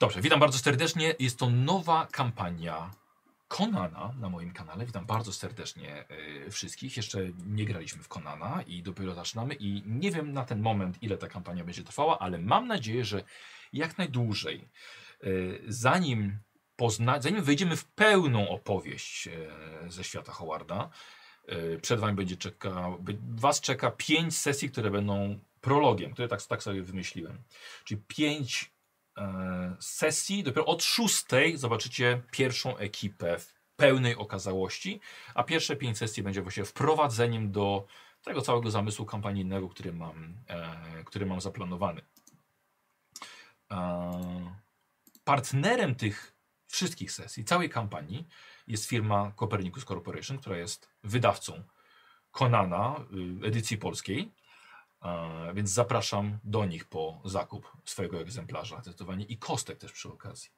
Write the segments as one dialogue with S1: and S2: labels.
S1: Dobrze, witam bardzo serdecznie. Jest to nowa kampania Konana na moim kanale. Witam bardzo serdecznie y, wszystkich. Jeszcze nie graliśmy w Konana i dopiero zaczynamy. I nie wiem na ten moment, ile ta kampania będzie trwała, ale mam nadzieję, że jak najdłużej. Y, zanim, pozna, zanim wejdziemy w pełną opowieść y, ze świata Howarda, y, przed Wami będzie czeka, by- Was czeka pięć sesji, które będą prologiem, które tak, tak sobie wymyśliłem. Czyli pięć e, sesji. Dopiero od szóstej zobaczycie pierwszą ekipę w pełnej okazałości, a pierwsze pięć sesji będzie właśnie wprowadzeniem do tego całego zamysłu kampanijnego, który mam, e, który mam zaplanowany. E, partnerem tych wszystkich sesji, całej kampanii jest firma Copernicus Corporation, która jest wydawcą Konana y, edycji polskiej. E, Więc zapraszam do nich po zakup swojego egzemplarza, zdecydowanie i kostek też przy okazji.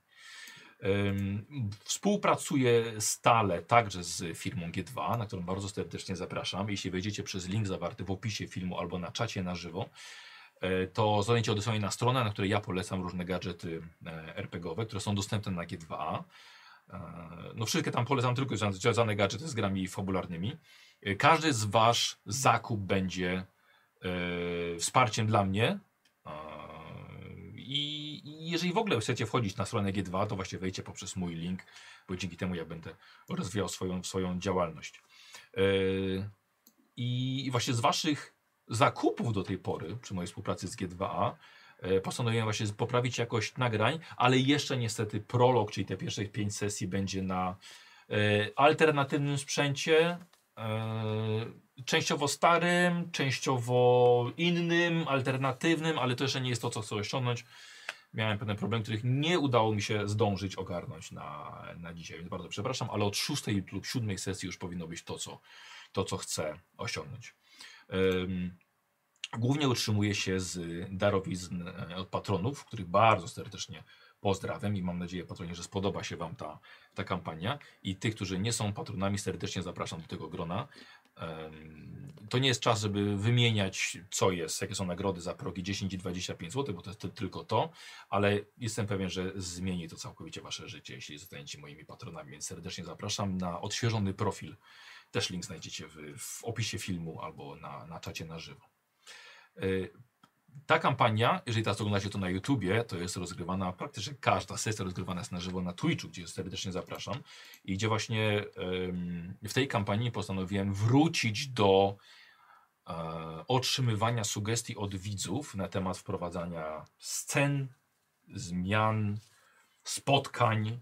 S1: Ym, Współpracuję stale także z firmą G2, na którą bardzo serdecznie zapraszam. Jeśli wejdziecie przez link zawarty w opisie filmu albo na czacie na żywo, e, to zostaniecie odesłani na stronę, na której ja polecam różne gadżety e, RPGowe, które są dostępne na G2. E, No wszystkie tam polecam tylko związane- związane gadżety z grami fabularnymi. E, Każdy z wasz zakup będzie e, wsparciem dla mnie. E, I i jeżeli w ogóle chcecie wchodzić na stronę G2, to właśnie wejdźcie poprzez mój link, bo dzięki temu ja będę rozwijał swoją, swoją działalność. E, I właśnie z Waszych zakupów do tej pory, przy mojej współpracy z G2A, e, postanowiłem właśnie z- poprawić jakość nagrań, ale jeszcze niestety prolog, czyli te pierwsze pięć sesji będzie na e, alternatywnym sprzęcie, e, częściowo starym, częściowo innym, alternatywnym, ale to jeszcze nie jest to, co chcę osiągnąć. Miałem pewne problemy, których nie udało mi się zdążyć ogarnąć na, na dzisiaj, więc bardzo przepraszam, ale od szóstej lub siódmej sesji już powinno być to, co, to, co chcę osiągnąć. Ym, głównie utrzymuję się z darowizn e, od patronów, których bardzo serdecznie pozdrawiam i mam nadzieję, patronie, że spodoba się Wam ta, ta kampania. I tych, którzy nie są patronami, serdecznie zapraszam do tego grona. Em, To nie jest czas, żeby wymieniać, co jest, jakie są nagrody za progi 10 i 25 zł, bo to jest ty- tylko to, ale jestem pewien, że zmieni to całkowicie Wasze życie, jeśli zostaniecie moimi patronami, więc serdecznie zapraszam na odświeżony profil. Też link znajdziecie w, w opisie filmu albo na, na czacie na żywo. Y, Ta kampania, jeżeli teraz oglądacie to na YouTubie, to jest rozgrywana, praktycznie każda sesja rozgrywana jest na żywo na Twitchu, gdzie serdecznie zapraszam i gdzie właśnie em, w tej kampanii postanowiłem wrócić do e, otrzymywania sugestii od widzów na temat wprowadzania scen, zmian, spotkań.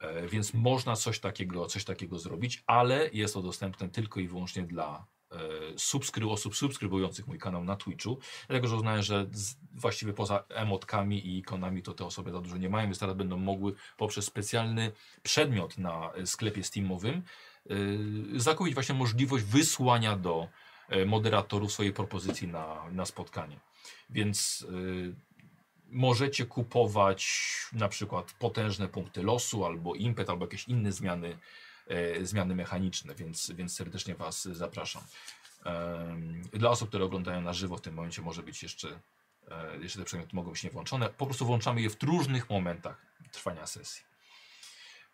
S1: e, Więc można coś takiego, coś takiego zrobić, ale jest to dostępne tylko i wyłącznie dla e, subskry osób subskrybujących mój kanał na Twitchu. Dlatego, że uznałem, że z, właściwie poza emotkami i ikonami to te osoby za dużo nie mają, więc teraz będą mogły poprzez specjalny przedmiot na e, sklepie Steamowym, yy, zakupić właśnie możliwość wysłania do e, moderatorów swojej propozycji na, na spotkanie. Więc yy, możecie kupować na przykład potężne punkty losu, albo impet, albo jakieś inne zmiany, e, zmiany mechaniczne, więc, więc serdecznie Was zapraszam. Em, Dla osób, które oglądają na żywo w tym momencie może być jeszcze, e, jeszcze te przedmioty mogą być nie włączone. Po prostu włączamy je w różnych momentach trwania sesji.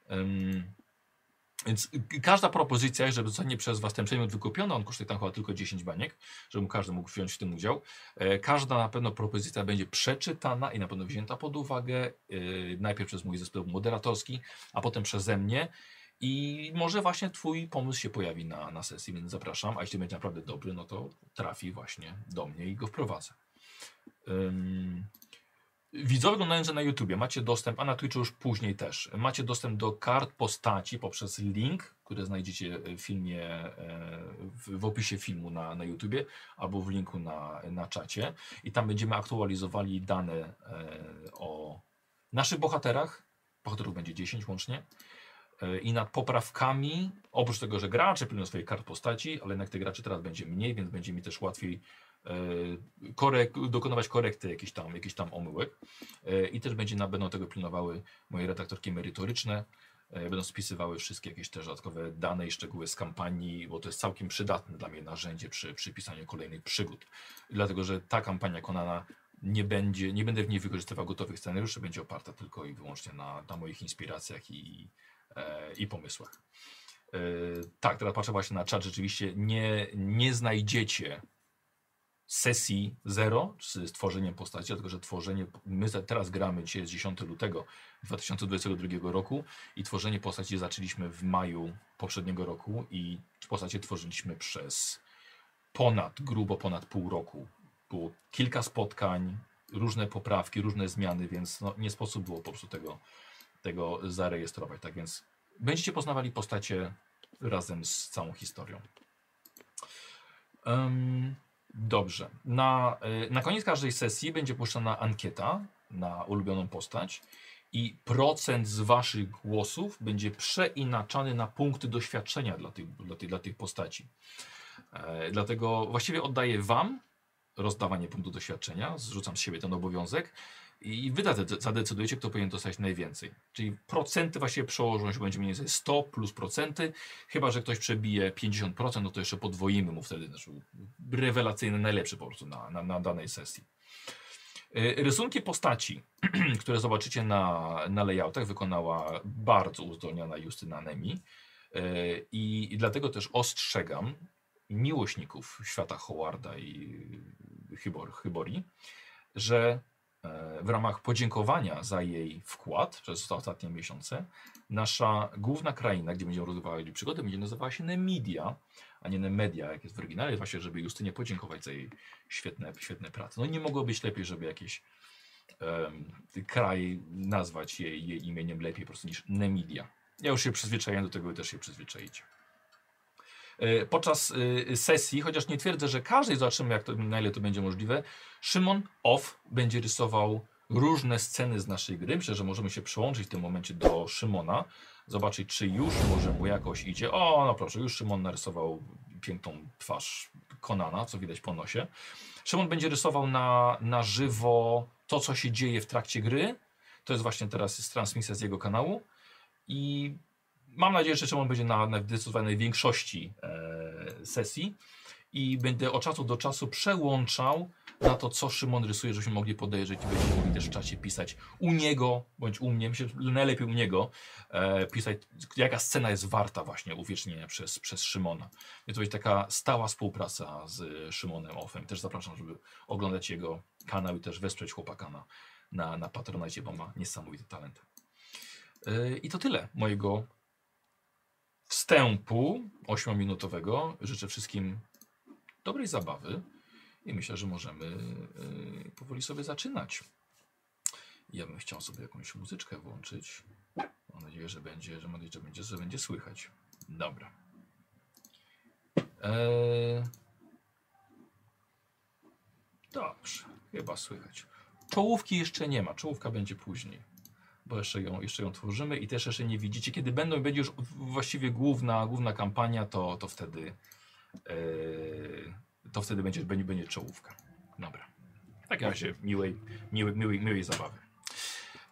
S1: Em, Więc k- każda propozycja, żeby zostanie przez Was ten przedmiot wykupiony, on kosztuje tam chyba tylko 10 baniek, żeby każdy mógł wziąć w tym udział. E, Każda na pewno propozycja będzie przeczytana i na pewno wzięta pod uwagę, y, najpierw przez mój zespół moderatorski, a potem przeze mnie. I może właśnie Twój pomysł się pojawi na, na sesji, więc zapraszam. A jeśli będzie naprawdę dobry, no to trafi właśnie do mnie i go wprowadzę. Ym... Widzowie oglądający na YouTubie macie dostęp, a na Twitchu już później też, macie dostęp do kart postaci poprzez link, który znajdziecie w filmie, e, w, w opisie filmu na, na YouTubie albo w linku na, na czacie. I tam będziemy aktualizowali dane e, o naszych bohaterach. Bohaterów będzie 10 łącznie e, i nad poprawkami, oprócz tego, że gracze pilnują swoich kart postaci, ale jednak tych graczy teraz będzie mniej, więc będzie mi też łatwiej e, korek, dokonywać korekty jakichś tam, jakichś tam omyłek. E, I też będzie, na- będą tego pilnowały moje redaktorki merytoryczne. e, Będą spisywały wszystkie jakieś też dodatkowe dane i szczegóły z kampanii, bo to jest całkiem przydatne dla mnie narzędzie przy, przy pisaniu kolejnych przygód. Dlatego, że ta kampania Konana nie, będzie, nie będę w niej wykorzystywał gotowych scenariuszy, będzie oparta tylko i wyłącznie na, na moich inspiracjach i, e, i pomysłach. E, tak, teraz patrzę właśnie na czat, rzeczywiście nie, nie znajdziecie sesji zero z tworzeniem postaci, dlatego że tworzenie, my za- teraz gramy, dzisiaj jest 10 lutego 2022 roku i tworzenie postaci zaczęliśmy w maju poprzedniego roku i postacie tworzyliśmy przez ponad, grubo ponad pół roku. Było kilka spotkań, różne poprawki, różne zmiany, więc no, nie sposób było po prostu tego, tego zarejestrować. Tak więc będziecie poznawali postacie razem z całą historią. Em, Dobrze. Na, y, na koniec każdej sesji będzie puszczana ankieta na ulubioną postać i procent z Waszych głosów będzie przeinaczany na punkty doświadczenia dla tych, dla tych, dla tych postaci. E, Dlatego właściwie oddaję Wam rozdawanie punktu doświadczenia, zrzucam z siebie ten obowiązek i Wy zade- zadecydujecie, kto powinien dostać najwięcej. Czyli procenty właściwie przełożą się będzie mniej więcej 100 plus procenty, chyba że ktoś przebije 50%, no to jeszcze podwoimy mu wtedy, znaczy rewelacyjny, najlepszy po prostu na, na, na danej sesji. Y, Rysunki postaci, które zobaczycie na, na layoutach, wykonała bardzo uzdolniona Justyna Nemi. Y, I, I dlatego też ostrzegam miłośników świata Howarda i Hybor, Hybori, że e, w ramach podziękowania za jej wkład przez te ostatnie miesiące, nasza główna kraina, gdzie będziemy rozwijali przygody, będzie nazywała się Nemidia, a nie Nemedia, jak jest w oryginale, właśnie żeby Justynie podziękować za jej świetne, świetne prace. No nie mogło być lepiej, żeby jakiś em, kraj nazwać jej, jej imieniem lepiej po prostu niż Nemidia. Ja już się przyzwyczaiłem do tego, wy też się przyzwyczaicie. E, Podczas y, sesji, chociaż nie twierdzę, że każdej, zobaczymy jak to, na ile to będzie możliwe, Szymon Off będzie rysował różne sceny z naszej gry. Myślę, że możemy się przełączyć w tym momencie do Szymona, zobaczyć czy już może mu jakoś idzie. O, no proszę, już Szymon narysował piękną twarz Konana, co widać po nosie. Szymon będzie rysował na, na żywo to, co się dzieje w trakcie gry. To jest właśnie teraz jest transmisja z jego kanału. I mam nadzieję, że Szymon będzie na, na zdecydowanej większości e, sesji. I będę od czasu do czasu przełączał na to, co Szymon rysuje, żebyśmy mogli podejrzeć i będziemy mogli też w czacie pisać u niego, bądź u mnie, myślę, że najlepiej u niego, e, pisać, jaka scena jest warta właśnie uwiecznienia przez, przez Szymona. I to będzie taka stała współpraca z Szymonem Offem. Też zapraszam, żeby oglądać jego kanał i też wesprzeć chłopaka na, na, na Patronite, bo ma niesamowity talent. E, I to tyle mojego wstępu ośmiominutowego. Życzę wszystkim dobrej zabawy i myślę, że możemy y, powoli sobie zaczynać. Ja bym chciał sobie jakąś muzyczkę włączyć. Mam nadzieję, że będzie, że, mam nadzieję, że, będzie, że będzie słychać. Dobra. Eee... Dobrze, chyba słychać. Czołówki jeszcze nie ma, czołówka będzie później bo jeszcze ją, jeszcze ją tworzymy i też jeszcze nie widzicie. Kiedy będą, będzie już właściwie główna, główna kampania, to, to wtedy yy, to wtedy będzie, będzie, będzie czołówka. Dobra. W takim razie miłej, miłej, miłej, miłej zabawy.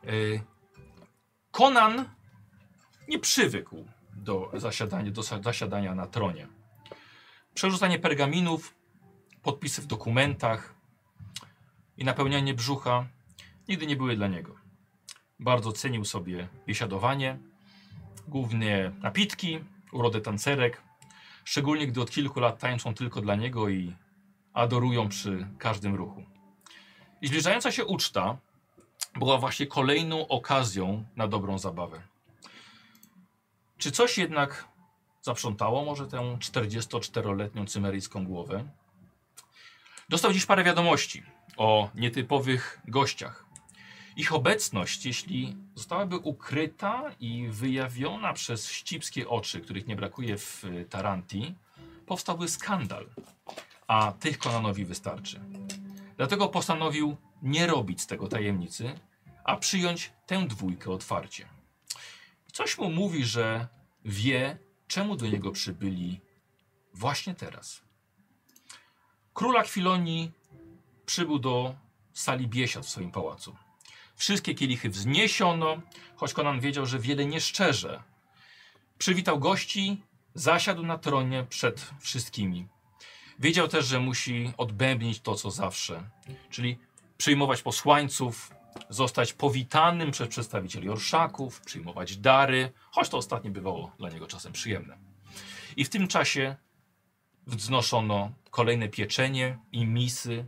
S1: Yy, Konan nie przywykł do zasiadania, do sa- zasiadania na tronie. Przerzucanie pergaminów, podpisy w dokumentach i napełnianie brzucha nigdy nie były dla niego. Bardzo cenił sobie biesiadowanie, głównie napitki, urodę tancerek, szczególnie gdy od kilku lat tańczą tylko dla niego i adorują przy każdym ruchu. I zbliżająca się uczta była właśnie kolejną okazją na dobrą zabawę. Czy coś jednak zaprzątało może tę 44-letnią cymeryjską głowę? Dostał dziś parę wiadomości o nietypowych gościach. Ich obecność, jeśli zostałaby ukryta i wyjawiona przez ścipskie oczy, których nie brakuje w y, Taranti, powstałby skandal, a tych Konanowi wystarczy. Dlatego postanowił nie robić z tego tajemnicy, a przyjąć tę dwójkę otwarcie. Coś mu mówi, że wie, czemu do niego przybyli właśnie teraz. Króla Kwilonii przybył do sali Biesiad w swoim pałacu. Wszystkie kielichy wzniesiono, choć Konan wiedział, że wiele nieszczerze. Przywitał gości, zasiadł na tronie przed wszystkimi. Wiedział też, że musi odbębnić to, co zawsze, czyli przyjmować posłańców, zostać powitanym przez przedstawicieli orszaków, przyjmować dary, choć to ostatnie bywało dla niego czasem przyjemne. I w tym czasie wznoszono kolejne pieczenie i misy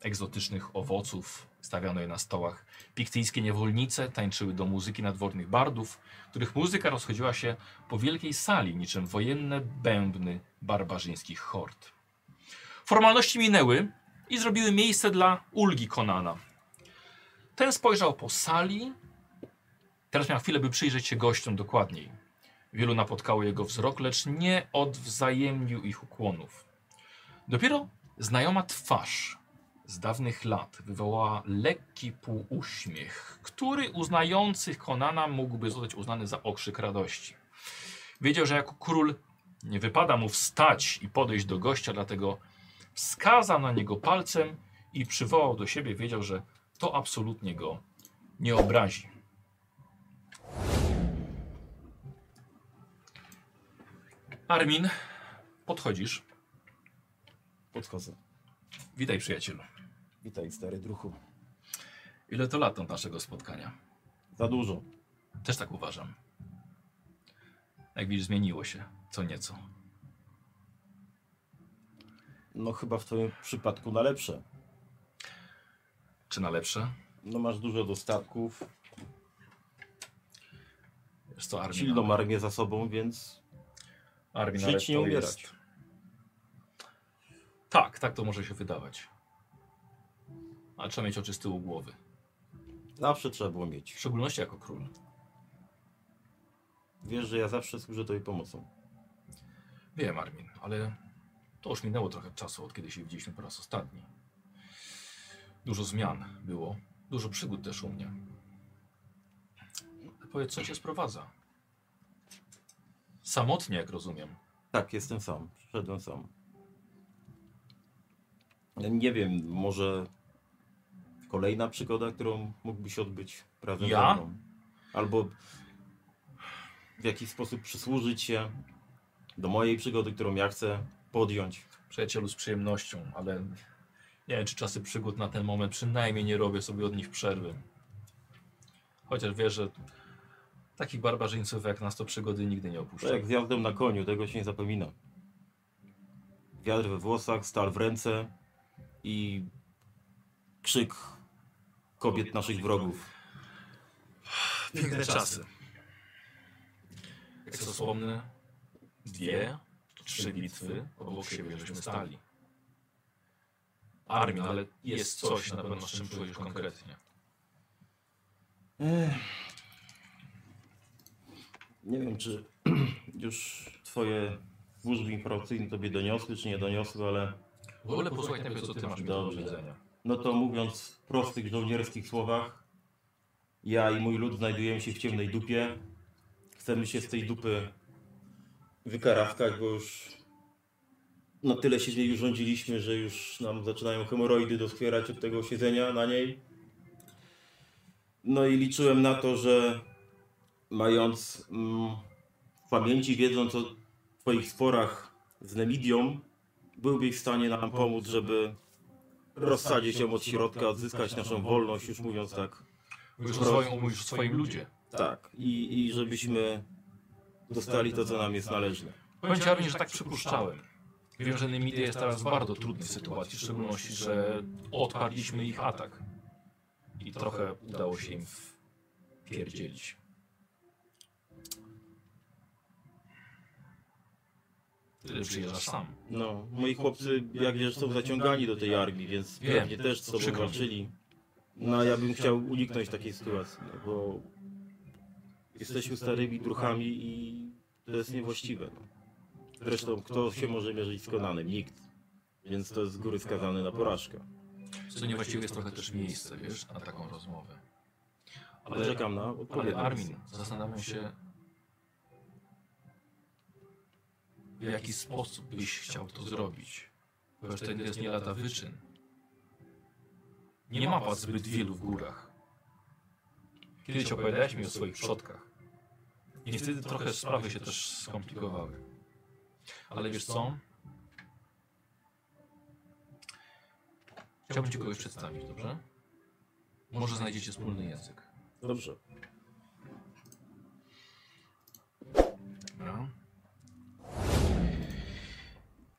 S1: egzotycznych owoców, stawiano je na stołach. Piktyjskie niewolnice tańczyły do muzyki nadwornych bardów, których muzyka rozchodziła się po wielkiej sali, niczym wojenne bębny barbarzyńskich hord. Formalności minęły i zrobiły miejsce dla ulgi Konana. Ten spojrzał po sali. Teraz miał chwilę, by przyjrzeć się gościom dokładniej. Wielu napotkało jego wzrok, lecz nie odwzajemnił ich ukłonów. Dopiero znajoma twarz z dawnych lat wywołała lekki półuśmiech, który uznających Konana mógłby zostać uznany za okrzyk radości. Wiedział, że jako król nie wypada mu wstać i podejść do gościa, dlatego wskazał na niego palcem i przywołał do siebie. Wiedział, że to absolutnie go nie obrazi. Armin, podchodzisz.
S2: Podchodzę.
S1: Witaj, przyjacielu.
S2: Witaj, stary druhu.
S1: Ile to lat od naszego spotkania?
S2: Za dużo.
S1: Też tak uważam. Jak widzisz, zmieniło się co nieco.
S2: No chyba w twoim przypadku na lepsze.
S1: Czy na lepsze?
S2: No masz dużo dostatków,
S1: Wiesz co, Armin,
S2: silną armię za sobą, więc
S1: Armin
S2: żyć
S1: ale
S2: nie
S1: to
S2: umierać.
S1: jest- Tak, tak to może się wydawać. Ale trzeba mieć oczy z tyłu głowy.
S2: zawsze trzeba było
S1: W
S2: mieć.
S1: szczególności jako król.
S2: Wiesz, że ja zawsze służę tobie pomocą.
S1: Wiem, Armin, ale to już minęło trochę czasu, od kiedy się widzieliśmy po raz ostatni. Dużo zmian było, dużo przygód też u mnie. Ale Powiedz, co się sprowadza? Samotnie, jak rozumiem.
S2: Tak, jestem sam. Przyszedłem sam. Ja Nie wiem, może kolejna przygoda, którą mógłbyś odbyć razem
S1: Ja?
S2: ze mną. Albo w jakiś sposób przysłużyć się do mojej przygody, którą ja chcę podjąć.
S1: Przyjacielu, z przyjemnością, ale nie wiem, czy czasy przygód na ten moment przynajmniej nie robię sobie od nich przerwy. Chociaż wiesz, że takich barbarzyńców jak nas to przygody nigdy nie
S2: To
S1: opuszczą.
S2: jak z jazdą na koniu, tego się nie zapomina. Wiatr we włosach, stal w ręce i krzyk kobiet naszych wrogów.
S1: Piękne czasy. Stosowne dwie, trzy bitwy obok siebie żeśmy stali. Armią, ale jest coś na pewno, z czym czujesz konkretnie.
S2: Nie wiem, czy już twoje służby informacyjne tobie doniosły, czy nie doniosły, ale
S1: W ogóle posłuchaj najpierw, co ty masz mi do
S2: Dobrze.
S1: powiedzenia.
S2: no to mówiąc w prostych żołnierskich słowach, ja i mój lud znajdujemy się w ciemnej dupie. Chcemy się z tej dupy wykarafkać, bo już na tyle się z niej już rządziliśmy, że już nam zaczynają hemoroidy doskwierać od tego siedzenia na niej. No i liczyłem na to, że mając mm, w pamięci, wiedząc o twoich sporach z Nemidią, byłbyś w stanie nam pomóc, żeby rozsadzić ją od środka, odzyskać naszą wolność, już mówiąc tak.
S1: Mówisz o swoim, mówisz o swoim ludzie.
S2: Tak. I, i żebyśmy dostali to, co nam jest należne.
S1: Powiem ci, Armin, że tak przypuszczałem. Wiem, że Nemidia jest teraz w bardzo trudnej sytuacji, w szczególności, że odparliśmy ich atak. I trochę udało się im wpierdzielić. Tyle przyjeżdżasz sam.
S2: No, moi chłopcy, jak wiesz, są zaciągani do tej armii, więc
S1: Wiem.
S2: pewnie też z sobą
S1: Przykro mi.
S2: walczyli. No, ja bym chciał uniknąć takiej sytuacji, no, bo jesteśmy starymi druchami i to jest niewłaściwe. No. Zresztą, kto się może mierzyć z Konanem? Nikt. Więc to jest z góry skazane na porażkę.
S1: Co niewłaściwe jest trochę też miejsce, wiesz, na taką rozmowę.
S2: Ale
S1: Ale,
S2: czekam na
S1: ale
S2: odpowiedź.
S1: Armin, zastanawiam się, w jaki sposób byś chciał to zrobić. Chociaż to jest nie lata wyczyn. Nie ma was zbyt wielu w górach. Kiedyś opowiadałeś mi o swoich przodkach. I niestety trochę sprawy się też skomplikowały. Ale wiesz co? Chciałbym ci kogoś przedstawić, dobrze? Może znajdziecie wspólny język.
S3: Dobrze.
S1: Dobra.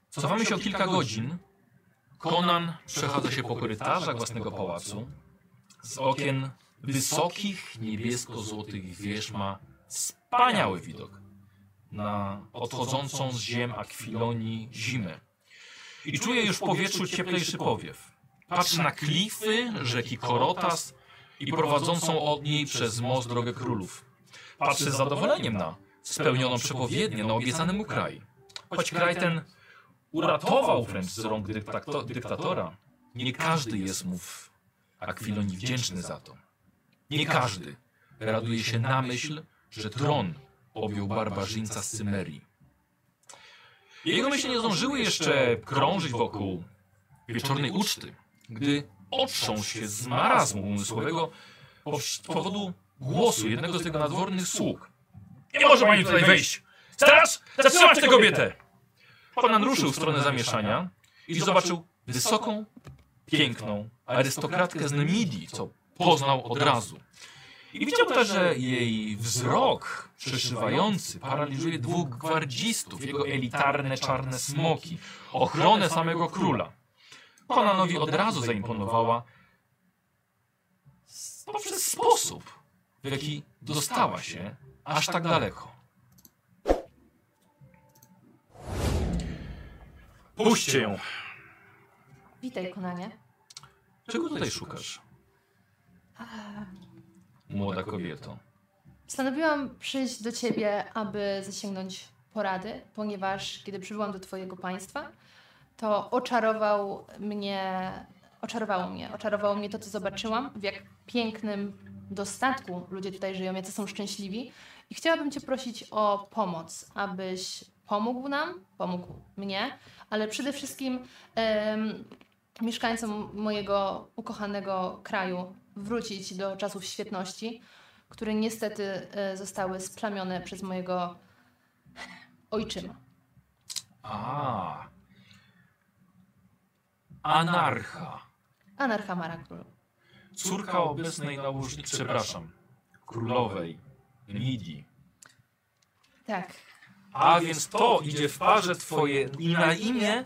S1: Cofamy się o kilka godzin. Konan przechadza się po korytarzach własnego pałacu. Z okien wysokich, niebiesko-złotych wież ma wspaniały widok na odchodzącą z ziem akwilonii zimę. I czuje już w powietrzu cieplejszy powiew. Patrzy na klify rzeki Korotas i prowadzącą od niej przez most drogę królów. Patrzy z zadowoleniem na spełnioną przepowiednię na obiecany mu kraj. Choć kraj ten uratował wręcz z rąk dyktato- dyktatora, nie każdy jest mu w Akwilonii wdzięczny za to. Nie każdy raduje się na myśl, że tron objął barbarzyńca z Cymerii. Jego myśli nie zdążyły jeszcze krążyć wokół wieczornej uczty, gdy otrząsł się z marazmu umysłowego z powodu głosu jednego z jego nadwornych sług. Nie może pani tutaj wejść! Teraz zatrzymać tę kobietę! Konan ruszył w stronę zamieszania i zobaczył wysoką, piękną arystokratkę z Nemidii, co poznał od razu. I widział też, że jej wzrok przeszywający paraliżuje dwóch gwardzistów, jego elitarne czarne smoki, ochronę samego króla. Konanowi od razu zaimponowała s- poprzez sposób, w jaki dostała się aż tak daleko. Puśćcie ją!
S4: Witaj, Konanie.
S1: Czego tutaj szukasz, młoda kobieto?
S4: Postanowiłam przyjść do ciebie, aby zasięgnąć porady, ponieważ kiedy przybyłam do twojego państwa, to oczarował mnie, oczarowało mnie, oczarowało mnie to, co zobaczyłam, w jak pięknym dostatku ludzie tutaj żyją, jacy są szczęśliwi. I chciałabym cię prosić o pomoc, abyś pomógł nam, pomógł mnie, ale przede wszystkim em, mieszkańcom mojego ukochanego kraju wrócić do czasów świetności, które niestety e, zostały splamione przez mojego ojczyma.
S1: A. Anarcha.
S4: Anarchamara królu.
S1: Córka obecnej nałożnicy, przepraszam, królowej Lidii.
S4: Tak,
S1: A więc to idzie w parze twoje i na imię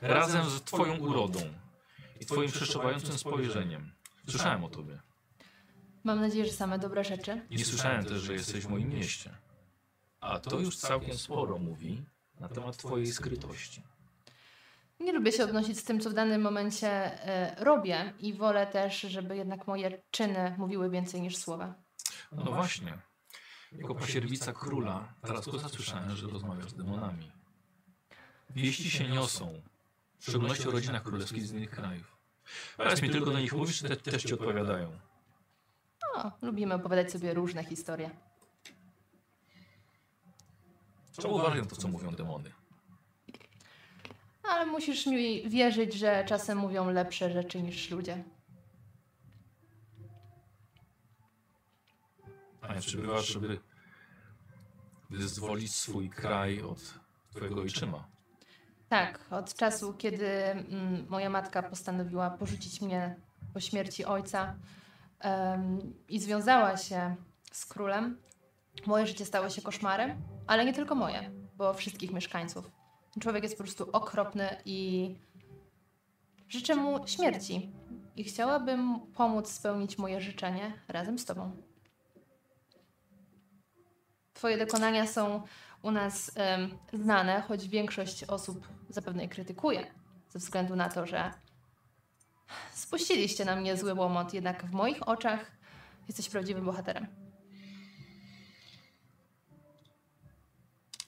S1: razem z twoją urodą i twoim przeszywającym spojrzeniem. Słyszałem o tobie.
S4: mam nadzieję, że same dobre rzeczy.
S1: Nie słyszałem też, że jesteś w moim mieście. A to już całkiem sporo mówi na temat twojej skrytości.
S4: Nie lubię się odnosić z tym, co w danym momencie e, robię i wolę też, żeby jednak moje czyny mówiły więcej niż słowa.
S1: No właśnie. Jako pasierbica króla teraz tylko zasłyszałem, że rozmawiasz z demonami. Wieści się niosą, w szczególności o rodzinach królewskich z innych krajów. Powiedz mi, tylko do nich mówisz, czy te, też ci odpowiadają?
S4: O, No, lubimy opowiadać sobie różne historie.
S1: Trzeba uważać na to, co mówią demony.
S4: Ale musisz mi wierzyć, że czasem mówią lepsze rzeczy niż ludzie.
S1: A nie przybywasz, żeby wyzwolić swój kraj od twojego ojczyma.
S4: Tak, od czasu, kiedy mm, moja matka postanowiła porzucić mnie po śmierci ojca em, i związała się z królem, moje życie stało się koszmarem, ale nie tylko moje, bo wszystkich mieszkańców. Człowiek jest po prostu okropny i życzę mu śmierci. I chciałabym pomóc spełnić moje życzenie razem z tobą. Twoje dokonania są u nas em, znane, choć większość osób zapewne je krytykuje, ze względu na to, że spuściliście na mnie zły łomot, jednak w moich oczach jesteś prawdziwym bohaterem.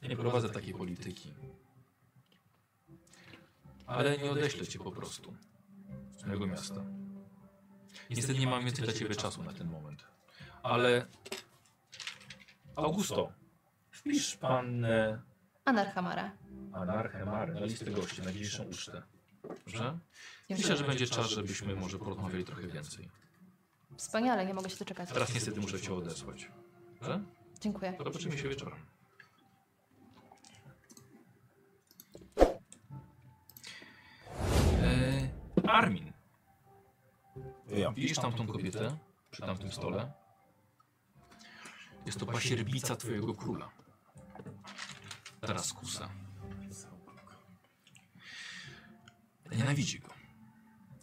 S1: Ja nie prowadzę takiej polityki. Ale nie odeślę cię po prostu z mojego miasta. Niestety nie mam więcej dla ciebie czasu na ten moment. Ale. Augusto, wpisz pan e,
S4: Anarchamara.
S1: Anarchę Mary na listę gości na dzisiejszą ucztę. Dobrze? Myślę, że będzie czas, żebyśmy może porozmawiali trochę więcej.
S4: Wspaniale, nie mogę się doczekać.
S1: Teraz niestety muszę cię odesłać. Dobrze?
S4: Dziękuję.
S1: Zobaczymy się wieczorem. E, Armin.
S3: To ja.
S1: Widzisz tamtą kobietę przy tamtym stole? Jest to pasierbica twojego króla. Teraz kusa. Nienawidzi go.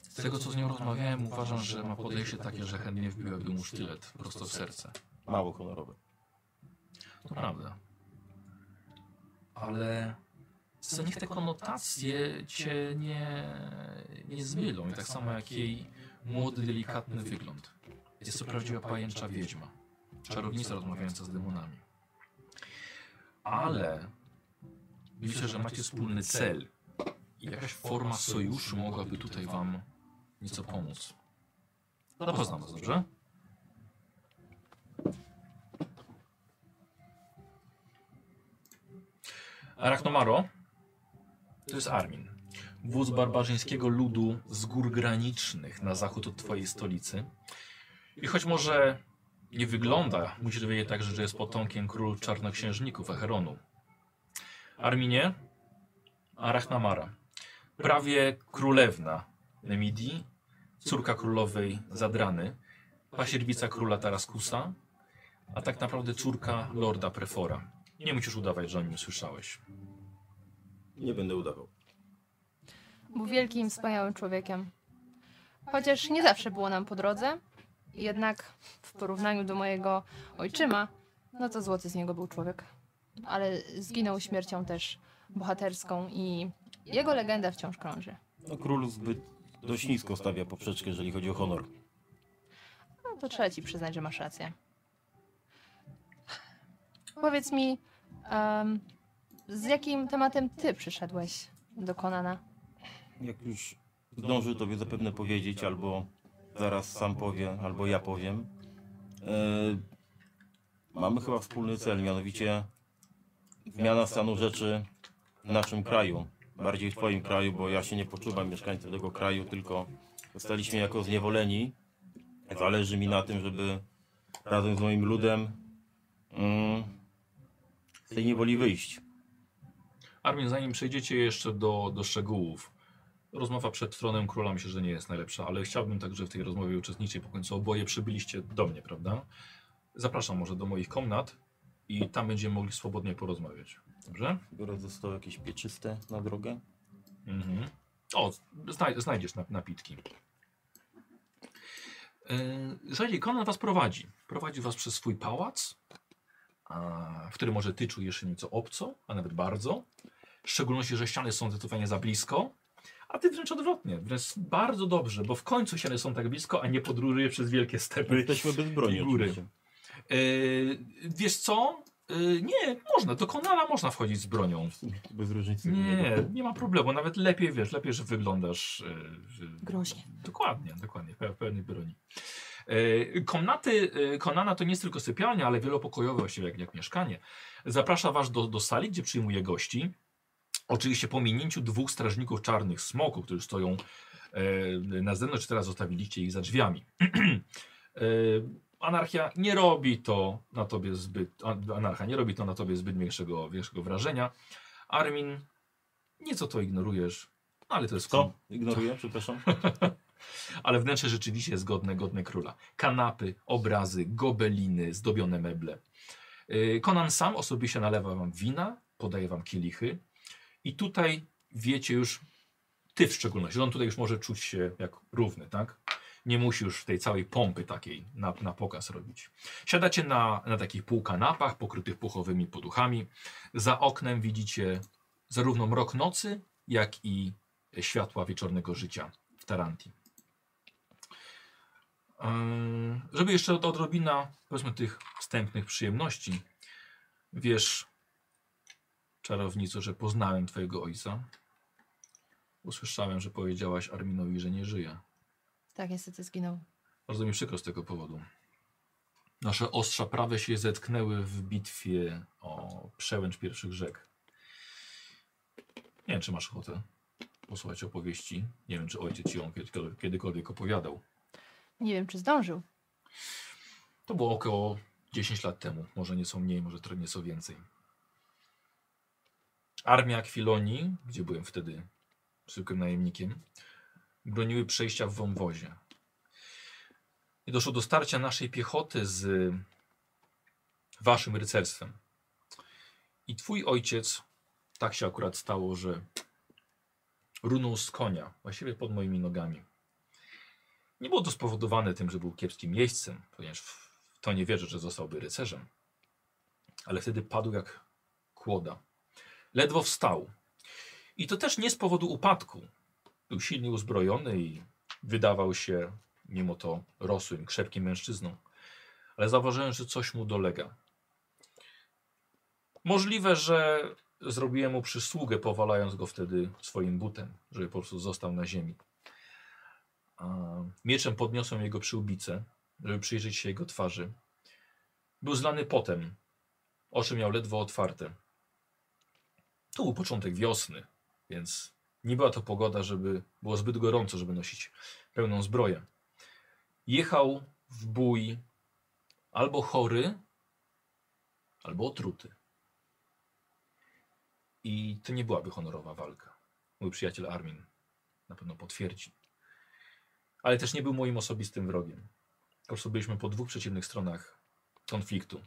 S1: Z tego co z nią rozmawiałem, uważam, że ma podejście takie, że chętnie wbiłaby mu sztylet prosto w serce.
S2: Mało honorowe.
S1: To prawda. Ale co niech te konotacje cię nie, nie zmylą. I tak samo jak jej młody, delikatny wygląd. Jest to prawdziwa pajęcza wiedźma. Czarownica rozmawiająca z demonami. Ale myślę, że macie wspólny cel. I jakaś forma sojuszu mogłaby tutaj wam nieco pomóc. Zapoznam No was, dobrze? Arachnomaro to jest Armin. Wóz barbarzyńskiego ludu z gór granicznych na zachód od twojej stolicy. I choć może nie wygląda, musisz wiedzieć także, że jest potomkiem król czarnoksiężników Echeronu. Arminie, Arachnamara, prawie królewna Nemidii, córka królowej Zadrany, pasierbica króla Taraskusa, a tak naprawdę córka lorda Prefora. Nie musisz udawać, że o nim słyszałeś.
S2: Nie będę udawał.
S4: Był wielkim, wspaniałym człowiekiem. Chociaż nie zawsze było nam po drodze, jednak w porównaniu do mojego ojczyma, no to złoty z niego był człowiek. Ale zginął śmiercią też bohaterską i jego legenda wciąż krąży.
S2: No, król zbyt dość nisko stawia poprzeczkę, jeżeli chodzi o honor.
S4: No to trzeba ci przyznać, że masz rację. Powiedz mi, em, z jakim tematem ty przyszedłeś do Konana?
S2: Jak już zdążył tobie zapewne powiedzieć, albo zaraz sam powie, albo ja powiem. E, mamy chyba wspólny cel, mianowicie zmiana stanu rzeczy w naszym kraju. Bardziej w twoim kraju, bo ja się nie poczuwam mieszkańcem tego kraju, tylko zostaliśmy jako zniewoleni. Zależy mi na tym, żeby razem z moim ludem mm, z tej niewoli wyjść.
S1: Armin, zanim przejdziecie jeszcze do, do szczegółów, rozmowa przed tronem króla myślę, że nie jest najlepsza, ale chciałbym także w tej rozmowie uczestniczyć, bo w końcu oboje przybyliście do mnie, prawda? Zapraszam może do moich komnat i tam będziemy mogli swobodnie porozmawiać. Dobrze?
S2: Biorę zostało jakieś pieczyste na drogę.
S1: Mhm. O, znaj znajdziesz nap- napitki. Yy, Słuchajcie, Conan was prowadzi. Prowadzi was przez swój pałac, a, w którym może ty czujesz się nieco obco, a nawet bardzo. W szczególności, że ściany są zdecydowanie za blisko, a ty wręcz odwrotnie. Wręcz bardzo dobrze, bo w końcu ściany są tak blisko, a nie podróżuje przez wielkie stepy.
S2: Jesteśmy bez broni
S1: I góry.
S2: oczywiście.
S1: Yy, wiesz co? Yy, nie, można, do Konana można wchodzić z bronią.
S2: Bez różnicy.
S1: Nie, nie ma problemu. Nawet lepiej, wiesz, lepiej, że wyglądasz. Yy, yy,
S4: Groźnie.
S1: Dokładnie, dokładnie, pe- pełnej broni. E, Komnaty e, Konana to nie jest tylko sypialnia, ale wielopokojowe właściwie jak, jak mieszkanie. Zaprasza was do, do sali, gdzie przyjmuje gości. Oczywiście po minięciu dwóch strażników czarnych smoków, którzy stoją e, na zewnątrz, teraz zostawiliście ich za drzwiami. E, Anarchia nie robi to na tobie zbyt. an- Anarcha nie robi to na tobie zbyt większego, większego wrażenia. Armin, nieco to ignorujesz, no ale to jest
S2: Co? Ignoruję, przepraszam.
S1: ale wnętrze rzeczywiście jest godne, godne króla. Kanapy, obrazy, gobeliny, zdobione meble. Yy, Conan sam osobiście nalewa wam wina, podaje wam kielichy i tutaj wiecie już, ty w szczególności, że on tutaj już może czuć się jak równy, tak? Nie musi już tej całej pompy takiej na, na pokaz robić. Siadacie na, na takich półkanapach pokrytych puchowymi poduchami. Za oknem widzicie zarówno mrok nocy, jak i światła wieczornego życia w Tarantii. Ym, Żeby jeszcze od- odrobina, powiedzmy, tych wstępnych przyjemności. Wiesz, czarownico, że poznałem twojego ojca. Usłyszałem, że powiedziałaś Arminowi, że nie żyje.
S4: Tak, niestety zginął.
S1: Bardzo mi przykro z tego powodu. Nasze ostrza prawe się zetknęły w bitwie o przełęcz pierwszych rzek. Nie wiem, czy masz ochotę posłuchać opowieści. Nie wiem, czy ojciec ci ją kiedykolwiek- kiedykolwiek opowiadał.
S4: Nie wiem, czy zdążył.
S1: To było około 10 lat temu, może nieco mniej, może trochę nieco więcej. Armia Akwilonii, gdzie byłem wtedy zwykłym najemnikiem, broniły przejścia w wąwozie. i doszło do starcia naszej piechoty z waszym rycerstwem. I twój ojciec, tak się akurat stało, że runął z konia, właściwie pod moimi nogami. Nie było to spowodowane tym, że był kiepskim jeźdźcem, ponieważ w to nie wierzę, że zostałby rycerzem. Ale wtedy padł jak kłoda. Ledwo wstał. I to też nie z powodu upadku. Był silnie uzbrojony i wydawał się, mimo to, rosłym, krzepkim mężczyzną. Ale zauważyłem, że coś mu dolega. Możliwe, że zrobiłem mu przysługę, powalając go wtedy swoim butem, żeby po prostu został na ziemi. A Mieczem podniosłem jego przyłbicę, żeby przyjrzeć się jego twarzy. Był zlany potem. Oczy miał ledwo otwarte. To był początek wiosny, więc nie była to pogoda, żeby było zbyt gorąco, żeby nosić pełną zbroję. Jechał w bój albo chory, albo otruty. I to nie byłaby honorowa walka. Mój przyjaciel Armin na pewno potwierdzi. Ale też nie był moim osobistym wrogiem. Po prostu byliśmy po dwóch przeciwnych stronach konfliktu.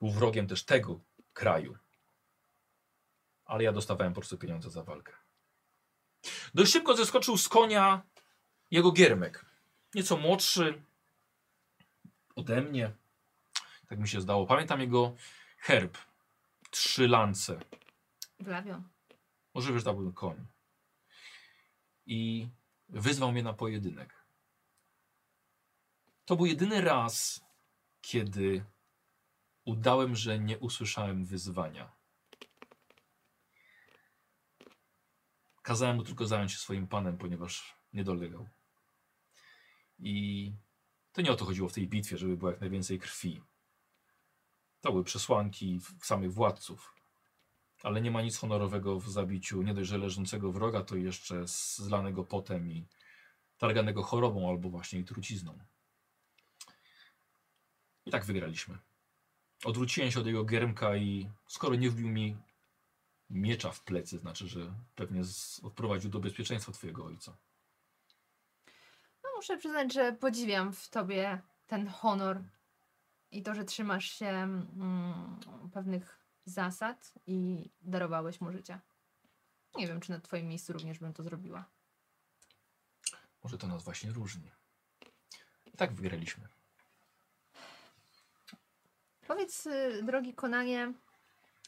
S1: Był wrogiem też tego kraju. Ale ja dostawałem po prostu pieniądze za walkę. Dość szybko zeskoczył z konia jego giermek. Nieco młodszy ode mnie. Tak mi się zdało. Pamiętam jego herb. Trzy lance.
S4: Glawią.
S1: Może wiesz, to był koń. I wyzwał mnie na pojedynek. To był jedyny raz, kiedy udałem, że nie usłyszałem wyzwania. Kazałem mu tylko zająć się swoim panem, ponieważ nie dolegał. I to nie o to chodziło w tej bitwie, żeby było jak najwięcej krwi. To były przesłanki w- samych władców. Ale nie ma nic honorowego w zabiciu nie dość, że leżącego wroga, to jeszcze z- zlanego potem i targanego chorobą albo właśnie i trucizną. I tak wygraliśmy. Odwróciłem się od jego giermka i skoro nie wbił mi miecza w plecy, znaczy, że pewnie z- odprowadził do bezpieczeństwa twojego ojca.
S4: No, muszę przyznać, że podziwiam w tobie ten honor i to, że trzymasz się mm, pewnych zasad i darowałeś mu życie. Nie wiem, czy na twoim miejscu również bym to zrobiła.
S1: Może to nas właśnie różni. I tak wygraliśmy.
S4: Powiedz, y, drogi Konanie,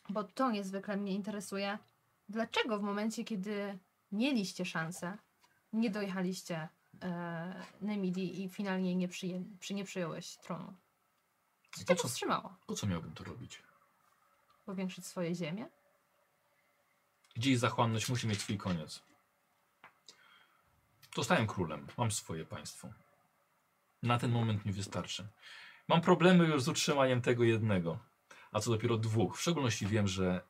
S4: bo to niezwykle mnie interesuje, dlaczego w momencie, kiedy mieliście szansę, nie dojechaliście e, Nemidii i finalnie jej nie, przyję, przy, nie przyjąłeś tronu? Co
S1: Po
S4: cię
S1: co,
S4: powstrzymało?
S1: po co miałbym to robić?
S4: Powiększyć swoje ziemię?
S1: Dziś zachłanność musi mieć swój koniec. Zostałem królem, mam swoje państwo. Na ten moment mi wystarczy. Mam problemy już z utrzymaniem tego jednego, a co dopiero dwóch. W szczególności wiem, że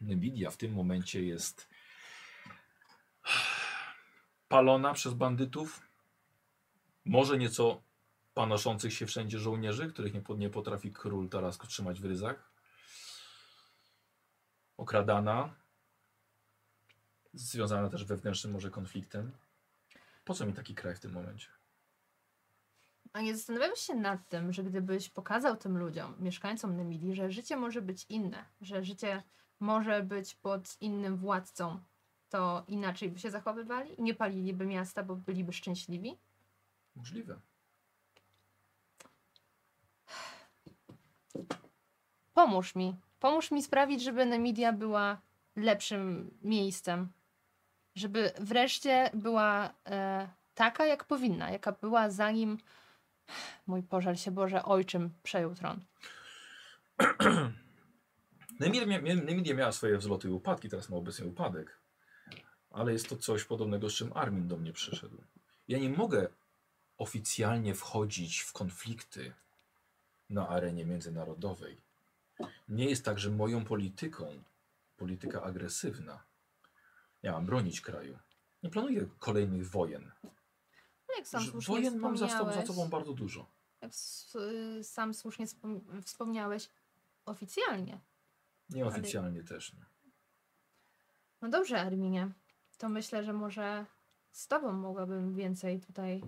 S1: Nvidia w tym momencie jest palona przez bandytów, może nieco panoszących się wszędzie żołnierzy, których nie, po- nie potrafi król teraz trzymać w ryzach, okradana, związana też wewnętrznym może konfliktem. Po co mi taki kraj w tym momencie?
S4: A nie zastanawiałeś się nad tym, że gdybyś pokazał tym ludziom, mieszkańcom Nemidii, że życie może być inne, że życie może być pod innym władcą, to inaczej by się zachowywali i nie paliliby miasta, bo byliby szczęśliwi?
S1: Możliwe.
S4: Pomóż mi. Pomóż mi sprawić, żeby Namidia była lepszym miejscem. Żeby wreszcie była e, taka, jak powinna, jaka była zanim mój pożal się Boże ojczym przejął tron.
S1: Nemidia, mia- mia- Nemidia miała swoje wzloty i upadki, teraz ma obecnie upadek. Ale jest to coś podobnego, z czym Armin do mnie przyszedł. Ja nie mogę oficjalnie wchodzić w konflikty na arenie międzynarodowej. Nie jest tak, że moją polityką, polityka agresywna, ja mam bronić kraju. Nie planuję kolejnych wojen.
S4: No, Jak sam
S1: Że
S4: słusznie
S1: wojen mam za sobą, za
S4: wspomniałeś-
S1: sobą bardzo dużo.
S4: Jak s- y, sam słusznie wspom- wspomniałeś, oficjalnie.
S1: Nieoficjalnie też. Nie.
S4: No dobrze, Arminie. To myślę, że może z tobą mogłabym więcej tutaj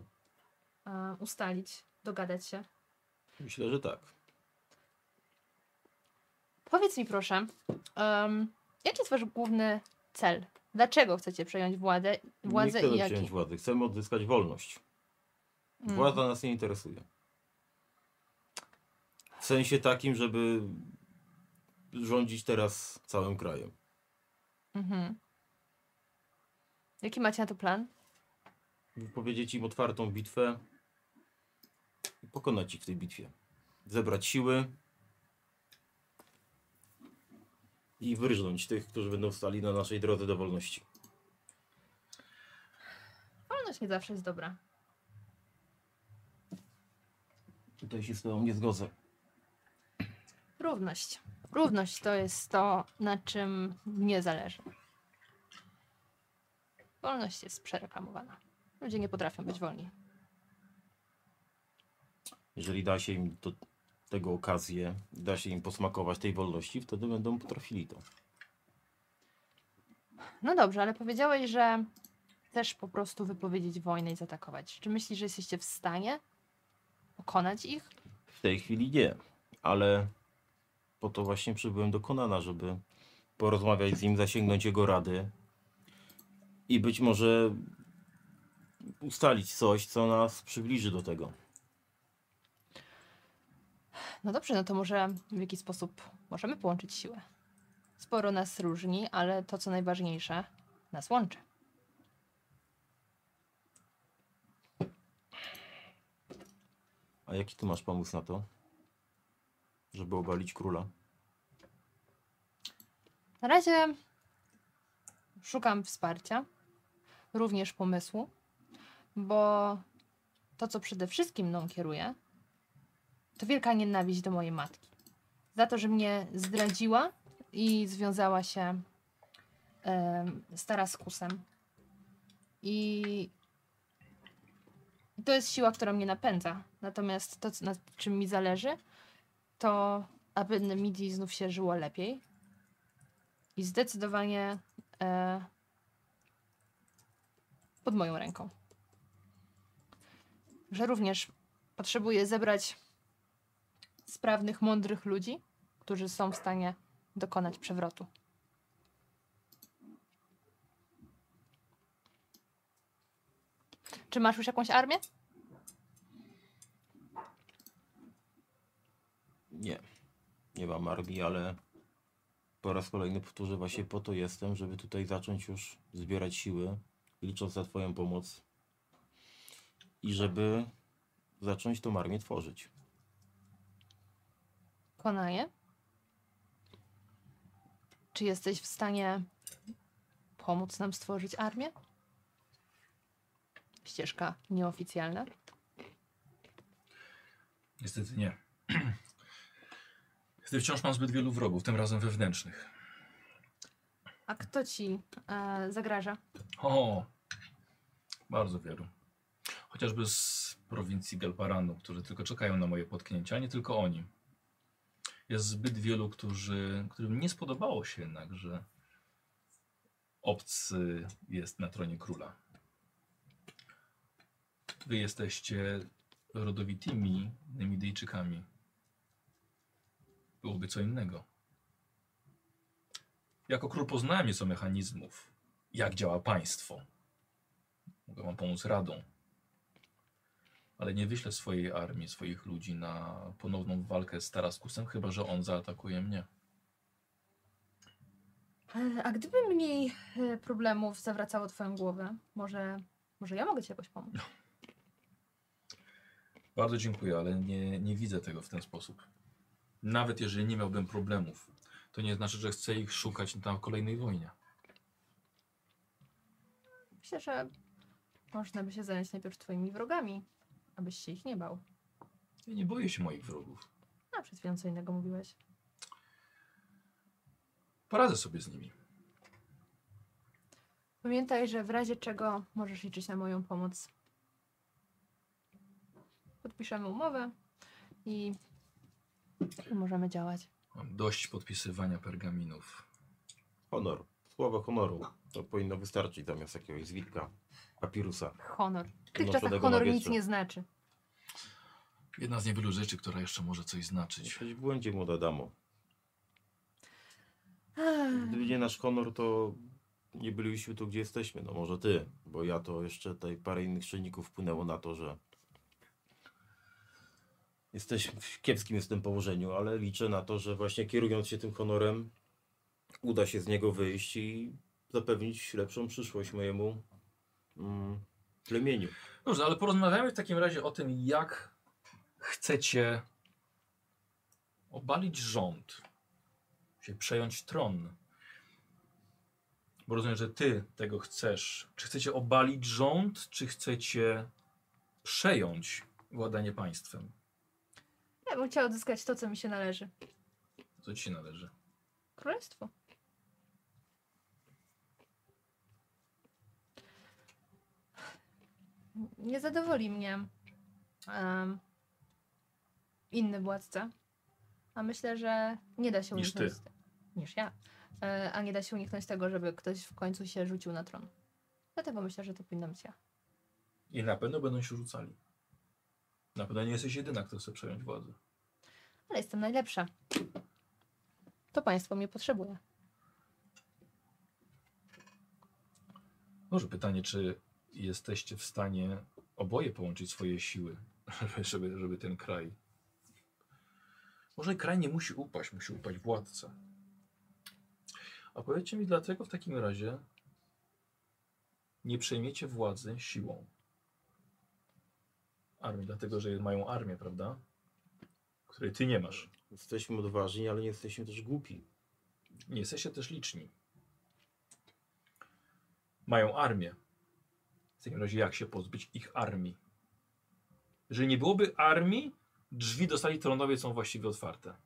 S4: e, e, ustalić, dogadać się.
S2: Myślę, że tak.
S4: Powiedz mi proszę, em, jaki jest wasz główny cel? Dlaczego chcecie przejąć władzę, władzę
S2: nie
S4: i
S2: chcemy
S4: jaki?
S2: przyjąć władzy, chcemy odzyskać wolność.
S4: Mm.
S2: Władza nas nie interesuje. W sensie takim, żeby rządzić teraz całym krajem.
S4: Mhm. Jaki macie na to plan?
S2: Powiedzieć im otwartą bitwę i pokonać ich w tej bitwie. Zebrać siły i wyrżnąć tych, którzy będą stali na naszej drodze do wolności.
S4: Wolność nie zawsze jest dobra.
S2: Tutaj się z tobą nie zgodzę.
S4: Równość. Równość to jest to, na czym mnie zależy. Wolność jest przereklamowana. Ludzie nie potrafią być wolni.
S2: Jeżeli da się im do tego okazję, da się im posmakować tej wolności, wtedy będą potrafili to.
S4: No dobrze, ale powiedziałeś, że chcesz po prostu wypowiedzieć wojnę i zaatakować. Czy myślisz, że jesteście w stanie pokonać ich?
S2: W tej chwili nie, ale po to właśnie przybyłem do Konana, żeby porozmawiać z nim, zasięgnąć jego rady i być może ustalić coś, co nas przybliży do tego.
S4: No dobrze, no to może w jakiś sposób możemy połączyć siły. Sporo nas różni, ale to, co najważniejsze, nas łączy.
S2: A jaki ty masz pomysł na to, żeby obalić króla?
S4: Na razie szukam wsparcia, również pomysłu, bo to, co przede wszystkim mną kieruje, to wielka nienawiść do mojej matki. Za to, że mnie zdradziła i związała się em, z Taraskusem. I i to jest siła, która mnie napędza. Natomiast to, co- na czym mi zależy, to aby Midi znów się żyło lepiej, i zdecydowanie e, pod moją ręką. Że również potrzebuję zebrać sprawnych, mądrych ludzi, którzy są w stanie dokonać przewrotu. Czy masz już jakąś armię?
S2: Nie, nie mam armii, ale po raz kolejny powtórzę, właśnie po to jestem, żeby tutaj zacząć już zbierać siły, licząc na Twoją pomoc i żeby zacząć tą armię tworzyć.
S4: Konaje? Czy jesteś w stanie pomóc nam stworzyć armię? Ścieżka nieoficjalna.
S1: Niestety nie. Niestety wciąż mam zbyt wielu wrogów, tym razem wewnętrznych.
S4: A kto ci e, zagraża?
S1: O, bardzo wielu. Chociażby z prowincji Galparanu, którzy tylko czekają na moje potknięcia, nie tylko oni. Jest zbyt wielu, którzy, którym nie spodobało się jednak, że obcy jest na tronie króla. Wy jesteście rodowitymi Nemidyjczykami. Byłoby co innego. Jako król poznałem nieco mechanizmów, jak działa państwo. Mogę wam pomóc radą. Ale nie wyślę swojej armii, swoich ludzi na ponowną walkę z Taraskusem, chyba że on zaatakuje mnie.
S4: E, A gdyby mniej e, problemów zawracało twoją głowę, może, może ja mogę ci jakoś pomóc?
S1: Bardzo dziękuję, ale nie, nie widzę tego w ten sposób. Nawet jeżeli nie miałbym problemów, to nie znaczy, że chcę ich szukać na kolejnej wojnie.
S4: Myślę, że można by się zająć najpierw twoimi wrogami, abyś się ich nie bał.
S1: Ja nie boję się moich wrogów.
S4: A przed chwilą co innego mówiłeś.
S1: Poradzę sobie z nimi.
S4: Pamiętaj, że w razie czego możesz liczyć na moją pomoc. Podpiszemy umowę i, i możemy działać.
S1: Mam dość podpisywania pergaminów.
S2: Honor, słowo honoru, to powinno wystarczyć zamiast jakiegoś zwitka, papirusa.
S4: Honor. W tych
S2: No,
S4: czasach
S2: żadnego
S4: honor nic
S2: magiestru.
S4: nie znaczy.
S3: Jedna z niewielu rzeczy, która jeszcze może coś znaczyć.
S2: Jesteś w błędzie, młoda damo.
S4: Ech,
S2: Gdyby nie nasz honor, to nie bylibyśmy tu, gdzie jesteśmy. No może ty, bo ja to jeszcze tutaj parę innych czynników wpłynęło na to, że jesteśmy w kiepskim jestem położeniu, ale liczę na to, że właśnie kierując się tym honorem uda się z niego wyjść i zapewnić lepszą przyszłość mojemu mm, plemieniu.
S1: Dobrze, ale porozmawiamy w takim razie o tym, jak chcecie obalić rząd, się przejąć tron. Bo rozumiem, że ty tego chcesz. Czy chcecie obalić rząd, czy chcecie przejąć władanie państwem?
S5: Ja bym chciała odzyskać to, co mi się należy.
S1: Co ci się należy?
S5: Królestwo.
S4: nie zadowoli mnie em, inny władca, a myślę, że nie da się
S1: Niż ty.
S4: uniknąć. Niż ja. E, a nie da się uniknąć tego, żeby ktoś w końcu się rzucił na tron. Dlatego myślę, że to powinna być ja.
S1: I na pewno będą się rzucali. Na pewno nie jesteś jedyna, kto chce przejąć władzę.
S4: Ale jestem najlepsza. To państwo mnie potrzebuje.
S1: Może pytanie, czy jesteście w stanie oboje połączyć swoje siły, żeby, żeby, żeby ten kraj. Może kraj nie musi upaść, musi upaść władca. A powiedzcie mi, dlaczego w takim razie nie przejmiecie władzy siłą? Armii, dlatego że mają armię, prawda? Której ty nie masz.
S2: Jesteśmy odważni, ale nie jesteśmy też głupi.
S1: Nie jesteście też liczni. Mają armię. W takim razie jak się pozbyć ich armii? Jeżeli nie byłoby armii, drzwi do sali tronowej są właściwie otwarte.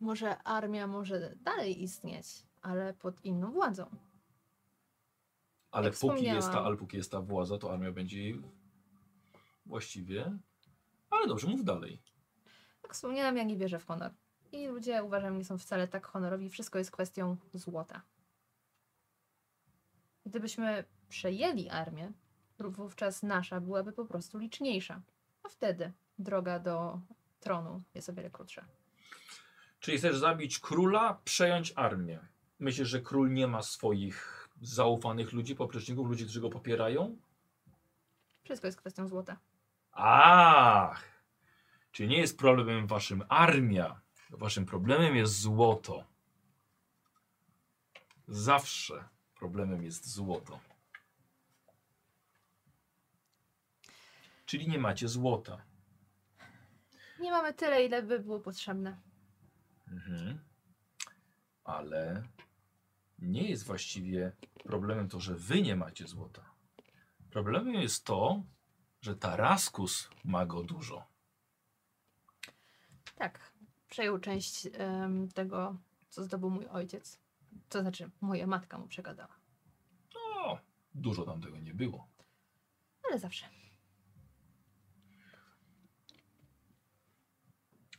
S4: Może armia może dalej istnieć, ale pod inną władzą.
S1: Ale
S4: Jak
S1: póki jest, ta,
S4: wspomniałam.
S1: ale póki jest ta władza, to armia będzie jej właściwie. Ale dobrze, mów dalej.
S4: Jak Tak wspomniałam, ja nie wierzę w honor. I ludzie uważam nie są wcale tak honorowi. Wszystko jest kwestią złota. Gdybyśmy przejęli armię, ró- wówczas nasza byłaby po prostu liczniejsza. A wtedy droga do tronu jest o wiele krótsza.
S1: Czyli chcesz zabić króla, przejąć armię. Myślisz, że król nie ma swoich zaufanych ludzi, popleczników, ludzi, którzy go popierają?
S4: Wszystko jest kwestią złota.
S1: Ach, czy nie jest problemem waszym armia? Waszym problemem jest złoto. Zawsze problemem jest złoto. Czyli nie macie złota.
S4: Nie mamy tyle, ile by było potrzebne.
S1: Mhm. Ale nie jest właściwie problemem to, że wy nie macie złota. Problemem jest to, że Taraskus ma go dużo.
S4: Tak, przejął część em, tego, co zdobył mój ojciec. To znaczy, moja matka mu przekazała.
S1: No, dużo tam tego nie było.
S4: Ale zawsze.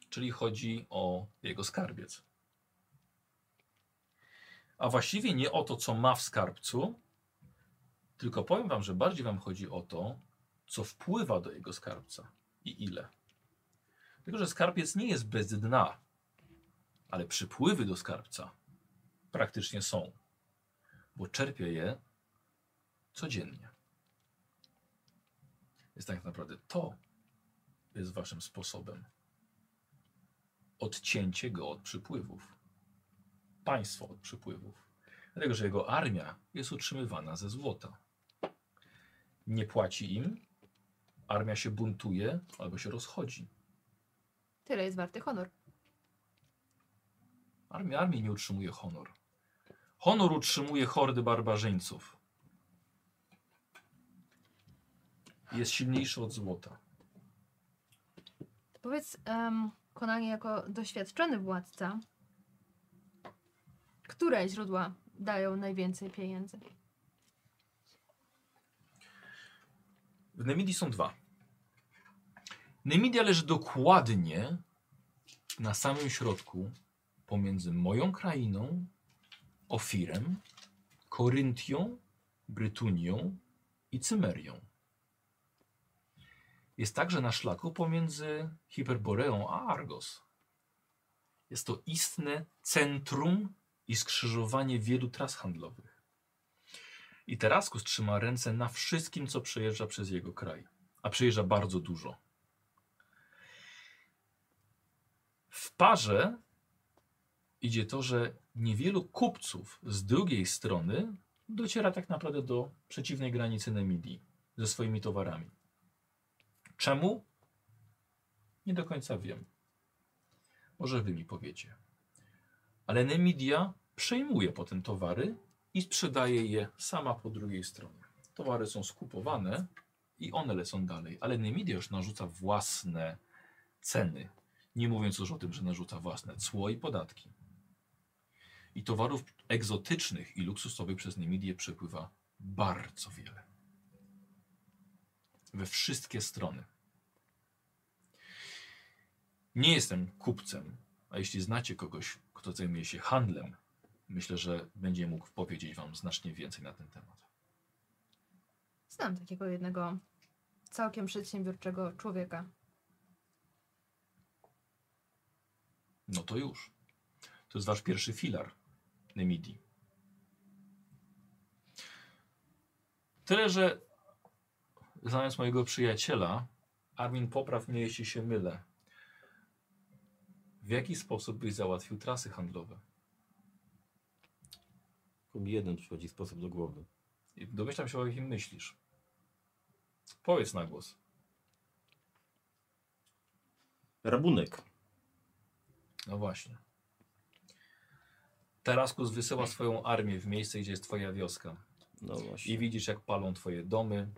S1: czyli chodzi o jego skarbiec. A właściwie nie o to, co ma w skarbcu, tylko powiem wam, że bardziej wam chodzi o to, co wpływa do jego skarbca i ile. Tylko, że skarbiec nie jest bez dna, ale przypływy do skarbca praktycznie są, bo czerpie je codziennie. Więc tak naprawdę to jest waszym sposobem odcięcie go od przypływów. Państwo od przypływów. Dlatego, że jego armia jest utrzymywana ze złota. Nie płaci im, armia się buntuje albo się rozchodzi.
S4: Tyle jest warty honor.
S1: Armia armii nie utrzymuje honor. Honor utrzymuje hordy barbarzyńców. Jest silniejszy od złota.
S4: Powiedz, um, Konanie, jako doświadczony władca, które źródła dają najwięcej pieniędzy?
S1: W Nemidii są dwa. Nemidia leży dokładnie na samym środku pomiędzy moją krainą, Ofirem, Koryntią, Brytunią i Cymerią. jest także na szlaku pomiędzy Hiperboreą a Argos. Jest to istne centrum i skrzyżowanie wielu tras handlowych. I Teraskus trzyma ręce na wszystkim, co przejeżdża przez jego kraj, a przejeżdża bardzo dużo. W parze idzie to, że niewielu kupców z drugiej strony dociera tak naprawdę do przeciwnej granicy Nemidii ze swoimi towarami. Czemu? Nie do końca wiem. Może wy mi powiecie. Ale Nemidia przejmuje potem towary i sprzedaje je sama po drugiej stronie. Towary są skupowane i one lecą dalej, ale Nemidia już narzuca własne ceny. Nie mówiąc już o tym, że narzuca własne cło i podatki. I towarów egzotycznych i luksusowych przez Nemidię przepływa bardzo wiele. We wszystkie strony. Nie jestem kupcem, a jeśli znacie kogoś, kto zajmuje się handlem, myślę, że będzie mógł powiedzieć Wam znacznie więcej na ten temat.
S5: Znam takiego jednego całkiem przedsiębiorczego człowieka.
S1: No to już. To jest Wasz pierwszy filar Nemidii. Tyle, że znając mojego przyjaciela, Armin, popraw mnie, jeśli się mylę. W jaki sposób byś załatwił trasy handlowe?
S2: Tylko mi jeden przychodzi sposób do głowy.
S1: I Domyślam się, o jakim myślisz. Powiedz na głos.
S2: Rabunek.
S1: No właśnie. Taraskus wysyła swoją armię w miejsce, gdzie jest twoja wioska.
S2: No właśnie.
S1: I widzisz, jak palą twoje domy,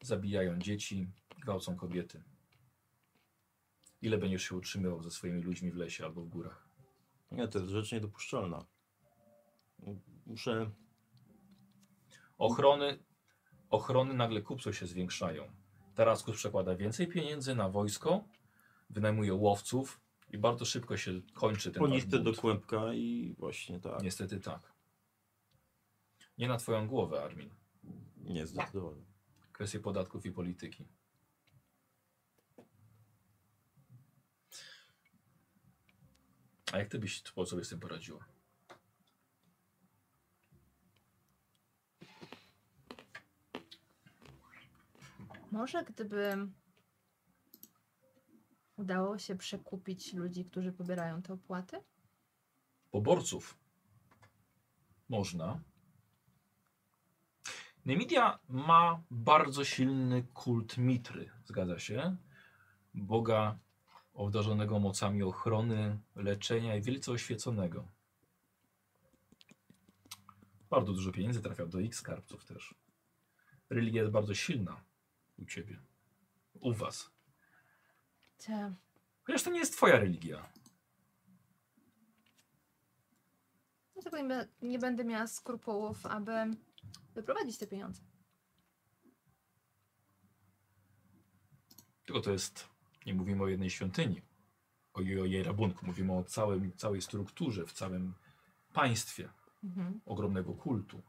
S1: zabijają dzieci, gwałcą kobiety. Ile będziesz się utrzymywał ze swoimi ludźmi w lesie albo w górach?
S2: Nie, to jest rzecz niedopuszczalna. Muszę.
S1: Ochrony, ochrony nagle kupców się zwiększają. Taraskus przekłada więcej pieniędzy na wojsko, wynajmuje łowców i bardzo szybko się kończy ten wasz
S2: Poniste
S1: bunt.
S2: do kłębka i właśnie tak. Nie,
S1: Niestety tak. Nie na twoją głowę, Armin.
S2: nie zdecydowanie.
S1: kwestie podatków i polityki. A jak ty byś po sobie z tym poradziła?
S5: Może gdyby udało się przekupić ludzi, którzy pobierają te opłaty?
S1: Poborców można. Nemidia ma bardzo silny kult Mitry, zgadza się? Boga obdarzonego mocami ochrony, leczenia i wielce oświeconego. Bardzo dużo pieniędzy trafia do ich skarbców też. Religia jest bardzo silna u ciebie, u was.
S5: Te...
S1: Chociaż to nie jest twoja religia.
S5: Dlatego no nie, be- nie będę miała skrupułów, aby wyprowadzić te pieniądze.
S1: Tylko to jest, nie mówimy o jednej świątyni, o jej, o jej rabunku, mówimy o całym, całej strukturze, w całym państwie
S5: Mhm.
S1: ogromnego kultu.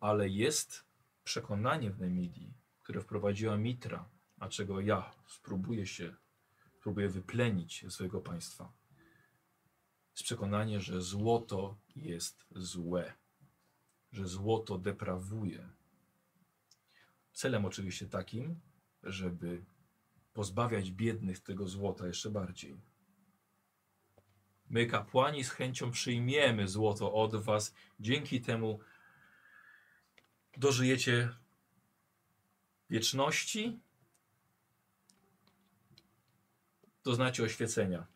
S1: Ale jest przekonanie w Nemidii, które wprowadziła Mitra, a czego ja spróbuję się, spróbuję wyplenić ze swojego państwa. Jest przekonanie, że złoto jest złe, że złoto deprawuje. Celem oczywiście takim, żeby pozbawiać biednych tego złota jeszcze bardziej. My, kapłani, z chęcią przyjmiemy złoto od Was. Dzięki temu dożyjecie wieczności, doznacie oświecenia.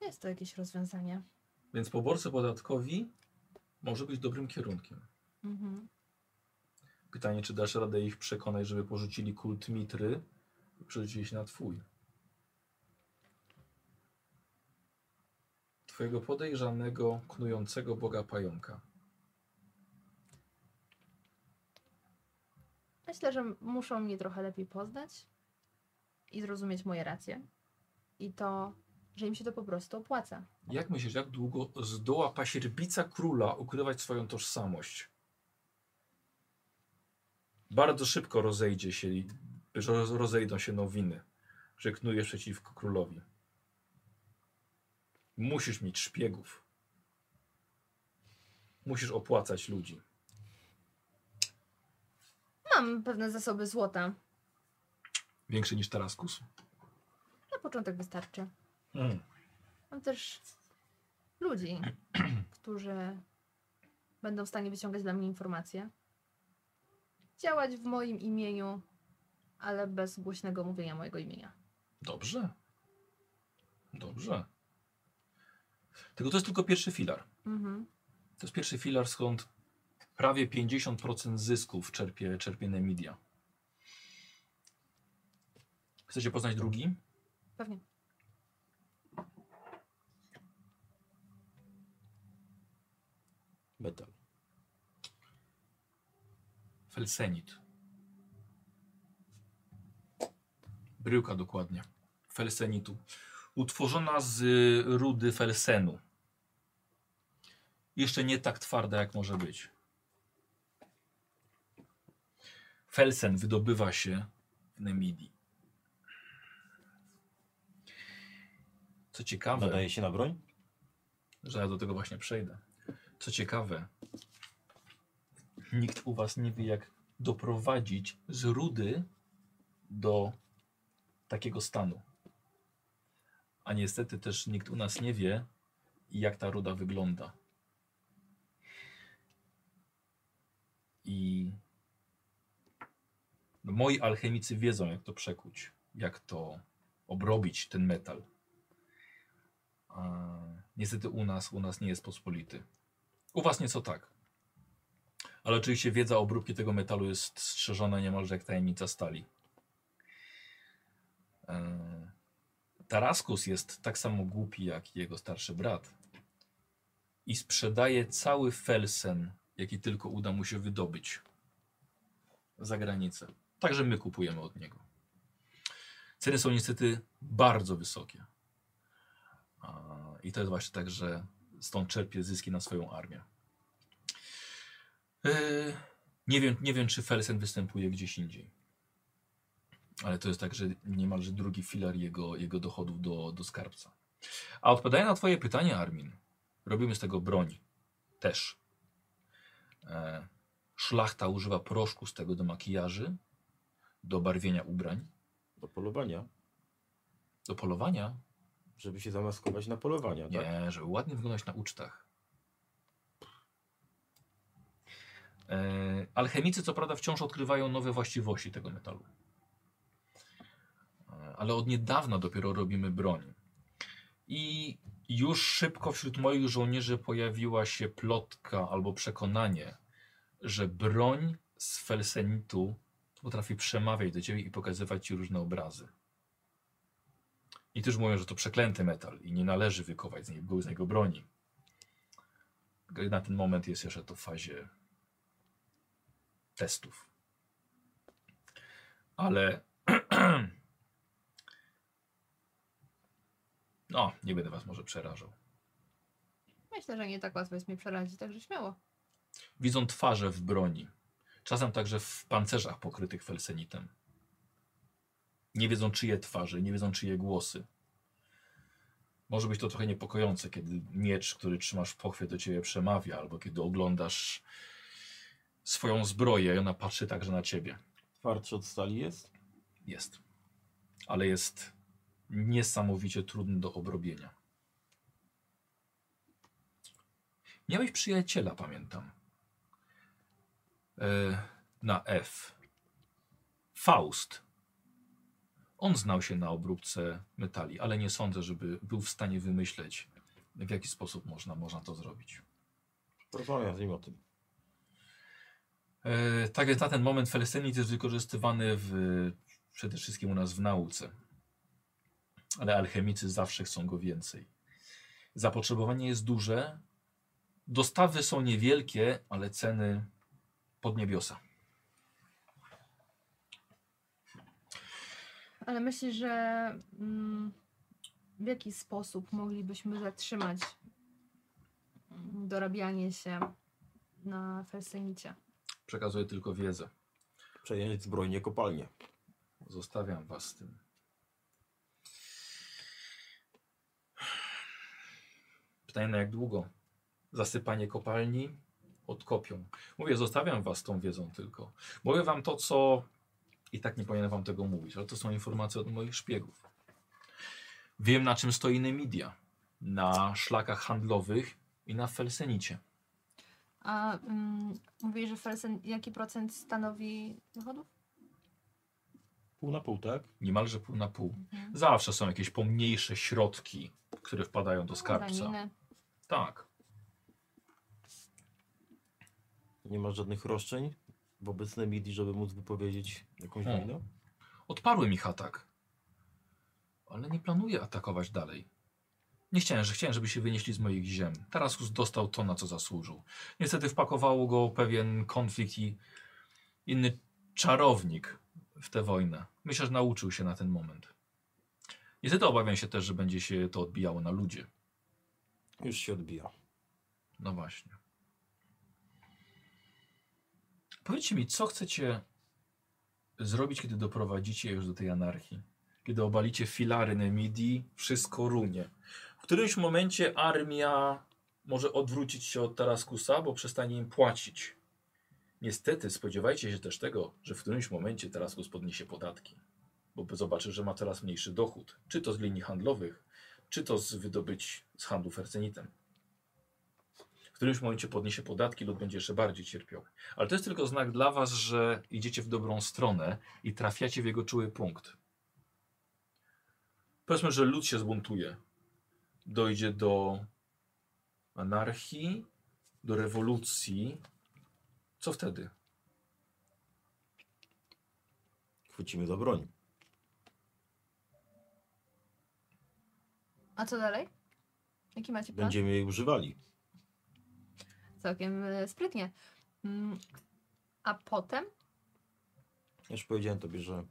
S5: Jest to jakieś rozwiązanie.
S1: Więc poborcy podatkowi może być dobrym kierunkiem.
S5: Mhm.
S1: Pytanie, czy dasz radę ich przekonać, żeby porzucili kult mitry, przerzucili się na twój. Twojego podejrzanego, knującego Boga pająka.
S5: Myślę, że muszą mnie trochę lepiej poznać i zrozumieć moje racje. I to, że im się to po prostu opłaca.
S1: Jak myślisz, jak długo zdoła pasierbica króla ukrywać swoją tożsamość? Bardzo szybko rozejdzie się, i- roz- rozejdą się nowiny, że knujesz przeciwko królowi. Musisz mieć szpiegów. Musisz opłacać ludzi.
S5: Mam pewne zasoby złota.
S1: Większy niż Taraskus?
S5: Na początek wystarczy.
S1: Mm.
S5: Mam też ludzi, którzy będą w stanie wyciągać dla mnie informacje. Działać w moim imieniu, ale bez głośnego mówienia mojego imienia.
S1: Dobrze. Dobrze. Tylko to jest tylko pierwszy filar.
S5: Mhm.
S1: To jest pierwszy filar, skąd prawie 50% zysków czerpie, czerpie Nemidia. Chcecie poznać drugi?
S5: Pewnie.
S2: Metal.
S1: Felsenit. Bryłka dokładnie. Felsenitu. Utworzona z y, rudy felsenu. Jeszcze nie tak twarda, jak może być. Felsen wydobywa się w Nemidii. Co ciekawe,
S2: Nadaje się na broń?
S1: że ja do tego właśnie przejdę. Co ciekawe, nikt u was nie wie, jak doprowadzić z rudy do takiego stanu. A niestety też nikt u nas nie wie, jak ta ruda wygląda. I no, moi alchemicy wiedzą, jak to przekuć, jak to obrobić ten metal. A E, niestety u nas, u nas nie jest pospolity. U was nieco tak. Ale oczywiście wiedza o obróbki tego metalu jest strzeżona niemalże jak tajemnica stali. E, Taraskus jest tak samo głupi jak jego starszy brat i sprzedaje cały felsen, jaki tylko uda mu się wydobyć za granicę. Także my kupujemy od niego. Ceny są niestety bardzo wysokie. A, I to jest właśnie tak, że stąd czerpie zyski na swoją armię. Yy, nie, wiem, nie wiem, czy Felsen występuje gdzieś indziej. Ale to jest także niemalże drugi filar jego, jego dochodów do, do skarbca. A odpowiadając na Twoje pytanie, Armin, robimy z tego broń. Też. E, szlachta używa proszku z tego do makijaży, do barwienia ubrań,
S2: Do polowania.
S1: do polowania.
S2: Żeby się zamaskować na polowania, tak?
S1: Nie, żeby ładnie wyglądać na ucztach. E, alchemicy co prawda wciąż odkrywają nowe właściwości tego metalu. E, ale od niedawna dopiero robimy broń. I już szybko wśród moich żołnierzy pojawiła się plotka albo przekonanie, że broń z felsenitu potrafi przemawiać do ciebie i pokazywać ci różne obrazy. I też mówią, że to przeklęty metal i nie należy wykować z, niej, z niego broni. Na ten moment jest jeszcze to w fazie testów. Ale. No, nie będę was może przerażał.
S5: Myślę, że nie tak łatwo jest mnie przerazić, także śmiało.
S1: Widzą twarze w broni. Czasem także w pancerzach pokrytych felsenitem. Nie wiedzą czyje twarze, nie wiedzą czyje głosy. Może być to trochę niepokojące, kiedy miecz, który trzymasz w pochwie do ciebie przemawia, albo kiedy oglądasz swoją zbroję i ona patrzy także na ciebie.
S2: Twardszy od stali jest?
S1: Jest. Ale jest niesamowicie trudny do obrobienia. Miałeś przyjaciela, pamiętam. E, na F. Faust. On znał się na obróbce metali, ale nie sądzę, żeby był w stanie wymyśleć, w jaki sposób można, można to zrobić.
S2: Porozmawiam z nim o tym.
S1: E, tak więc na ten moment felestenit jest wykorzystywany w, przede wszystkim u nas w nauce. Ale alchemicy zawsze chcą go więcej. Zapotrzebowanie jest duże, dostawy są niewielkie, ale ceny pod niebiosa.
S5: Ale myślisz, że mm, w jaki sposób moglibyśmy zatrzymać mm, dorabianie się na Felsenicie.
S1: Przekazuję tylko wiedzę.
S2: Przejęć zbrojnie kopalnie.
S1: Zostawiam was z tym. Pytanie na jak długo? Zasypanie kopalni odkopią. Mówię, zostawiam was z tą wiedzą tylko. Mówię wam to, co... I tak nie powinienem wam tego mówić, ale to są informacje od moich szpiegów. Wiem, na czym stoi Nemidia. Na szlakach handlowych i na Felsenicie.
S5: A mm, mówisz, że Felsen, jaki procent stanowi dochodów?
S2: Pół na pół, tak?
S1: Niemalże pół na pół.
S5: Mhm.
S1: Zawsze są jakieś pomniejsze środki, które wpadają do skarbca.
S5: Daniny.
S1: Tak.
S2: Nie masz żadnych roszczeń wobec Nemidi, żeby móc wypowiedzieć jakąś
S1: Hmm.
S2: wojnę?
S1: Odparłem ich atak. Ale nie planuję atakować dalej. Nie chciałem, że chciałem, żeby się wynieśli z moich ziem. Taraskus dostał to, na co zasłużył. Niestety wpakowało go pewien konflikt i inny czarownik w tę wojnę. Myślę, że nauczył się na ten moment. Niestety obawiam się też, że będzie się to odbijało na ludzie.
S2: Już się odbija.
S1: No właśnie. Powiedzcie mi, co chcecie zrobić, kiedy doprowadzicie już do tej anarchii? Kiedy obalicie filary Nemidii, wszystko runie. W którymś momencie armia może odwrócić się od Taraskusa, bo przestanie im płacić. Niestety spodziewajcie się też tego, że w którymś momencie Taraskus podniesie podatki, bo zobaczy, że ma coraz mniejszy dochód, czy to z linii handlowych, czy to z wydobyć z handlu fersenitem. W którymś momencie podniesie podatki lub będzie jeszcze bardziej cierpiał. Ale to jest tylko znak dla Was, że idziecie w dobrą stronę i trafiacie w jego czuły punkt. Powiedzmy, że lud się zbuntuje. Dojdzie do anarchii, do rewolucji. Co wtedy?
S2: Chwycimy za broń.
S5: A co dalej? Jaki
S4: Tak.
S5: macie plan?
S2: Będziemy jej używali.
S5: Całkiem e, sprytnie. Mm, A potem?
S2: Ja Już powiedziałem tobie, że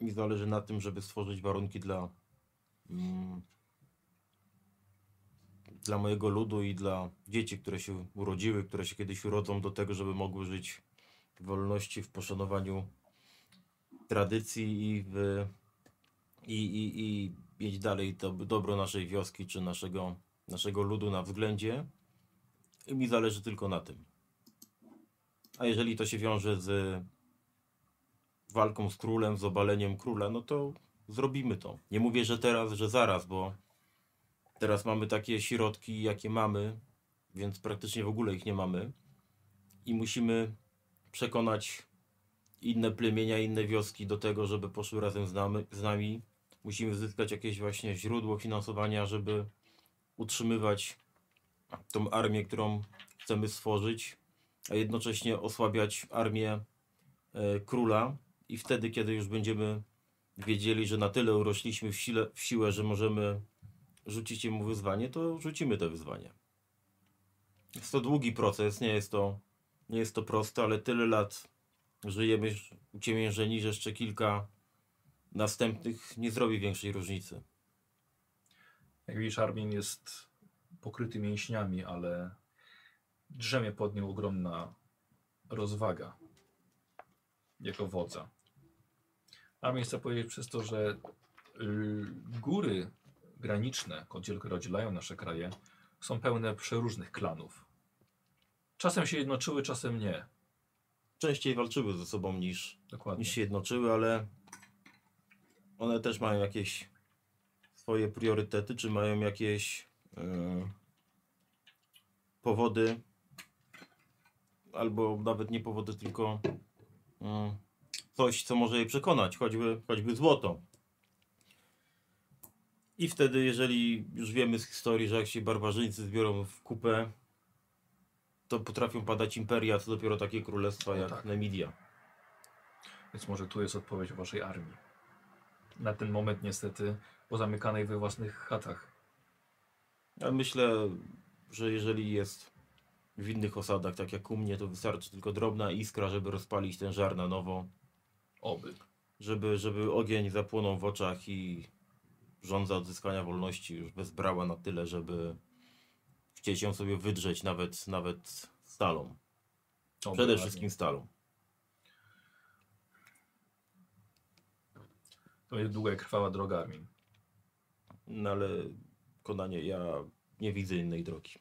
S2: mi zależy na tym, żeby stworzyć warunki dla mm, dla mojego ludu i dla dzieci, które się urodziły, które się kiedyś urodzą do tego, żeby mogły żyć w wolności, w poszanowaniu tradycji i w i, i, i mieć dalej to dobro naszej wioski czy naszego, naszego ludu na względzie. I mi zależy tylko na tym. A jeżeli to się wiąże z walką z królem, z obaleniem króla, no to zrobimy to. Nie mówię, że teraz, że zaraz, bo teraz mamy takie środki, jakie mamy, więc praktycznie w ogóle ich nie mamy. I musimy przekonać inne plemienia, inne wioski do tego, żeby poszły razem z nami. Z nami. Musimy zyskać jakieś właśnie źródło finansowania, żeby utrzymywać tą armię, którą chcemy stworzyć, a jednocześnie osłabiać armię e, króla i wtedy, kiedy już będziemy wiedzieli, że na tyle urośliśmy w, sile, w siłę, że możemy rzucić mu wyzwanie, to rzucimy to wyzwanie. Jest to długi proces, nie jest to, nie jest to proste, ale tyle lat żyjemy już uciemiężeni, że jeszcze kilka następnych nie zrobi większej różnicy.
S1: Jak widzisz, Armin jest pokryty mięśniami, ale drzemie pod nią ogromna rozwaga jako wodza. Armin chce powiedzieć przez to, że y, góry graniczne, gdzie rozdzielają nasze kraje, są pełne przeróżnych klanów. Czasem się jednoczyły, czasem nie.
S2: Częściej walczyły ze sobą niż
S1: Dokładnie.
S2: niż się jednoczyły, ale one też mają jakieś swoje priorytety, czy mają jakieś e, powody, albo nawet nie powody, tylko e, coś, co może je przekonać, choćby, choćby złoto. I wtedy, jeżeli już wiemy z historii, że jak się barbarzyńcy zbiorą w kupę, to potrafią padać imperia, co dopiero takie królestwa
S1: No
S2: jak
S1: tak.
S2: Namidia.
S1: Więc może tu jest odpowiedź o waszej armii. Na ten moment niestety pozamykanej we własnych chatach.
S2: Ja myślę, że jeżeli jest w innych osadach, tak jak u mnie, to wystarczy tylko drobna iskra, żeby rozpalić ten żar na nowo,
S1: Oby.
S2: żeby, żeby ogień zapłonął w oczach i żądza odzyskania wolności już bezbrała na tyle, żeby chcieć ją sobie wydrzeć nawet, nawet stalą.
S1: O,
S2: Przede
S1: No, dokładnie.
S2: wszystkim stalą.
S1: To jest długa i krwawa droga, Armin.
S2: No ale konanie, ja nie widzę innej drogi.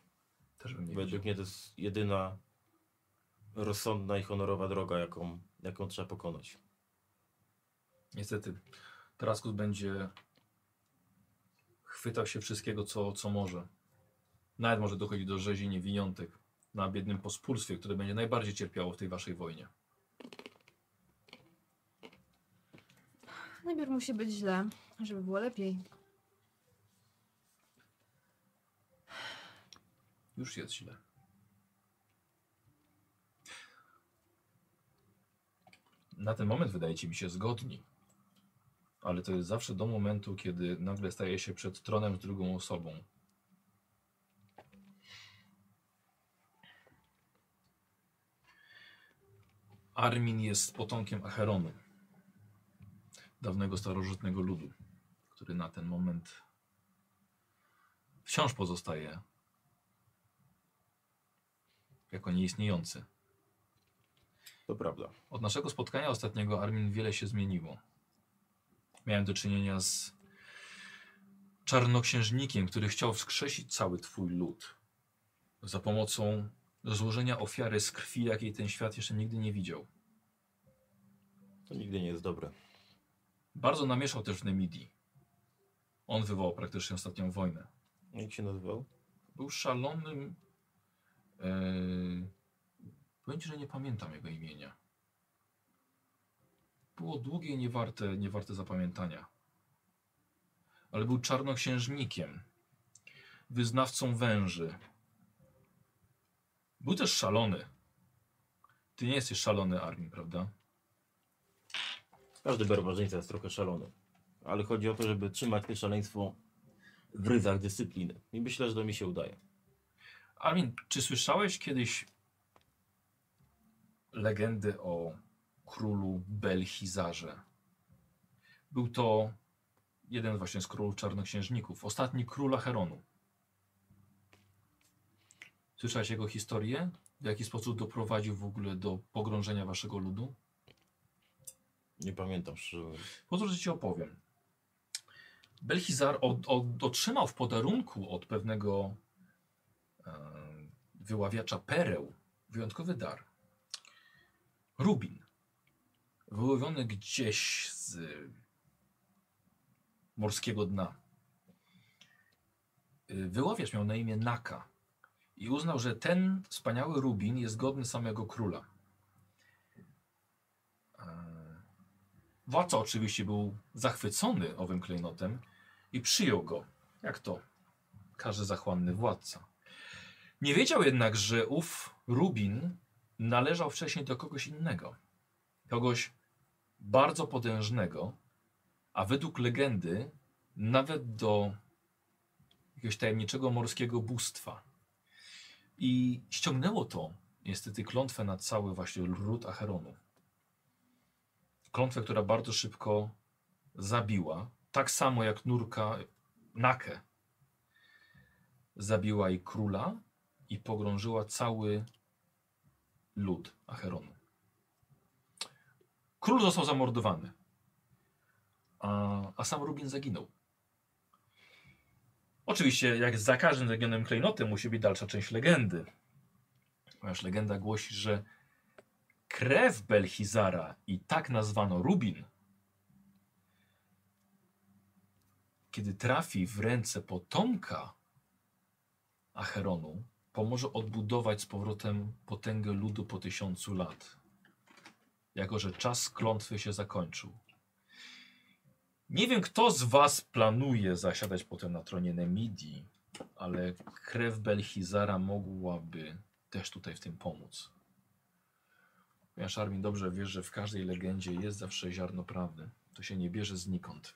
S1: Też bym nie
S2: Według
S1: wiedział.
S2: mnie to jest jedyna rozsądna i honorowa droga, jaką, jaką trzeba pokonać.
S1: Niestety, Traskus będzie chwytał się wszystkiego, co, co może. Nawet może dochodzić do rzezi niewiniątek na biednym pospólstwie, które będzie najbardziej cierpiało w tej waszej wojnie.
S5: Najpierw musi być źle, żeby było lepiej.
S1: Już jest źle. Na ten moment wydajecie mi się zgodni. Ale to jest zawsze do momentu, kiedy nagle staje się przed tronem z drugą osobą. Armin jest potomkiem Acheronu, dawnego starożytnego ludu, który na ten moment wciąż pozostaje jako nieistniejący.
S2: To prawda.
S1: Od naszego spotkania ostatniego Armin wiele się zmieniło. Miałem do czynienia z czarnoksiężnikiem, który chciał wskrzesić cały twój lud za pomocą złożenia ofiary z krwi, jakiej ten świat jeszcze nigdy nie widział.
S2: To nigdy nie jest dobre.
S1: Bardzo namieszał też w Nemidii. On wywołał praktycznie ostatnią wojnę.
S2: Jak się nazywał?
S1: Był szalonym. Yy, powiem ci, że nie pamiętam jego imienia. Było długie i niewarte, niewarte zapamiętania. Ale był czarnoksiężnikiem, wyznawcą węży. Był też szalony. Ty nie jesteś szalony, Armin, prawda?
S2: Każdy barbarzyńca jest trochę szalony. Ale chodzi o to, żeby trzymać to szaleństwo w ryzach dyscypliny. I myślę, że to mi się udaje.
S1: Armin, czy słyszałeś kiedyś legendy o królu Belchizarze? Był to jeden właśnie z królów czarnoksiężników, ostatni króla Heronu. Słyszałeś jego historię? W jaki sposób doprowadził w ogóle do pogrążenia waszego ludu?
S2: Nie pamiętam, szczerze mówiąc.
S1: Pozwól, że ci opowiem. Belchizar od, od, otrzymał w podarunku od pewnego e, wyławiacza pereł wyjątkowy dar. Rubin. Wyłowiony gdzieś z morskiego dna. Y, Wyławiacz miał na imię Naka i uznał, że ten wspaniały rubin jest godny samego króla. E, Władca oczywiście był zachwycony owym klejnotem i przyjął go, jak to każe zachłanny władca. Nie wiedział jednak, że ów Rubin należał wcześniej do kogoś innego. Kogoś bardzo potężnego, a według legendy nawet do jakiegoś tajemniczego morskiego bóstwa. I ściągnęło to niestety klątwę na cały właśnie ród Acheronu klątwę, która bardzo szybko zabiła, tak samo jak nurka Nakę. Zabiła i króla i pogrążyła cały lud Acheronu. Król został zamordowany, a, a sam Rubin zaginął. Oczywiście, jak za każdym zagionym klejnotem, musi być dalsza część legendy. Ponieważ legenda głosi, że krew Belchizara i tak nazwano Rubin, kiedy trafi w ręce potomka Acheronu, pomoże odbudować z powrotem potęgę ludu po tysiącu lat. Jako, że czas klątwy się zakończył. Nie wiem, kto z was planuje zasiadać potem na tronie Nemidii, ale krew Belchizara mogłaby też tutaj w tym pomóc. Ponieważ Armin dobrze wie, że w każdej legendzie jest zawsze ziarno prawdy. To się nie bierze znikąd.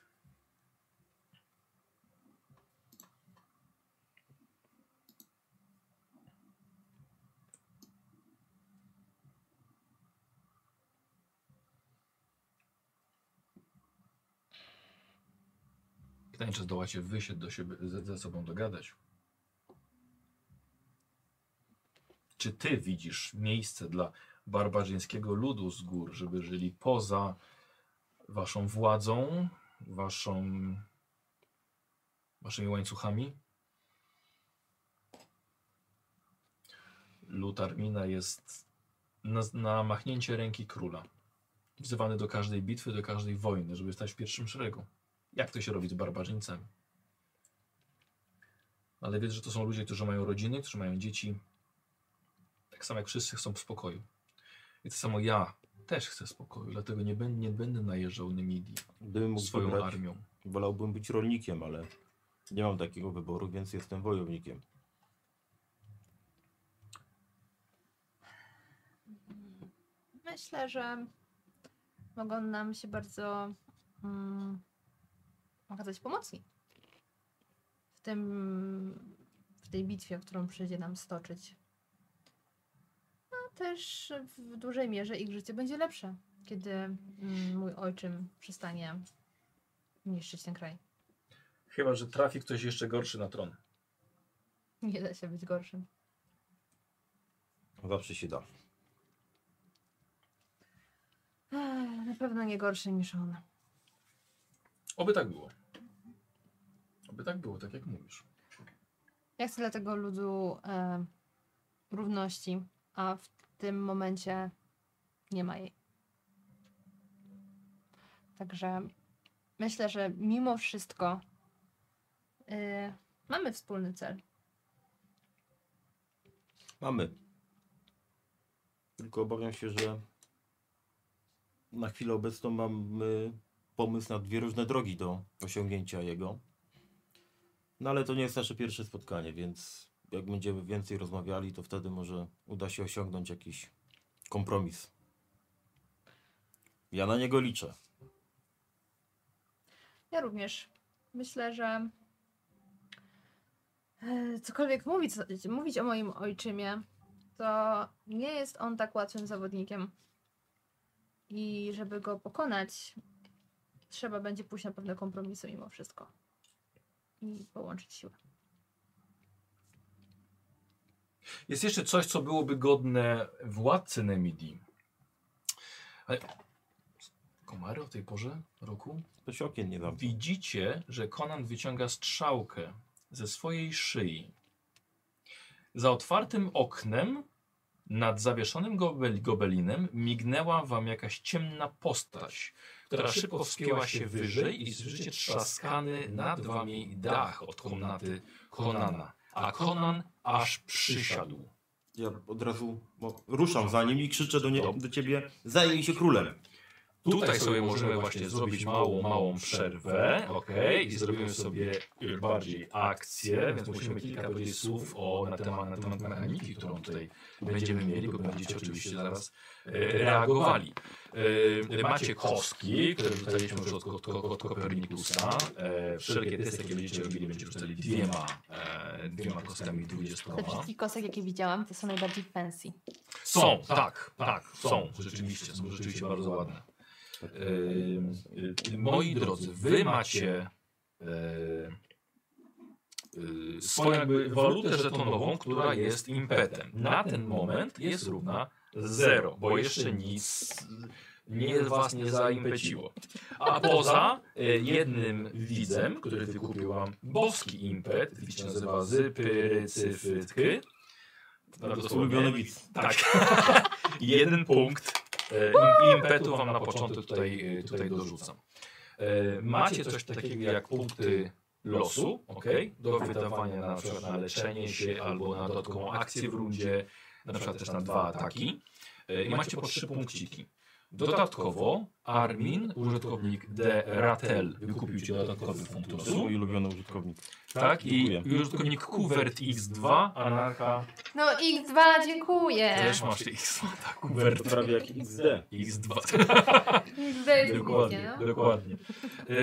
S1: Pytanie, czy zdołacie wy się do siebie, ze, ze sobą dogadać. Czy ty widzisz miejsce dla barbarzyńskiego ludu z gór, żeby żyli poza waszą władzą, waszą, waszymi łańcuchami? Lud Armina jest na, na machnięcie ręki króla. Wzywany do każdej bitwy, do każdej wojny, żeby stać w pierwszym szeregu. Jak to się robi z barbarzyńcami? Ale wiesz, że to są ludzie, którzy mają rodziny, którzy mają dzieci. Tak samo jak wszyscy chcą spokoju. I to samo ja też chcę spokoju, dlatego nie będę, nie będę najeżdżał Nymidii
S2: Gdybym mógł
S1: swoją
S2: wybrać,
S1: armią.
S2: wolałbym być rolnikiem, ale nie mam takiego wyboru, więc jestem wojownikiem.
S5: Myślę, że mogą nam się bardzo mm, okazać pomocni w tym, w tej bitwie, którą przyjdzie nam stoczyć. A też w dużej mierze ich życie będzie lepsze, kiedy mm, mój ojczym przestanie niszczyć ten kraj.
S1: Chyba, że trafi ktoś jeszcze gorszy na tron.
S5: Nie da się być gorszym.
S2: Zawsze się da.
S5: Ech, Na pewno nie gorszym niż on.
S1: Oby tak było. Oby tak było, tak jak mówisz.
S5: Ja chcę dla tego ludu e, równości, a w tym momencie nie ma jej. Także myślę, że mimo wszystko e, mamy wspólny cel.
S2: Mamy. Tylko obawiam się, że na chwilę obecną mamy pomysł na dwie różne drogi do osiągnięcia jego. No ale to nie jest nasze pierwsze spotkanie, więc jak będziemy więcej rozmawiali, to wtedy może uda się osiągnąć jakiś kompromis. Ja na niego liczę.
S5: Ja również myślę, że e, cokolwiek mówić, mówić o moim ojczymie, to nie jest on tak łatwym zawodnikiem. I żeby go pokonać, trzeba będzie pójść na pewne kompromisy mimo wszystko. I połączyć siły.
S1: Jest jeszcze coś, co byłoby godne władcy Nemidii. Ale komary o tej porze roku?
S2: To się okien nie zamknie.
S1: Widzicie, że Conan wyciąga strzałkę ze swojej szyi. Za otwartym oknem, nad zawieszonym gobel gobelinem, mignęła wam jakaś ciemna postać, która szybko wspięła się wyżej i słyszycie trzaskany nad wami dach od komnaty Conana. A Conan aż przysiadł.
S2: Ja od razu mo- ruszam za nim i krzyczę do, nie,
S1: Dob-
S2: do ciebie, zajmij się królem.
S1: Tutaj sobie możemy właśnie zrobić małą, małą przerwę, ok? I zrobimy sobie y, bardziej akcję, więc musimy kilka powiedzieć słów o, na, temat, na temat mechaniki, którą tutaj będziemy mieli, bo będziecie oczywiście zaraz e, reagowali. E, Macie kostki, które rzucaliśmy już od, od, od Kopernikusa. E, Wszelkie testy, jakie będziecie robili, będziecie rzucali dwiema, e, dwiema kostkami
S4: Ze
S1: dwudziestoma.
S4: wszystkich kostek, jakie widziałam, to są najbardziej fancy.
S1: Są, tak, tak, są, rzeczywiście, są rzeczywiście bardzo ładne. Ym, y, tak, Moi drodzy, wy macie e, y, swoją jakby walutę żetonową, która jest impetem. Na ten moment jest równa 0, bo jeszcze nic nie, was nie zaimpeciło. A poza e, jednym widzem, który wykupiłam, boski impet, widz się nazywa Zypyrycyfytky.
S2: To ulubiony widz.
S1: Tak. Jeden punkt e, im- impetu wam na początek tutaj, e, tutaj dorzucam. E, Macie coś takiego jak punkty losu, ok? Do wydawania na przykład na leczenie się albo na dodatkową akcję w rundzie, na przykład też na dwa ataki. E, I macie po trzy punkciki. Dodatkowo Armin, użytkownik D. Ratel, wykupił ci dodatkowy punkt
S2: To jest
S1: losu.
S2: mój ulubiony użytkownik.
S1: Tak, i
S2: Tak, Dziękuję.
S1: użytkownik Kuwert X2, anarcha
S4: No X2, dziękuję!
S1: też masz X2, tak,
S2: To
S1: Kuwert
S2: prawie jak XD.
S1: X2. Dokładnie,
S5: No.
S1: dokładnie. Yy,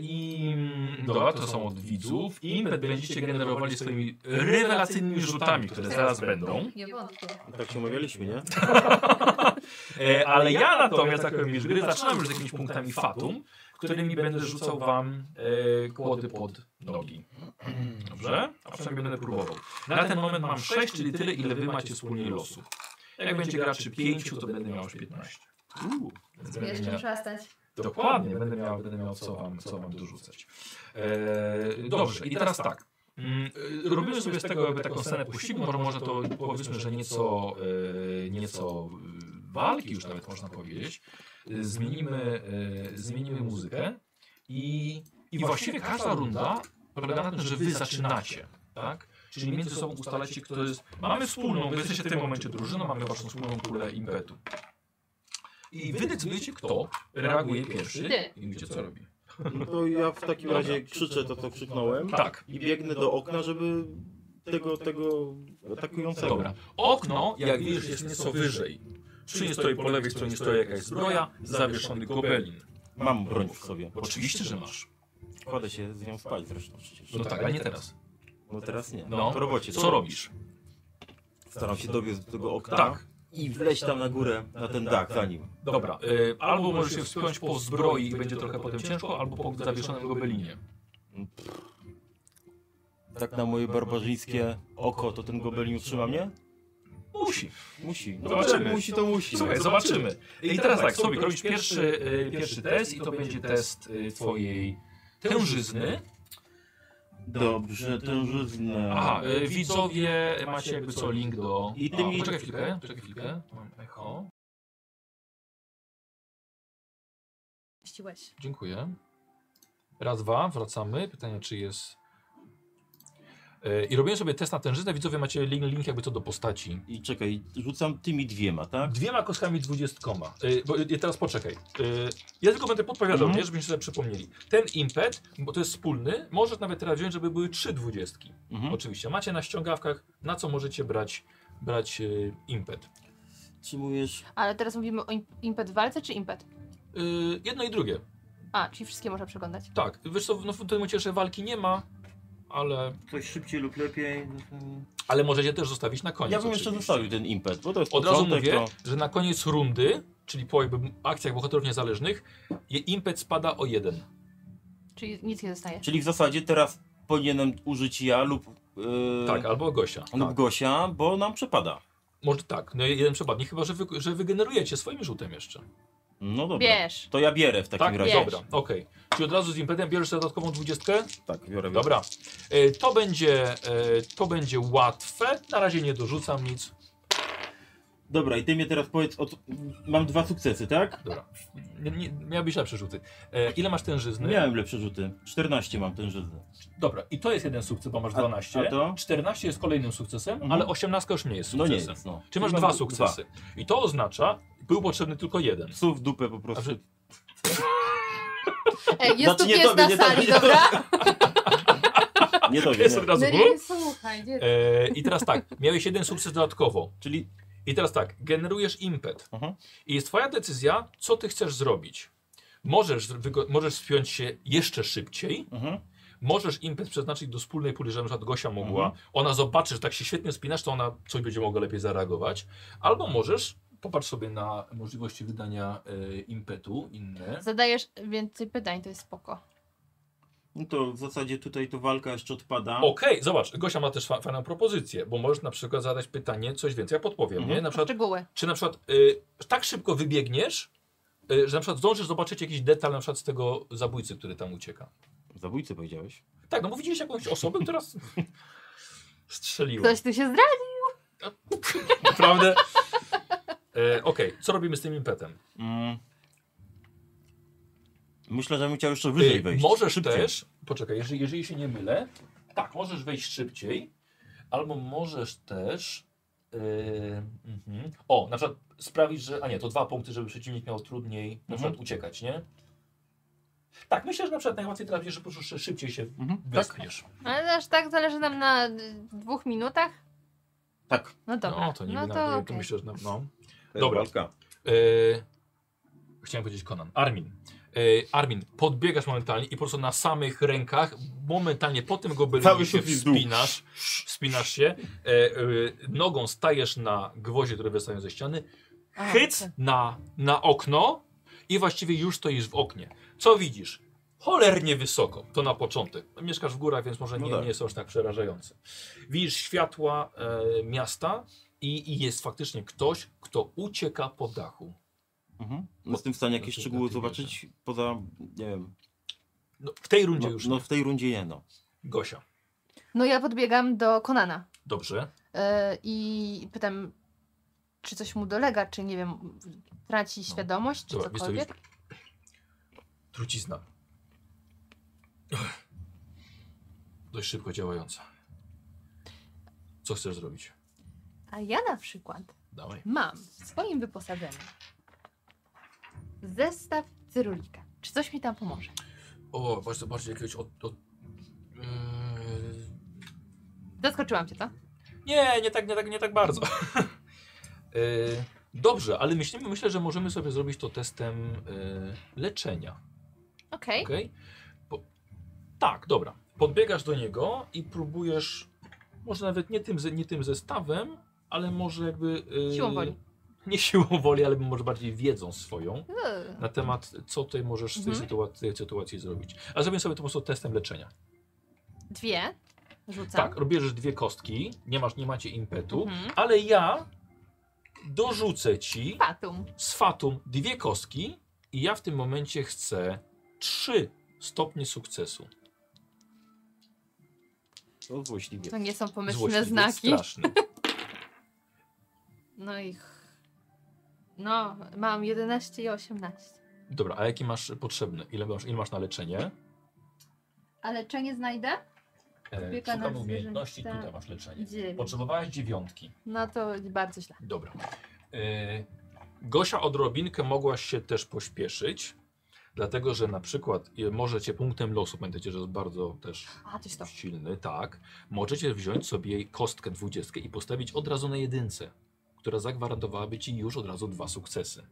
S1: I mm, dobra, to są od widzów. Impet będziecie generowali swoimi rewelacyjnymi rzutami, które zaraz będą.
S5: Nie wątpię.
S2: Tak się umawialiśmy, nie?
S1: E, ale ja na Natomiast jak robisz gry, zaczynam już z jakimiś punktami fatum, którymi będę rzucał wam e, kłody pod nogi. Dobrze? A przynajmniej będę próbował. Na ten moment mam 6, czyli tyle, ile wy macie wspólnie losów. Jak będzie graczy 5, to będę miał już 15. Więc będę
S5: Wiesz, czym
S1: miał-
S5: przestać.
S1: Dokładnie, będę miał, będę miał co wam, co wam dorzucać. E, dobrze, i teraz tak. Mm, e, Robimy sobie z tego jakby taką scenę pościgu, może, może to powiedzmy, że nieco, e, nieco e, walki już nawet można powiedzieć. E, Zmienimy, e, zmienimy muzykę i, i właściwie każda runda polega na tym, że wy zaczynacie, tak? Czyli między sobą ustalacie, kto jest... Mamy wspólną, wy jesteście w tym momencie drużyną, mamy waszą wspólną pulę impetu. I wy decydujecie, kto reaguje pierwszy
S4: Ty.
S1: i wiecie, co robi.
S2: No to ja w takim razie krzyczę to, co krzyknąłem.
S1: Tak.
S2: I biegnę do okna, żeby tego, tego atakującego.
S1: Tak. Dobra. Okno, jak widzisz, jest nieco wyżej. Przy nie stoi po lewej stronie stoi jakaś zbroja, zawieszony gobelin.
S2: Mam broń w sobie.
S1: Oczywiście, że masz.
S2: Kładę się z nią spać zresztą przecież.
S1: No tak, ale nie teraz.
S2: No teraz nie.
S1: No.
S2: Po robocie.
S1: Co robisz?
S2: Staram się dobiec do tego okna.
S1: Tak.
S2: I wleźć tam na górę, na ten dach za nim.
S1: Dobra. Y, albo możesz się wspiąć po zbroi i będzie trochę potem ciężko, albo po zawieszonym gobelinie.
S2: Tak na moje barbarzyńskie oko, to ten gobelin utrzyma mnie?
S1: Musi.
S2: Musi. No
S1: Zobaczymy.
S2: jak musi, to musi.
S1: Słuchaj, zobaczymy. I teraz tak, Sobik, robisz pierwszy, y, pierwszy test i to będzie test y, twojej tężyzny.
S2: Dobrze, ten żywne.
S1: Aha, y, widzowie, macie jakby co link do...
S2: I ty
S1: A,
S2: mi-
S1: Poczekaj chwilkę, poczekaj chwilkę. Mam echo.
S5: Ściłeś.
S1: Dziękuję. Raz, dwa, wracamy. Pytanie, czy jest. E, I robiłem sobie test na tężyznę. Widzowie, macie link, link jakby co do postaci.
S2: I czekaj, rzucam tymi dwiema, tak?
S1: Dwiema kostkami dwudziestkoma. E, Bo, e, teraz poczekaj. E, Ja tylko będę podpowiadał,
S2: Mhm.
S1: nie, żebyście sobie przypomnieli. Ten impet, bo to jest wspólny, możesz nawet teraz wziąć, żeby były trzy dwudziestki.
S2: Mhm.
S1: Oczywiście. Macie na ściągawkach, na co możecie brać, brać e, impet.
S2: Otrzymujesz
S4: Ale teraz mówimy o im- impet w walce czy impet?
S1: E, Jedno i drugie.
S4: A, czyli wszystkie można przeglądać.
S1: Tak. Wiesz co, no, w tym momencie jeszcze walki nie ma, ale,
S2: coś szybciej lub lepiej. no to-
S1: ale możecie też zostawić na koniec.
S2: Ja bym jeszcze
S1: oczywiście.
S2: zostawił ten impet, bo to jest
S1: Od razu
S2: początek, no.
S1: mówię,
S2: to...
S1: że na koniec rundy, czyli po jakby akcjach bohaterów niezależnych, je- impet spada o jeden.
S4: Czyli nic nie zostaje.
S2: Czyli w zasadzie teraz powinienem użyć ja lub, yy,
S1: Tak, albo gościa.
S2: lub
S1: Tak.
S2: Gosia, bo nam przepada.
S1: Może tak, no jeden przepadnie, chyba że, wy, że wygenerujecie swoim rzutem jeszcze.
S2: No dobra.
S4: Bierz.
S2: To ja bierę w takim
S1: Tak,
S2: razie.
S1: dobra, okej. Czyli od razu z impetem bierzesz sobie dodatkową dwudziestkę?
S2: Tak, biorę. biorę.
S1: Dobra. E, to, będzie, e, to będzie łatwe. Na razie nie dorzucam nic.
S2: Dobra, i ty mnie teraz powiedz, od... mam dwa sukcesy, tak?
S1: Dobra. Nie, nie, miałbyś lepsze rzuty. E, ile masz tężyzny?
S2: Miałem lepsze rzuty. 14 mam ten No żyzny.
S1: Dobra, i to jest jeden sukces, bo masz
S2: A-
S1: 12.
S2: a to?
S1: 14 jest kolejnym sukcesem,
S2: Mhm.
S1: ale 18 już nie jest
S2: No
S1: sukcesem.
S2: nie jest, no.
S1: Czy masz
S2: Mam
S1: dwa sukcesy? I to oznacza, był potrzebny tylko jeden.
S2: Psu w dupę po
S1: A
S2: prostu.
S1: że-
S4: Ej, jest
S2: Znaczy,
S4: tu
S2: nie
S4: pies
S2: tobie,
S4: na
S2: nie
S4: sali,
S2: tobie, nie
S4: dobra?
S2: Nie to nie.
S1: Jest od razu.
S4: No
S5: Nie, słuchaj, nie.
S1: E, I teraz tak, miałeś jeden sukces dodatkowo.
S2: Czyli Mhm.
S1: I teraz tak, generujesz impet.
S2: Aha.
S1: I jest twoja decyzja, co ty chcesz zrobić. Możesz, wygo- możesz spiąć się jeszcze szybciej,
S2: mhm.
S1: możesz impet przeznaczyć do wspólnej puli, żeby na przykład Gosia mogła. Ona zobaczy, że tak się świetnie spinasz, to ona coś będzie mogła lepiej zareagować. Albo możesz, popatrz sobie na możliwości wydania e, impetu inne.
S4: Zadajesz więcej pytań, to jest spoko.
S2: no to w zasadzie tutaj to walka jeszcze odpada.
S1: Okej, zobacz, Gosia ma też fa- fajną propozycję, bo możesz na przykład zadać pytanie, coś więcej, ja podpowiem,
S2: Mhm.
S1: nie? Na przykład,
S4: Szczegóły.
S1: czy na przykład y, tak szybko wybiegniesz, y, że na przykład zdążysz zobaczyć jakiś detal na przykład z tego zabójcy, który tam ucieka.
S2: Zabójcy powiedziałeś.
S1: Tak, no bo widzieliście jakąś osobę, która s- strzeliła,
S4: Ktoś tu się zdradzi.
S1: naprawdę? Y, Okej, co robimy z tym impetem?
S2: Mm. Myślę, że bym chciał jeszcze wyżej
S1: Y,
S2: wejść.
S1: możesz
S2: Szybciej.
S1: też, poczekaj, jeżeli, jeżeli się nie mylę, tak, możesz wejść szybciej, albo możesz też, yy, mhm. o, na przykład sprawić, że, a nie, to dwa punkty, żeby przeciwnik miał trudniej na
S2: Mhm.
S1: przykład uciekać, nie? Tak, myślę, że na przykład najłatwiej trafisz, że po prostu szy- szybciej się
S2: Mhm. Tak.
S1: wespniesz.
S4: Ale aż tak zależy nam na y, dwóch minutach.
S2: tak.
S4: No dobra.
S1: No, to nie
S4: no
S1: no
S4: to okej.
S1: myślę, że na- no.
S2: To jest
S1: Dobra.
S2: Walka.
S1: Yy, chciałem powiedzieć Conan. Armin. Yy, Armin, podbiegasz momentalnie i po prostu na samych rękach, momentalnie po tym gobelinie
S2: Cały
S1: się
S2: sufit w dół.
S1: wspinasz, e, wspinasz się, yy, yy, nogą stajesz na gwoździe, które wystają ze ściany,
S4: Aha,
S1: Hyc
S4: tak.
S1: na, na okno i właściwie już stoisz w oknie. Co widzisz? Cholernie wysoko, to na początek. Mieszkasz w górach, więc może
S2: No
S1: nie,
S2: tak.
S1: nie jest to aż tak przerażające. Widzisz światła e, miasta i, i jest faktycznie ktoś, kto ucieka po dachu.
S2: Mhm. Jestem w stanie jakieś
S3: Znaczy,
S2: szczegóły
S3: na tej mierze.
S2: zobaczyć poza, nie wiem,
S1: No, w tej rundzie
S2: no,
S1: już
S2: no
S1: nie.
S2: w tej rundzie nie no.
S1: Gosia.
S4: No ja podbiegam do Konana
S1: Dobrze.
S4: yy, i pytam, czy coś mu dolega, czy nie wiem, traci świadomość, czy
S1: No. Dobra, wiesz co,
S4: cokolwiek.
S1: Trucizna. Dość szybko działająca. Co chcesz zrobić?
S4: A ja na przykład
S1: Dawaj.
S4: mam w swoim wyposażeniu zestaw cyrulika. Czy coś mi tam pomoże?
S3: O, właśnie zobaczcie jakiegoś od... od... Yy,
S4: Zaskoczyłam cię, to?
S1: Nie, nie tak, nie tak, nie tak bardzo. Y, Dobrze, ale myślimy, myślę, że możemy sobie zrobić to testem y, leczenia.
S4: Okej.
S1: Ok? Po, tak, dobra. Podbiegasz do niego i próbujesz, może nawet nie tym, ze- nie tym zestawem, ale może jakby. y,
S4: Siłą woli.
S1: Nie siłą woli, ale może bardziej wiedzą swoją
S4: Yy,
S1: na temat, co ty możesz w tej
S4: Mhm.
S1: sytuacji, tej sytuacji zrobić. A zrobię sobie to po prostu testem leczenia.
S4: Dwie rzucam.
S1: Tak, robisz dwie kostki, nie, masz, nie macie impetu,
S4: Mhm.
S1: ale ja dorzucę ci
S4: Fatum.
S1: z Fatum dwie kostki i ja w tym momencie chcę trzy stopnie sukcesu.
S2: To złośliwie.
S4: To nie są pomyślne
S1: Złośliwy,
S4: znaki.
S1: Straszny.
S4: No i... ch- No, mam 11 i 18.
S1: Dobra, a jakie masz potrzebne? Ile masz, ile masz na leczenie?
S5: A leczenie znajdę?
S1: E,
S5: Opieka
S1: szukam
S5: nad
S1: umiejętności,
S5: zwierzęta.
S1: tutaj masz leczenie.
S5: Dziewięć.
S1: Potrzebowałeś dziewiątki.
S4: No to bardzo źle.
S1: Dobra. E, Gosia odrobinkę mogłaś się też pośpieszyć, dlatego że na przykład e, możecie punktem losu, pamiętajcie, że jest bardzo też
S4: A, coś to.
S1: silny, tak. Możecie wziąć sobie kostkę dwudziestkę i postawić od razu na jedynce, która zagwarantowałaby ci już od razu dwa sukcesy.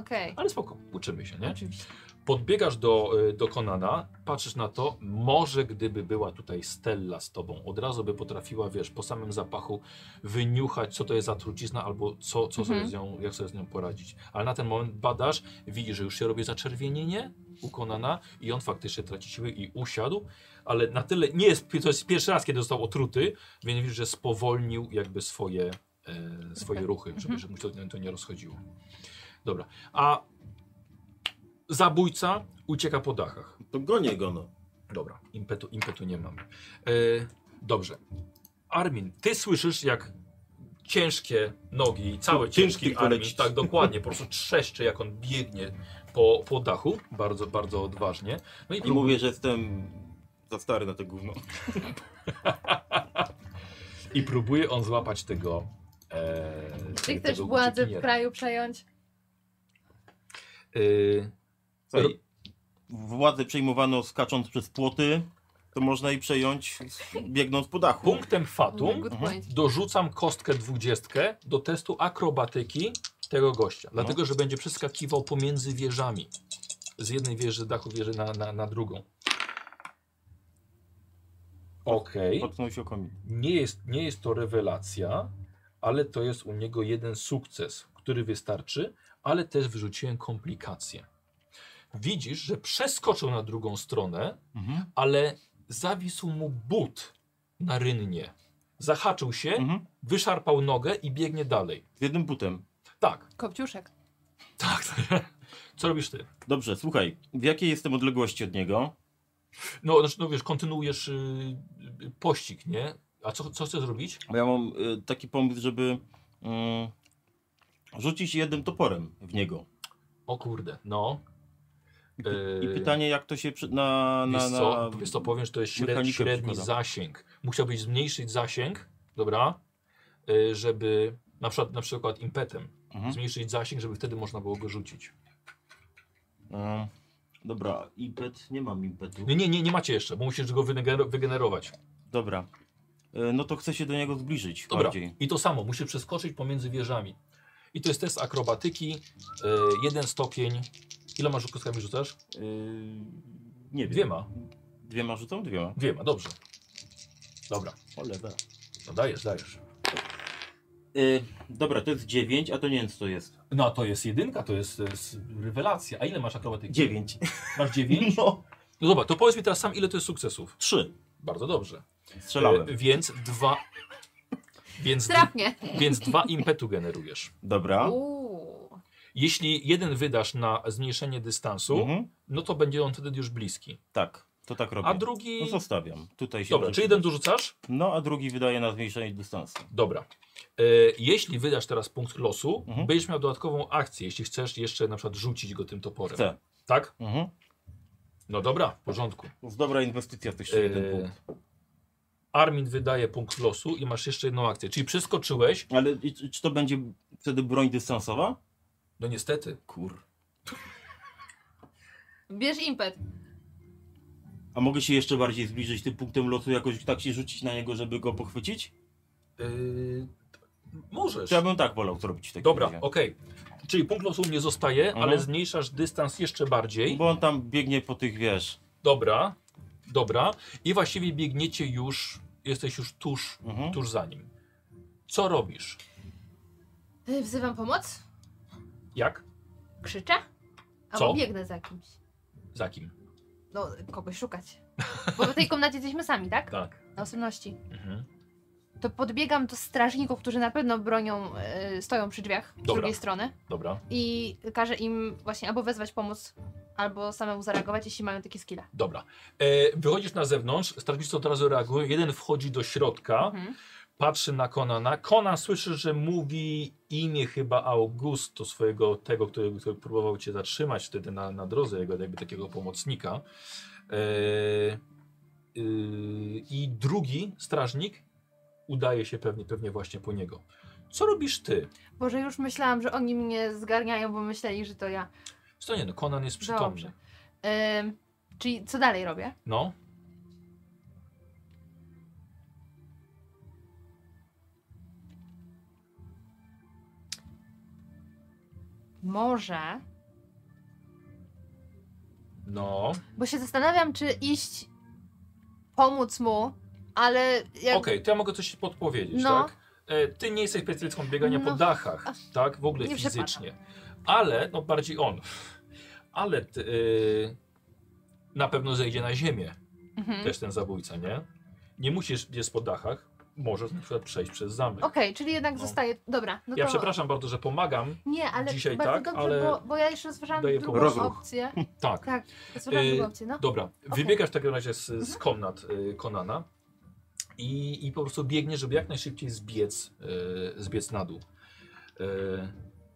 S4: Okej.
S1: Ale spoko, uczymy się, nie?
S4: Oczywiście.
S1: Podbiegasz do, y, do Konana, patrzysz na to, może gdyby była tutaj Stella z tobą, od razu by potrafiła, wiesz, po samym zapachu wyniuchać, co to jest za trucizna, albo co, co sobie
S4: Mhm.
S1: z nią, jak sobie z nią poradzić. Ale na ten moment badasz, widzisz, że już się robi zaczerwienienie u Konana i on faktycznie traci siły i usiadł, ale na tyle, nie jest, to jest pierwszy raz, kiedy został otruty, więc widzisz, że spowolnił jakby swoje, e, swoje ruchy,
S4: Ruchy.
S1: żeby,
S4: Mhm.
S1: żeby mu się to- to nie rozchodziło. Dobra, a zabójca ucieka po dachach.
S2: To gonię go no.
S1: Dobra, impetu, impetu nie mamy. E, dobrze. Armin, ty słyszysz jak ciężkie nogi, całe
S2: Ciężki,
S1: ciężkie
S2: który
S1: Armin,
S2: ci-
S1: tak dokładnie, po prostu trzeszczy jak on biegnie po, po dachu, bardzo, bardzo odważnie. No i,
S2: I mówię, że jestem za stary na to gówno.
S1: i próbuje on złapać tego e,
S4: Czy
S1: tego
S4: chcesz władzę w
S1: uciekiniera.
S4: kraju przejąć?
S1: E,
S2: Słuchaj, władzę przejmowano skacząc przez płoty, to można i przejąć biegnąc po dachu.
S1: punktem fatum
S4: Good
S2: Mhm.
S4: point.
S1: dorzucam kostkę dwudziestkę do testu akrobatyki tego gościa. Dlatego, że będzie przeskakiwał pomiędzy wieżami. Z jednej wieży dachu wieży na, na, na drugą. Okej.
S2: Potknął się o komin.
S1: Nie, jest, nie jest to rewelacja, ale to jest u niego jeden sukces, który wystarczy, ale też wyrzuciłem komplikacje. Widzisz, że przeskoczył na drugą stronę,
S2: Mhm.
S1: ale zawisł mu but na rynnie. Zahaczył się,
S2: Mhm.
S1: wyszarpał nogę i biegnie dalej.
S2: Z jednym butem.
S1: Tak,
S4: Kopciuszek.
S1: tak. Co robisz ty?
S2: Dobrze, słuchaj, w jakiej jestem odległości od niego?
S1: No, znaczy, no wiesz, kontynuujesz yy, yy, pościg, nie? A co, co chcesz zrobić?
S2: Bo ja mam y, taki pomysł, żeby y, rzucić jednym toporem w niego.
S1: O kurde, no.
S2: I, py-
S1: Yy,
S2: i pytanie, jak to się przy, na, na,
S1: Wiesz
S2: na...
S1: co, wiesz co powiem, że to jest średni,
S2: mechanikę
S1: średni
S2: przykłada.
S1: zasięg. Musiałbyś zmniejszyć zasięg, dobra? Yy, żeby, na przykład, na przykład impetem,
S2: Mhm.
S1: zmniejszyć zasięg, żeby wtedy można było go rzucić. Mhm.
S2: Y, dobra, impet, nie mam impetu.
S1: Nie, nie, nie, nie macie jeszcze, bo musisz go wygener- wygenerować.
S2: Dobra. Y, no to chcę się do niego zbliżyć
S1: Dobra.
S2: bardziej.
S1: I to samo, musisz przeskoczyć pomiędzy wieżami. I to jest test akrobatyki. y, jeden stopień. Ile masz kostkami rzucasz?
S2: Y, nie wiem.
S1: Dwiema.
S2: Dwiema rzucą? Dwiema.
S1: Dwiema, dobrze. Dobra,
S2: Cholera.
S1: no dajesz, dajesz.
S2: Y, dobra, to jest 9, a to nie wiem co to jest.
S1: No to jest jedynka, to jest, to jest rewelacja. A ile masz akrobatyki?
S2: 9.
S1: Masz dziewięć?
S2: No,
S1: No dobra, to powiedz mi teraz sam, ile to jest sukcesów.
S2: 3.
S1: Bardzo dobrze.
S2: Strzelałem.
S1: E, więc dwa... Więc, d-
S4: Trafnie.
S1: więc dwa impetu generujesz.
S2: Dobra.
S4: Uuu.
S1: Jeśli jeden wydasz na zmniejszenie dystansu,
S2: Mhm.
S1: no to będzie on wtedy już bliski.
S2: Tak, to tak robię.
S1: A drugi...
S2: No, zostawiam. Tutaj się
S1: Dobra,
S2: proszę.
S1: czy jeden dorzucasz?
S2: No, a drugi wydaje na zmniejszenie dystansu.
S1: Dobra. E, Jeśli wydasz teraz punkt losu,
S2: Mhm.
S1: będziesz miał dodatkową akcję, jeśli chcesz jeszcze na przykład rzucić go tym toporem.
S2: Chcę.
S1: Tak?
S2: Mhm.
S1: No dobra, w porządku.
S2: To jest dobra inwestycja też
S1: E,
S2: jeden punkt.
S1: Armin wydaje punkt losu i masz jeszcze jedną akcję. Czyli przeskoczyłeś,
S2: Ale i- czy czy to będzie wtedy broń dystansowa?
S1: no niestety.
S2: Kur.
S4: Bierz impet.
S2: A mogę się jeszcze bardziej zbliżyć tym punktem lotu, jakoś tak się rzucić na niego, żeby go pochwycić?
S1: E, możesz.
S2: Czy ja bym tak wolał zrobić w takim
S1: Dobra,
S2: razie?
S1: okej. Czyli punkt losu nie zostaje,
S2: Mhm.
S1: ale zmniejszasz dystans jeszcze bardziej.
S2: Bo on tam biegnie po tych, wiesz...
S1: Dobra, dobra. I właściwie biegniecie już, jesteś już tuż,
S2: Mhm.
S1: tuż za nim. Co robisz?
S4: Y, Wzywam pomoc?
S1: Jak?
S4: Krzyczę?
S1: Co?
S4: Albo biegnę za kimś.
S1: Za kim?
S4: No, kogoś szukać. Bo w tej komnacie jesteśmy sami, tak?
S1: Tak.
S4: Na osobności.
S1: Mhm.
S4: To podbiegam do strażników, którzy na pewno bronią, y, stoją przy drzwiach z
S1: Dobra.
S4: drugiej strony.
S1: Dobra,
S4: I każę im właśnie albo wezwać pomoc, albo samemu zareagować, jeśli mają takie skille.
S1: dobra. E, wychodzisz na zewnątrz, strażnicy od razu reagują. Jeden wchodzi do środka,
S4: Mhm.
S1: patrzy na Konana. Konan słyszy, że mówi imię chyba Augusto, swojego tego, który, który próbował cię zatrzymać wtedy na, na drodze, jego jakby takiego pomocnika. E, y, I drugi strażnik udaje się pewnie, pewnie właśnie po niego. Co robisz ty?
S4: Boże, już myślałam, że oni mnie zgarniają, bo myśleli, że to ja.
S1: Co nie, no Konan jest przytomny.
S4: Dobrze. Ym, czyli co dalej robię?
S1: No,
S4: Może.
S1: no.
S4: Bo się zastanawiam, czy iść pomóc mu, ale jak.
S1: Okej, to ja mogę coś ci podpowiedzieć,
S4: No.
S1: tak? E, ty nie jesteś specjalistką od biegania po
S4: No.
S1: dachach, tak? W ogóle
S4: nie
S1: fizycznie. Ale, no bardziej on. Ale ty, y, na pewno zejdzie na ziemię
S4: Mhm. Okej,
S1: też ten zabójca, nie? Nie musisz jest po dachach, możesz na przykład przejść przez zamek.
S4: czyli jednak
S1: No.
S4: zostaje. Dobra, no
S1: ja
S4: to.
S1: przepraszam bardzo, że pomagam.
S4: Nie, ale
S1: Dzisiaj
S4: bardzo
S1: tak,
S4: dobrze,
S1: ale
S4: bo, bo ja jeszcze rozważałam
S1: daję
S4: drugą
S2: pomoc. Rozruch.
S4: opcję.
S1: Tak.
S4: Tak, rozważałam
S1: Y,
S4: drugą opcję, no.
S1: Dobra,
S4: Okej.
S1: wybiegasz w takim razie z, z komnat y, Konana i, i po prostu biegniesz, żeby jak najszybciej zbiec, y, zbiec na dół. Y,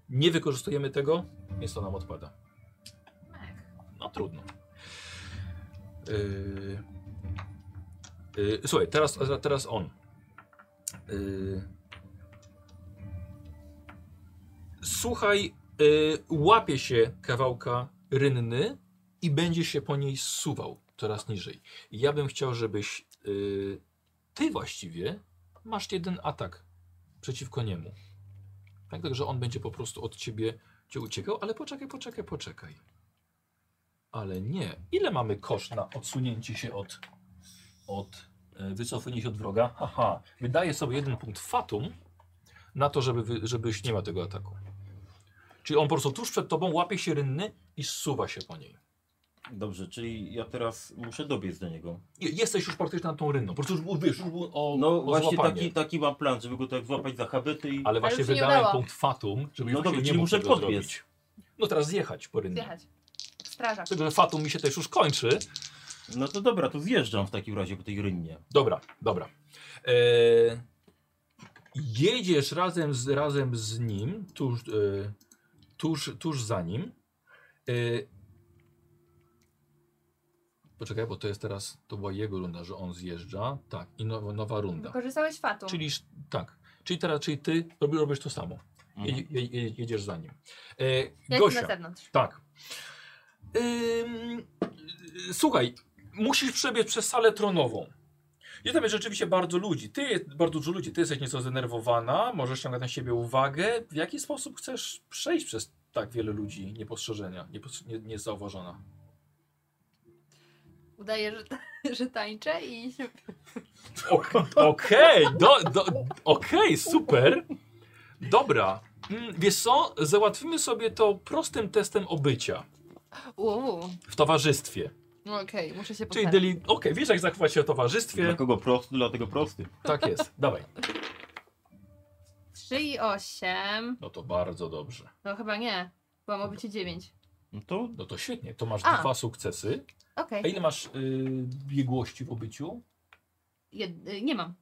S1: nie wykorzystujemy tego, więc to nam odpada. No trudno. Y, y, słuchaj, teraz, teraz on. Y, słuchaj, y, łapie się kawałka rynny i będzie się po niej zsuwał coraz niżej. Ja bym chciał, żebyś y, ty właściwie masz jeden atak przeciwko niemu. Tak, także on będzie po prostu od ciebie cię uciekał, ale poczekaj, poczekaj, poczekaj. Ale nie. Ile mamy koszt na odsunięcie się od, od y, wycofanie się od wroga? Haha. Wydaje sobie jeden punkt fatum na to, żeby, wy- żebyś nie ma tego ataku. Czyli on po prostu tuż przed tobą łapie się rynny i zsuwa się po niej.
S2: Dobrze, czyli ja teraz muszę dobiec do niego.
S1: Je- Jesteś już praktycznie na tą rynną. Po prostu już był, wiesz, już był o,
S2: No
S1: o
S2: właśnie
S1: złapanie.
S2: taki, taki mam plan, żeby go tak złapać za habety i...
S1: Ale właśnie
S4: już się nie
S1: wydałem
S4: udało.
S1: punkt fatum, żeby
S2: No
S1: już
S2: dobrze,
S1: się nie
S2: czyli
S1: mógł
S2: muszę
S1: tego
S2: podbiec.
S1: zrobić. No teraz zjechać po rynnie.
S4: Zjechać. Strażak.
S1: Tylko, że fatum mi się też już kończy.
S2: No to dobra, to zjeżdżam w takim razie po tej rynnie.
S1: Dobra, dobra. Eee, jedziesz razem z, razem z nim, tuż, e, tuż, tuż za nim. E, poczekaj, bo to jest teraz, to była jego runda, że on zjeżdża. Tak, i nowa, nowa runda.
S4: Wykorzystałeś fatum.
S1: Czyli sz- tak. Czyli teraz, czyli ty robi- robisz to samo.
S2: Mhm.
S1: Jedzie, je- je- jedziesz za nim. E,
S4: ja jestem na
S1: Gosia,
S4: zewnątrz.
S1: tak. Ym, y, słuchaj, musisz przebiec przez salę tronową. I tam jest rzeczywiście bardzo ludzi. Ty jest bardzo dużo ludzi. Ty jesteś nieco zdenerwowana, możesz ściągać na siebie uwagę. W jaki sposób chcesz przejść przez tak wiele ludzi niepostrzeżenia, niepos- nie- niezauważona?
S4: Udaję, że, że tańczę i się
S1: Ok- Okej, do, do, okej, super. Dobra, mm, wiesz co? Załatwimy sobie to prostym testem obycia
S4: Uuu,
S1: w towarzystwie.
S4: no okej, muszę się
S1: Czyli
S4: postarać.
S1: deli... Okej, wiesz jak zachować się o towarzystwie?
S2: Dla kogo prosty, dlatego prosty.
S1: Tak jest, dawaj.
S4: 3 i 8.
S1: No to bardzo dobrze.
S4: No chyba nie. Byłam obycie 9.
S2: No to
S1: No to świetnie, to masz
S4: A.
S1: dwa sukcesy.
S4: Okej.
S1: A ile masz y, biegłości w obyciu?
S4: Jed- y, Nie mam.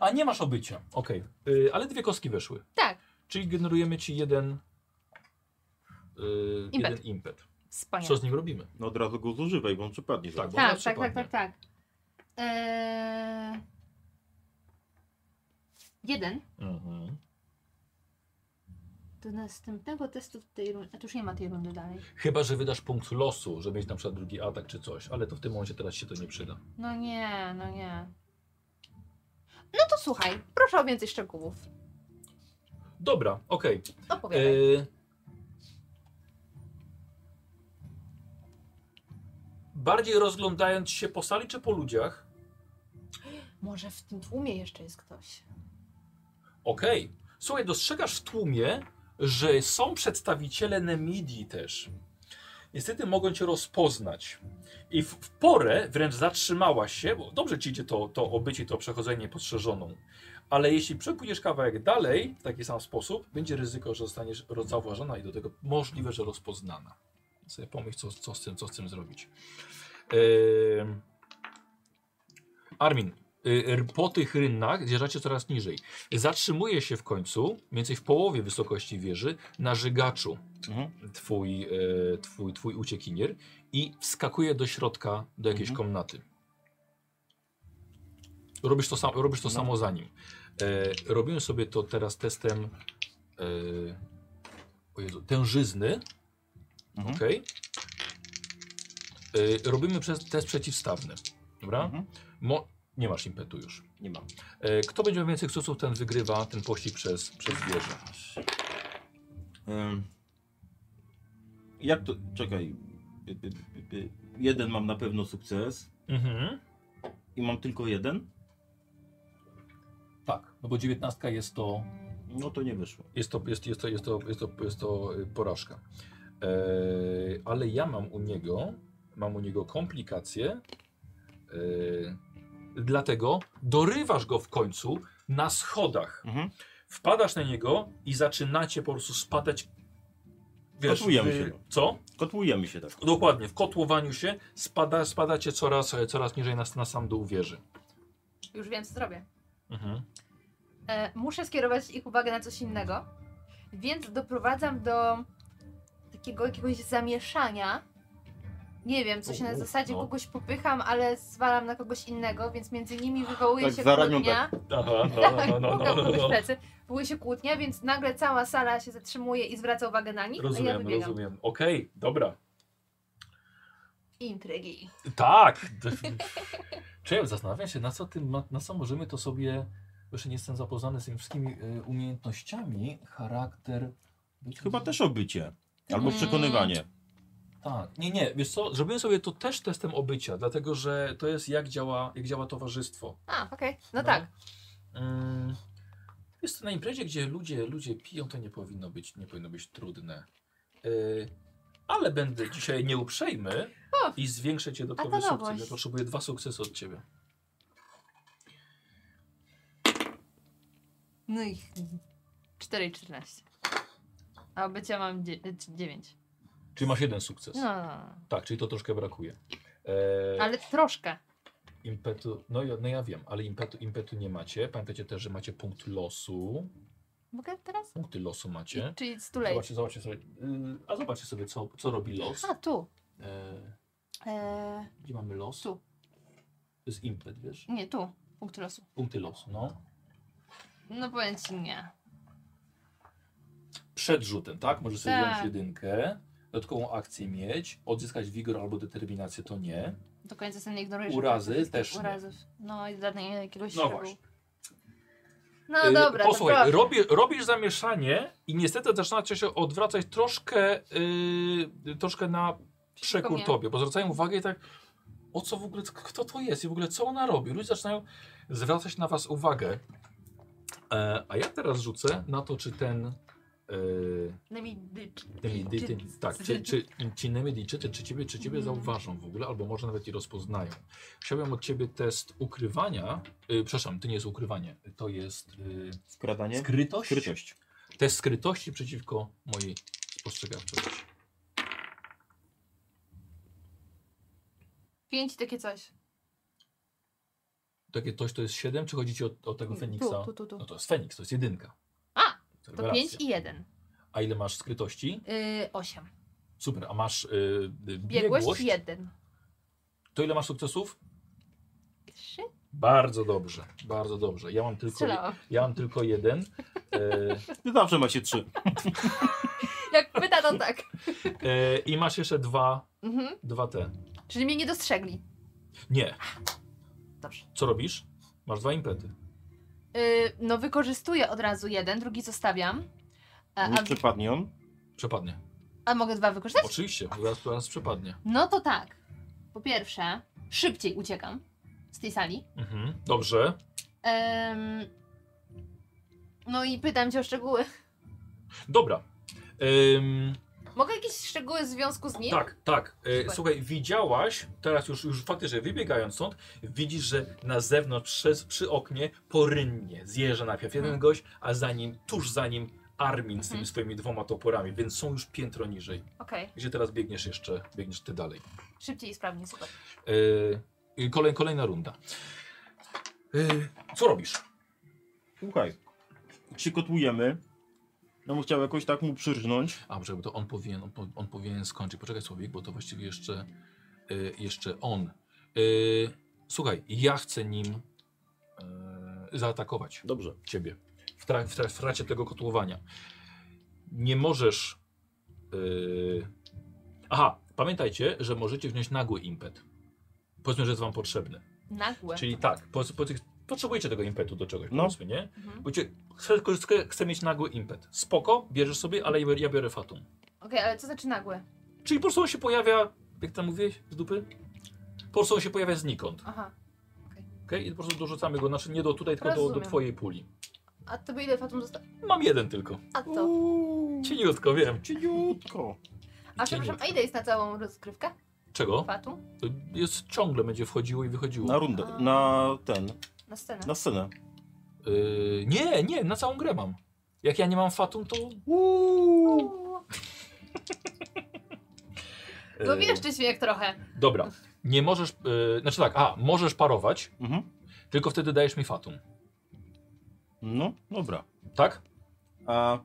S1: A nie masz obycia, okej. Y, ale dwie kostki weszły.
S4: Tak.
S1: Czyli generujemy ci jeden, y,
S4: Impet.
S1: jeden impet. Co
S4: Wspaniale.
S1: z nim robimy?
S2: no od razu go zużywaj, bo on przypadnie.
S1: Tak,
S2: Tak.
S1: bo
S4: Tak,
S1: ona
S4: tak, tak,
S1: przypadnie.
S4: tak, tak. Eee... Jeden.
S1: Mhm.
S4: Do następnego testu w tej rundy. A tu już nie ma tej rundy dalej.
S1: Chyba, że wydasz punkt losu, żeby mieć na przykład drugi atak czy coś, ale to w tym momencie teraz się to nie przyda.
S4: No nie, no nie. No to słuchaj, proszę o więcej szczegółów.
S1: Dobra, okej.
S2: E,
S4: Opowiadaj.
S1: Y, Bardziej rozglądając się po sali czy po ludziach,
S4: Może w tym tłumie jeszcze jest ktoś.
S1: Okej. Słuchaj, dostrzegasz w tłumie, że są przedstawiciele Nemidii też. Niestety mogą cię rozpoznać. I w, w porę wręcz zatrzymała się, bo dobrze ci idzie to, to obycie, to przechodzenie postrzeżoną. Ale jeśli przepłyniesz kawałek dalej w taki sam sposób, będzie ryzyko, że zostaniesz roz- zauważona i do tego możliwe, że rozpoznana. Sobie pomyśl, co, co, z, tym, co z tym zrobić. Em, Armin, y, r- po tych rynnach zjeżdżacie coraz niżej. Zatrzymuje się w końcu, mniej więcej w połowie wysokości wieży, na żygaczu
S2: Mhm.
S1: twój, e, twój, twój uciekinier i wskakuje do środka, do jakiejś
S2: Mhm.
S1: komnaty. Robisz to, sam, robisz to
S2: No.
S1: samo za nim. E, robimy sobie to teraz testem e, o Jezu, tężyzny.
S2: Mhm.
S1: Okej. E, robimy przez, test przeciwstawny. Dobra?
S2: Mhm.
S1: Mo nie masz impetu już.
S2: Nie mam.
S1: E, Kto będzie miał więcej sukcesów, ten wygrywa ten pościg przez, przez wieżę.
S2: Ym. Jak to. Czekaj. By, by, by, by. Jeden mam na pewno sukces.
S1: Mhm.
S2: I mam tylko jeden?
S1: Tak, no bo dziewiętnastka jest to,
S2: No to nie wyszło.
S1: jest to, jest, jest to, jest to, jest to, jest to y, porażka. E, ale ja mam u niego, mam u niego komplikacje, e, dlatego dorywasz go w końcu na schodach.
S2: Mhm.
S1: Wpadasz na niego i zaczynacie po prostu spadać.
S2: Kotujemy
S1: w-
S2: się.
S1: Co?
S2: Kotłujemy się tak.
S1: Dokładnie, w kotłowaniu się spada, spadacie coraz, e, coraz niżej na, na sam dół wieży.
S4: Już wiem, co zrobię.
S1: Mhm.
S4: E, muszę skierować ich uwagę na coś innego, więc doprowadzam do takiego jakiegoś zamieszania. Nie wiem, coś na
S1: U,
S4: zasadzie
S1: no.
S4: kogoś popycham, ale zwalam na kogoś innego, więc między nimi wywołuje
S2: Tak
S4: się
S2: za ramion,
S4: kłótnia.
S1: Aha, no,
S4: Tak, pukam komuś w plecy. Wywołuje się kłótnia, więc nagle cała sala się zatrzymuje i zwraca uwagę na nich, a ja
S1: Rozumiem,
S4: wybiegam.
S1: rozumiem. Okej, dobra.
S4: Intrygi.
S1: Tak! Czemu zastanawiam się, na co, tym, ma- na co możemy to sobie. Jeszcze nie jestem zapoznany z tymi wszystkimi y, umiejętnościami, charakter. być
S2: Chyba
S1: może-
S2: też obycie. Albo
S4: Mm.
S2: przekonywanie.
S1: Tak, nie, nie, wiesz co, zrobimy sobie to też testem obycia, dlatego że to jest jak działa, jak działa towarzystwo.
S4: A, okej. No, tak.
S1: Mm, Jest to na imprezie, gdzie ludzie, ludzie piją, to nie powinno być, nie powinno być trudne. Yy, ale będę dzisiaj nieuprzejmy
S4: O!
S1: i zwiększę cię do
S4: to
S1: połowy sukcesu.
S4: nowość.
S1: Ja potrzebuję dwa sukcesy od ciebie.
S4: No i 4 i 14. A bycia mam 9.
S1: Czyli masz jeden sukces.
S4: No, no, no.
S1: Tak, czyli to troszkę brakuje. E,
S4: Ale troszkę.
S1: Impetu, no, ja- no ja wiem, ale impetu, impetu nie macie. Pamiętajcie też, że macie punkt losu.
S4: Mogę teraz?
S1: Punkty losu macie.
S4: I, czyli stulej.
S1: Zobaczcie, zobaczcie sobie, yy, a zobaczcie sobie, co, co robi los.
S4: A, tu.
S1: E,
S4: Eee,
S1: gdzie mamy los?
S4: Tu.
S1: To jest impet, wiesz?
S4: nie, tu. Punkt losu.
S1: Punkty losu, no.
S4: Tak. No powiem ci nie.
S1: Przed rzutem, tak? Możesz sobie
S4: Tak.
S1: wziąć jedynkę, dodatkową akcję mieć, odzyskać wigor albo determinację, to nie.
S4: Do końca sobie nie ignorujesz.
S1: Urazy
S4: jakiegoś-
S1: też nie.
S4: Urazów. No i żadnej jakiegoś
S1: No
S4: szczegółu.
S1: właśnie.
S4: No
S1: Y,
S4: dobra, to
S1: Posłuchaj,
S4: proszę.
S1: robisz, robisz zamieszanie i niestety zaczynacie się odwracać troszkę, yy, troszkę na
S4: Wszystko
S1: przekór
S4: mnie.
S1: tobie, bo zwracają uwagę i tak o co w ogóle, kto to jest i w ogóle co ona robi. Ludzie zaczynają zwracać na was uwagę. E, a ja teraz rzucę na to, czy ten. E,
S6: Nemidyczy.
S1: Te Midyty, tak, czy, czy ci Nemidyjczycy, czy ciebie, czy
S4: Mhm.
S1: ciebie zauważą w ogóle, albo może nawet i rozpoznają. Chciałbym od ciebie test ukrywania, y, przepraszam, to nie jest ukrywanie, to jest y,
S2: Skradanie?
S1: skrytość?
S2: Skrytość.
S1: Test skrytości przeciwko mojej spostrzegawczości.
S4: Pięć takie coś.
S1: Takie coś to jest 7, czy chodzi ci o, o tego Feniksa?
S4: Tu, tu, tu,
S1: No
S4: tu.
S1: to jest Feniks, to jest jedynka.
S4: A, To
S1: rewelacja.
S4: pięć i jeden.
S1: A ile masz skrytości?
S4: Yy, osiem.
S1: Super, a masz y, y, biegłość?
S4: Biegłość jeden.
S1: To ile masz sukcesów?
S4: Trzy?
S1: Bardzo dobrze, bardzo dobrze. Ja mam tylko,
S4: Strzelałam.
S1: ja mam tylko jeden. E,
S2: Ty zawsze ma się trzy.
S4: Jak pyta, to tak.
S1: E, I masz jeszcze dwa,
S4: Mhm.
S1: dwa te.
S4: Czyli mnie nie dostrzegli.
S1: Nie,
S4: Dobrze.
S1: co robisz? Masz dwa impety.
S4: Yy, no wykorzystuję od razu jeden, drugi zostawiam. A, a,
S2: Nie przepadnie on.
S1: Przepadnie.
S4: a mogę dwa wykorzystać?
S1: Oczywiście, zaraz, zaraz przepadnie.
S4: No to tak. Po pierwsze, szybciej uciekam z tej sali.
S1: Mhm. Dobrze.
S4: Em, no i pytam cię o szczegóły.
S1: Dobra. Ym,
S4: Mogę jakieś szczegóły w związku z nim?
S1: tak, tak. E,
S4: Super.
S1: słuchaj, widziałaś, teraz już, już faktycznie wybiegając stąd, widzisz, że na zewnątrz przez, przy oknie porynnie zjeżdża najpierw jeden
S4: Mhm.
S1: gość, a za nim, tuż za nim Armin z tymi
S4: Mhm.
S1: swoimi dwoma toporami, więc są już piętro niżej.
S4: Okej,
S1: Gdzie teraz biegniesz jeszcze, biegniesz ty dalej.
S4: szybciej i sprawniej, super.
S1: E, kolej, kolejna runda. E, co robisz?
S2: Słuchaj. Się kotłujemy. Ja bym chciał jakoś tak mu przyrżnąć.
S1: A może to on powinien, on, po- on powinien skończyć. Poczekaj człowiek, bo to właściwie jeszcze, y, jeszcze on. Y, słuchaj, ja chcę nim y, zaatakować
S2: Dobrze.
S1: ciebie w, tra- w, tra- w trakcie tego kotłowania. Nie możesz. y, aha, pamiętajcie, że możecie wziąć nagły impet. Powiedzmy, że jest wam potrzebny.
S4: Nagłe.
S1: Czyli tak, po, po, potrzebujecie tego impetu do czegoś,
S2: No.
S1: powiedzmy, nie?
S4: Mhm.
S1: Bo cię, chcę, chcę- chcę mieć nagły impet. Spoko, bierzesz sobie, ale ja biorę- ja biorę fatum.
S4: Okej, ale co znaczy nagłe?
S1: Czyli po prostu on się pojawia, jak tam mówiłeś, z dupy? Po prostu on się pojawia znikąd.
S4: Aha.
S1: Okay? I po prostu dorzucamy go, znaczy nie do tutaj, tylko do, do
S4: Rozumiem.
S1: twojej puli.
S4: A tobie ile fatum zostało?
S1: Mam jeden tylko.
S4: A to.
S2: Uuu,
S1: Cieniutko, wiem.
S2: Cieniutko.
S4: A przepraszam, a ile jest na całą rozgrywkę?
S1: Czego?
S4: Fatum?
S1: Jest ciągle będzie wchodziło i wychodziło.
S2: Na rundę. Na ten.
S4: Na scenę.
S1: No.
S2: Na scenę.
S1: Yy, nie, nie, na całą grę mam. Jak ja nie mam fatum, to.
S4: Uuu. No wiesz, czy śmiech trochę.
S1: Dobra. Nie możesz. Yy, znaczy tak, a możesz parować,
S2: Mhm.
S1: tylko wtedy dajesz mi fatum.
S2: No, dobra.
S1: Tak?
S2: A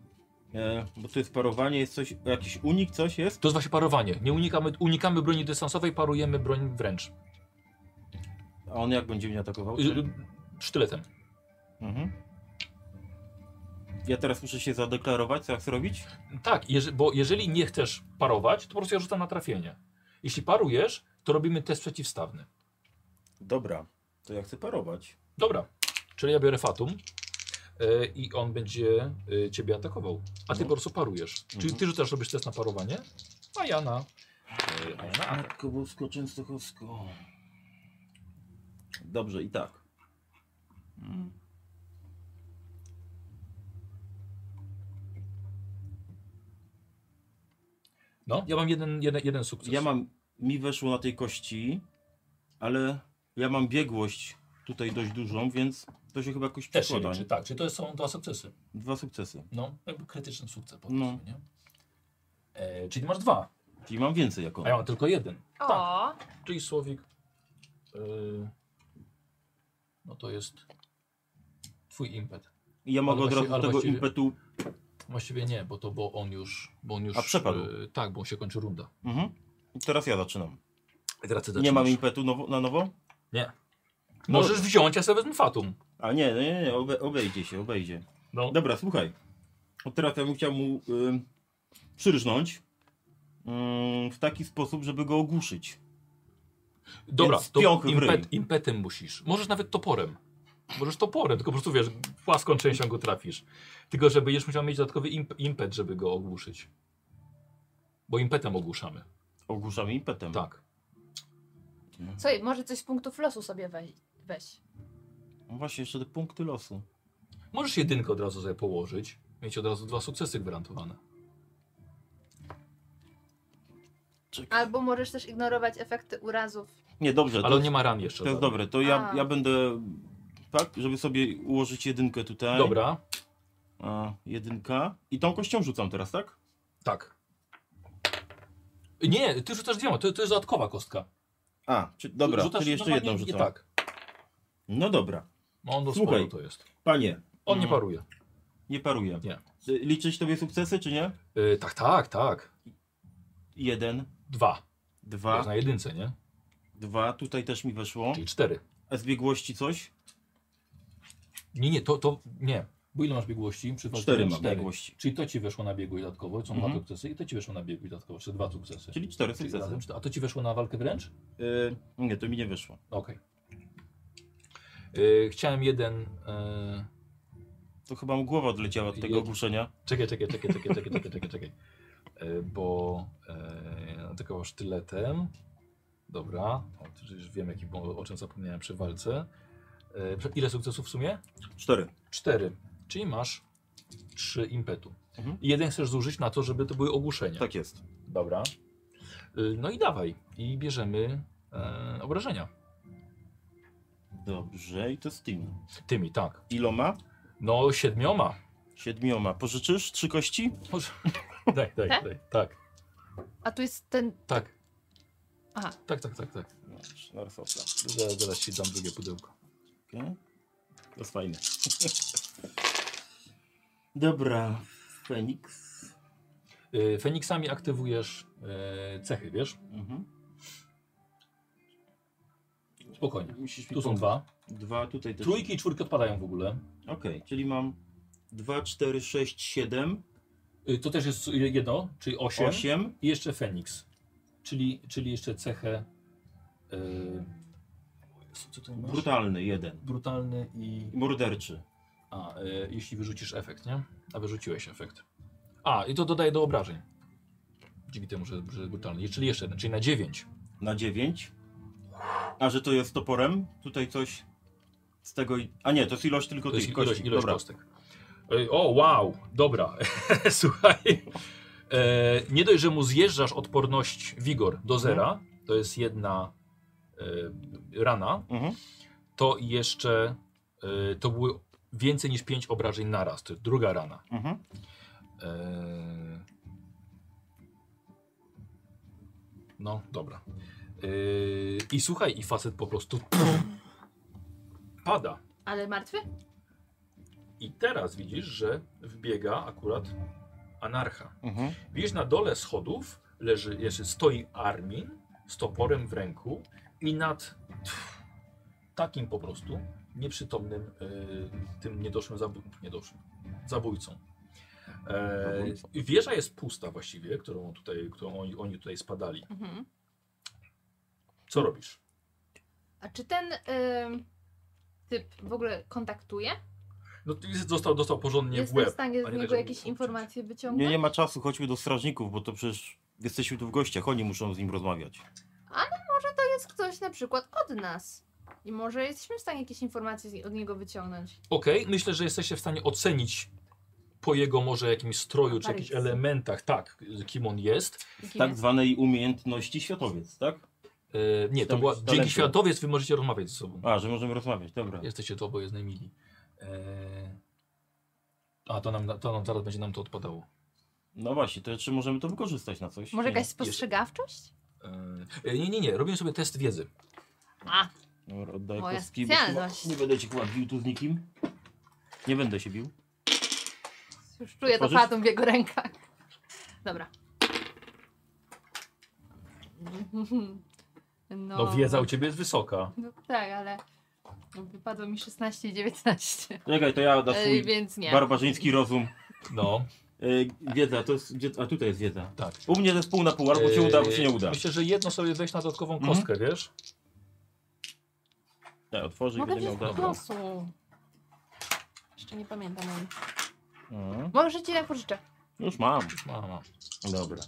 S2: e, bo to jest parowanie, jest coś, jakiś unik, coś jest?
S1: To jest właśnie parowanie. Nie unikamy, unikamy broni dystansowej, parujemy broń wręcz.
S2: A on jak będzie mnie atakował?
S1: Yy, sztyletem.
S2: Mhm. Ja teraz muszę się zadeklarować, co jak zrobić?
S1: Tak, jeże- bo jeżeli nie chcesz parować, to po prostu ja rzucam na trafienie. Jeśli parujesz, to robimy test przeciwstawny.
S2: Dobra, to ja chcę parować.
S1: Dobra, czyli ja biorę Fatum e, i on będzie e, ciebie atakował, a ty
S2: No.
S1: po prostu parujesz. Czyli
S2: Mhm.
S1: ty rzucasz, robisz test na parowanie, a ja na... e, a ja na atak.
S2: Matko Bosko Częstochowsko. Dobrze, i tak. Mm.
S1: No, ja mam jeden, jeden, jeden sukces.
S2: Ja mam, mi weszło na tej kości, ale ja mam biegłość tutaj dość dużą, więc to się chyba jakoś
S1: Też się
S2: przekłada.
S1: liczy, tak, czyli to są dwa sukcesy.
S2: Dwa sukcesy.
S1: No, jakby krytyczny sukces powiedzmy,
S2: No.
S1: nie? E, czyli masz dwa,
S2: Czyli mam więcej jako.
S1: a ja mam tylko jeden.
S4: O,
S1: Czyli Słowik. e, no to jest twój impet.
S2: I ja mogę
S1: Ale
S2: od
S1: właści-
S2: razu
S1: ale
S2: tego
S1: właściwie-
S2: impetu.
S1: Właściwie nie, bo to bo on już. Bo on już
S2: A przepadł.
S1: e, tak, bo on się kończy runda.
S2: Mhm. I Teraz ja zaczynam.
S1: teraz ty
S2: Nie mam impetu nowo, na nowo?
S1: Nie.
S2: No
S1: Możesz
S2: dobra.
S1: wziąć, ja sobie wezmę fatum.
S2: A nie, nie, nie, nie, obe, obejdzie się, obejdzie.
S1: No.
S2: Dobra, słuchaj. Od teraz ja bym chciał mu ym, przyrżnąć ym, w taki sposób, żeby go ogłuszyć.
S1: Dobra,
S2: Więc
S1: to
S2: pioch w ryj.
S1: impet, impetem musisz. Możesz nawet toporem. Możesz toporem, tylko po prostu wiesz, płaską częścią go trafisz. Tylko, że będziesz musiał mieć dodatkowy imp impet, żeby go ogłuszyć. Bo impetem ogłuszamy.
S2: Ogłuszamy impetem.
S1: Tak.
S4: co, może coś z punktów losu sobie weź. weź.
S2: No właśnie, jeszcze te punkty losu.
S1: Możesz jedynkę od razu sobie położyć, mieć od razu dwa sukcesy gwarantowane.
S5: Albo możesz też ignorować efekty urazów.
S2: Nie, dobrze.
S1: Ale
S2: to,
S1: on nie ma ran jeszcze.
S2: to jest
S1: żadnych.
S2: dobre. To ja,
S5: A.
S2: ja będę tak, żeby sobie ułożyć jedynkę tutaj.
S1: Dobra,
S2: A, jedynka. I tą kością rzucam teraz, tak?
S1: tak. Nie, ty rzucasz dwiema, to, to jest dodatkowa kostka.
S2: A, czy, dobra,
S1: Rzucasz
S2: czyli jeszcze
S1: normalnie
S2: jedną
S1: nie
S2: rzucam.
S1: Tak,
S2: No dobra.
S1: no on do
S2: Słuchaj.
S1: sporu to jest.
S2: Panie,
S1: On nie
S2: Mm.
S1: paruje.
S2: nie paruję.
S1: Nie.
S2: Y, Liczyć tobie sukcesy, czy nie?
S1: Y, tak, tak, tak.
S2: Jeden,
S1: Dwa. To
S2: dwa,
S1: jest na jedynce, nie?
S2: dwa. Tutaj też mi weszło.
S1: Czyli cztery.
S2: A z biegłości coś?
S1: Nie, nie, to, to nie. Bo ile masz biegłości? Przy
S2: Cztery mam
S1: No, Cztery.
S2: biegłości.
S1: Czyli to ci weszło na biegłość dodatkowo, są
S2: Mhm.
S1: dwa sukcesy i to ci weszło na biegłość dodatkowo, jeszcze dwa sukcesy.
S2: Czyli cztery
S1: Czyli
S2: sukcesy.
S1: razem cztery. A to ci weszło na walkę wręcz?
S2: Y, nie, to mi nie wyszło.
S1: Okej. Y, chciałem jeden. y,
S2: To chyba mu głowa odleciała od tego
S1: Jed-
S2: ogłuszenia.
S1: Czekaj, czekaj, czekaj, czekaj, czekaj, czekaj, czekaj, czekaj. Y, Bo yy, atakował sztyletem. Dobra. O, to już wiem, jaki, bo, o czym zapomniałem przy walce. Y, prze- ile sukcesów w sumie?
S2: Cztery.
S1: Cztery. Czyli masz trzy impetu.
S2: Mhm.
S1: I jeden chcesz zużyć na to, żeby to były ogłuszenia.
S2: Tak jest.
S1: Dobra. Y, No i dawaj. I bierzemy e, obrażenia.
S2: Dobrze, i to z tym.
S1: Tymi, tak.
S2: Iloma?
S1: No, siedmioma.
S2: Siedmioma. Pożyczysz trzy kości?
S1: Może- Daj, daj,
S4: Te?
S1: daj. Tak,
S4: A tu jest ten.
S1: tak.
S4: Aha.
S1: Tak, tak, tak, tak.
S2: Dobrze, Narsofla.
S1: Zaraz, zaraz ci dam drugie pudełko.
S2: Okay. To jest fajne. Dobra, Feniks.
S1: Y, Feniksami aktywujesz y, cechy, wiesz?
S2: Mhm.
S1: Spokojnie.
S2: Musisz mi
S1: Tu są
S2: pomóc.
S1: dwa.
S2: Dwa, tutaj też.
S1: Trójki i czwórki odpadają w ogóle.
S2: Okej, czyli mam 2, 4, 6, 7,
S1: Y, To też jest jedno, czyli osiem.
S2: 8.
S1: I jeszcze Feniks. Czyli, czyli jeszcze cechę. y, co- co tu masz?
S2: Brutalny jeden.
S1: Brutalny i.
S2: I Morderczy.
S1: A, y, jeśli wyrzucisz efekt, nie? A wyrzuciłeś efekt. A, i to dodaję do obrażeń. Dzięki temu, że, że brutalny. Czyli jeszcze jeden, czyli na 9.
S2: Na 9. A że to jest toporem? Tutaj coś z tego. i- A nie, to jest ilość tylko
S1: To jest
S2: tych
S1: ilość,
S2: kości.
S1: ilość
S2: Dobra.
S1: kostek. Ej, O, wow, dobra. Słuchaj. E, nie dość, że mu zjeżdżasz odporność wigor
S2: Mhm.
S1: do zera, to jest jedna e, rana,
S2: Mhm.
S1: to jeszcze e, to były więcej niż 5 obrażeń naraz, to jest druga rana.
S2: Mhm.
S1: Eee, No, dobra. Eee, I słuchaj, i facet po prostu pada.
S5: Ale martwy?
S1: I teraz widzisz, że wbiega akurat anarcha.
S2: Mhm.
S1: Widzisz, na dole schodów leży, jeszcze stoi Armin z toporem w ręku i nad tf, takim po prostu nieprzytomnym, e, tym niedoszłym, zabó niedoszłym zabójcą. E,
S2: Zabójcą.
S1: wieża jest pusta właściwie, którą, tutaj, którą oni, oni tutaj spadali.
S4: Mhm.
S1: Co robisz?
S5: A czy ten ym, typ w ogóle kontaktuje?
S1: No, ty został, dostał porządnie w
S5: Jestem w
S1: łeb.
S5: stanie
S1: a
S5: z
S1: nie tak,
S5: niego
S1: żeby
S5: jakieś
S1: uciec.
S5: informacje wyciągnąć?
S2: Nie, nie ma czasu, chodźmy do strażników, bo to przecież jesteśmy tu w gościach, oni muszą z nim rozmawiać.
S4: Tak
S5: Jest ktoś na przykład od nas. I może jesteśmy w stanie jakieś informacje z- od niego wyciągnąć.
S1: Okej, myślę, że jesteście w stanie ocenić po jego może jakimś stroju czy jakichś
S5: Aparycji.
S1: elementach, tak, kim on jest.
S4: I kim
S2: Tak
S4: jest?
S2: zwanej umiejętności światowiec, tak?
S1: E, nie, to
S2: Tam
S1: była.
S2: jest
S1: Dzięki
S2: talentu.
S1: światowiec wy możecie rozmawiać ze sobą.
S2: A, że możemy rozmawiać, dobra.
S1: Jesteście to oboje najmili. E, a to nam, to nam zaraz będzie nam to odpadało.
S2: No właśnie, to czy możemy to wykorzystać na coś?
S4: Może
S2: Nie.
S4: jakaś spostrzegawczość?
S1: E, nie, nie, nie. Robimy sobie test wiedzy.
S4: A,
S2: Dobra, oddaję
S4: Moja
S2: kostki, bo chyba-
S4: specjalność.
S2: Nie będę cię chyba bił tu z nikim. Nie będę się bił.
S4: już czuję to
S2: Otworzysz?
S4: fatum w jego rękach. Dobra. No,
S1: No wiedza u ciebie jest wysoka.
S4: No tak, ale wypadło mi 16 i 19.
S2: Czekaj, to ja na
S4: Ej,
S2: swój
S4: więc nie.
S2: barbarzyński rozum.
S1: No,
S2: Yy, wiedza, to jest, wiedza, a tutaj jest wiedza.
S1: tak.
S2: U mnie to jest pół na pół, albo się
S1: E,
S2: No, uda, albo się nie uda.
S3: Eee,
S1: Myślę, że jedno sobie wejść na dodatkową
S2: Mhm.
S1: kostkę, wiesz?
S2: Ja otworzę i
S4: Mogę
S2: będę
S4: wziąć
S2: miał
S4: po
S2: dobra.
S4: głosu. Jeszcze nie pamiętam. ale-
S2: Mhm.
S5: Może ci tak pożyczę.
S2: Już mam.
S1: Ma, ma.
S2: Dobra.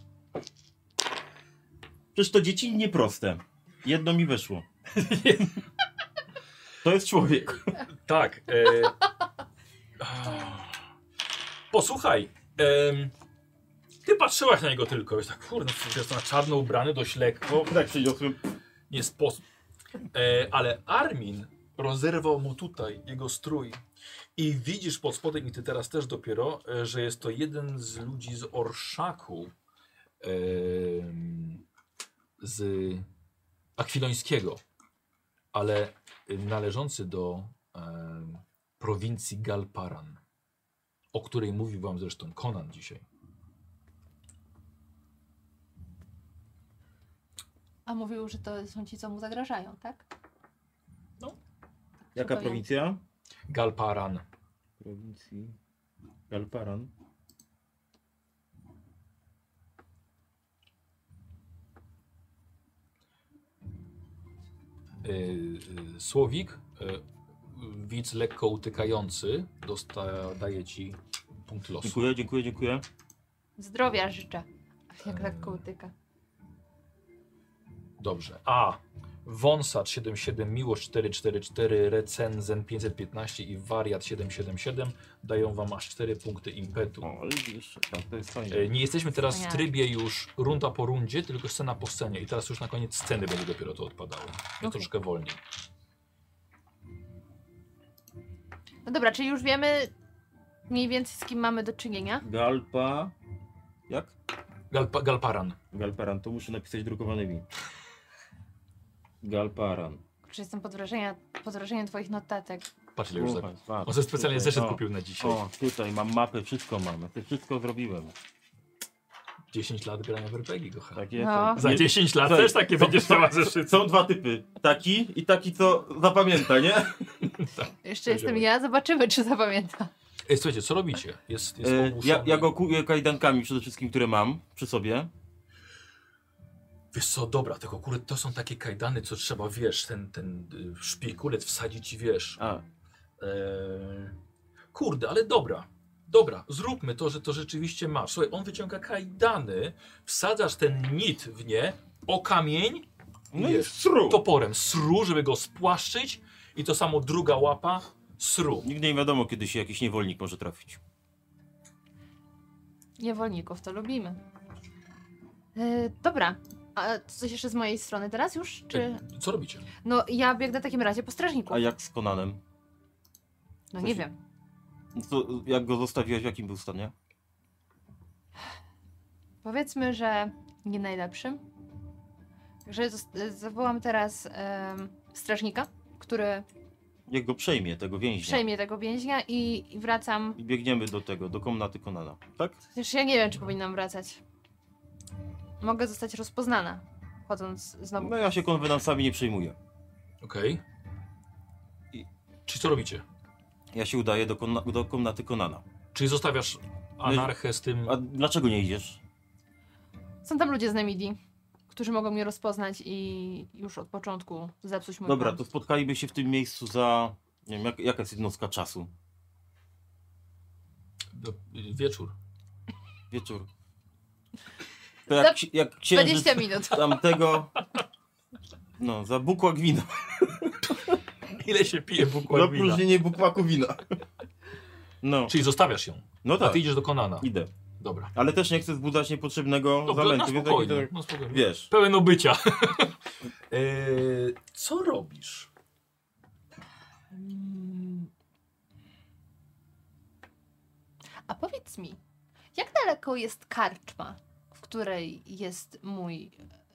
S2: Przecież to dziecinnie proste. Jedno mi wyszło. To jest człowiek.
S1: Tak. E, Posłuchaj, em, ty patrzyłaś na niego tylko, jest tak, kurde, jest na czarno ubrany, dość lekko,
S2: Tak przyniosłem.
S1: nie sposób. E, ale Armin rozerwał mu tutaj jego strój i widzisz pod spodem, i ty teraz też dopiero, e, że jest to jeden z ludzi z Orszaku em, z Akwilońskiego, ale należący do em, prowincji Galparan, o której mówił wam zresztą Conan dzisiaj.
S4: A mówił, że to są ci, co mu zagrażają, tak?
S2: Jaka
S4: Zupełnie.
S2: prowincja?
S1: Galparan. e,
S2: Prowincji. Galparan.
S1: Y, y, Słowik, y, y, widz lekko utykający, dosta- daje ci punkt losu.
S2: Dziękuję, dziękuję, dziękuję.
S4: Zdrowia życzę. Ach, Jak tak
S1: Eee.
S2: Mm.
S4: lekko utyka.
S1: Dobrze. A. Wonsat 77, Miłość 444, Recenzen 515 i Wariat 777 dają wam aż 4 punkty impetu.
S2: O, ale jeszcze tak, to jest fajne.
S1: Y, Nie jesteśmy teraz w
S4: Wspaniale.
S1: trybie już runda po rundzie, tylko scena po scenie. I teraz już na koniec sceny będzie dopiero to odpadało. Ja
S4: Okej.
S1: troszkę wolniej.
S4: No dobra, czyli już wiemy mniej więcej z kim mamy do czynienia.
S2: Galpa. Jak?
S1: Galpa, Galparan.
S2: Galparan, to muszę napisać drukowanymi. Galparan.
S4: Kurczę, jestem pod, wrażenia, pod wrażeniem twoich notatek.
S1: Patrz ile już
S2: O,
S1: za...
S2: patrz, patrz,
S1: On sobie specjalnie
S2: tutaj,
S1: zeszyt
S2: o,
S1: kupił na dzisiaj.
S2: O, tutaj mam mapę, wszystko mamy. To wszystko zrobiłem.
S1: 10 lat grania w RPG, kochany.
S2: Tak No. jest.
S4: No.
S1: Za 10 lat
S2: Słuchaj,
S1: też takie
S2: są-
S1: będziesz
S2: są-
S1: miała zeszyt.
S2: Są dwa typy. Taki i taki, co zapamięta, nie?
S4: Jeszcze
S1: Będziemy.
S4: jestem ja, zobaczymy, czy zapamięta.
S1: Ej, słuchajcie, co robicie? Jest, jest
S2: E,
S1: ogłuszony.
S2: ja, ja go kuję kajdankami przede wszystkim, które mam przy sobie.
S1: Wiesz co, dobra, tylko akurat to są takie kajdany, co trzeba, wiesz, ten, ten y, szpikulec wsadzić i wiesz.
S2: A,
S1: E, kurde, ale dobra. Dobra, zróbmy to, że to rzeczywiście masz. Słuchaj, on wyciąga kajdany, wsadzasz ten nit w nie, o kamień,
S2: no i
S1: Jest.
S2: sru.
S1: toporem sru, żeby go spłaszczyć i to samo druga łapa, sru.
S2: Nigdy nie wiadomo, kiedy się jakiś niewolnik może trafić.
S4: Niewolników to lubimy. Yy, dobra, a coś jeszcze z mojej strony teraz już? Czy...
S1: E, Co robicie?
S4: No ja biegnę w takim razie po strażniku.
S2: Tak. A jak z Konanem?
S4: No
S2: coś-
S4: nie wiem.
S2: No To, jak go zostawiłaś, w jakim był stanie?
S4: Powiedzmy, że nie najlepszym. Że zost- zawołam teraz em, strażnika, który
S2: Jak go przejmie, tego więźnia.
S4: przejmie tego więźnia i, i wracam.
S2: I biegniemy do tego, do komnaty Konana. Tak?
S4: Chociaż ja nie wiem, czy powinnam wracać. Mogę zostać rozpoznana, chodząc znowu.
S2: No ja się konwenansami nie przejmuję.
S1: Okej. I- Czy co robicie?
S2: Ja się udaję do, konna, do komnaty Konana.
S1: Czy zostawiasz anarchę z tym...
S2: A dlaczego nie idziesz?
S4: Są tam ludzie z Nemidi, którzy mogą mnie rozpoznać i już od początku zepsuć mój
S2: Dobra,
S4: plan.
S2: to spotkaliby się w tym miejscu za... Nie wiem, jak, jaka jest jednostka czasu?
S1: do- y, Wieczór.
S2: Wieczór. To jak, ksi- jak księżyc
S4: 20 minut.
S2: tamtego... No, za bukła gwina.
S1: Ile się pije
S2: Za
S1: bukładwina?
S2: próżnienie bukłaku wina. No,
S1: Czyli zostawiasz ją,
S2: no
S1: a
S2: tak,
S1: ty idziesz do Konana.
S2: idę.
S1: Dobra.
S2: Ale też nie chcę wzbudzać niepotrzebnego
S1: Dobra, No, na
S2: zamętu, więc jak
S1: spokojnie,
S2: idę,
S1: na spokojnie.
S2: wiesz.
S1: Pełen obycia. Eee, co robisz?
S4: A powiedz mi, jak daleko jest karczma, w której jest mój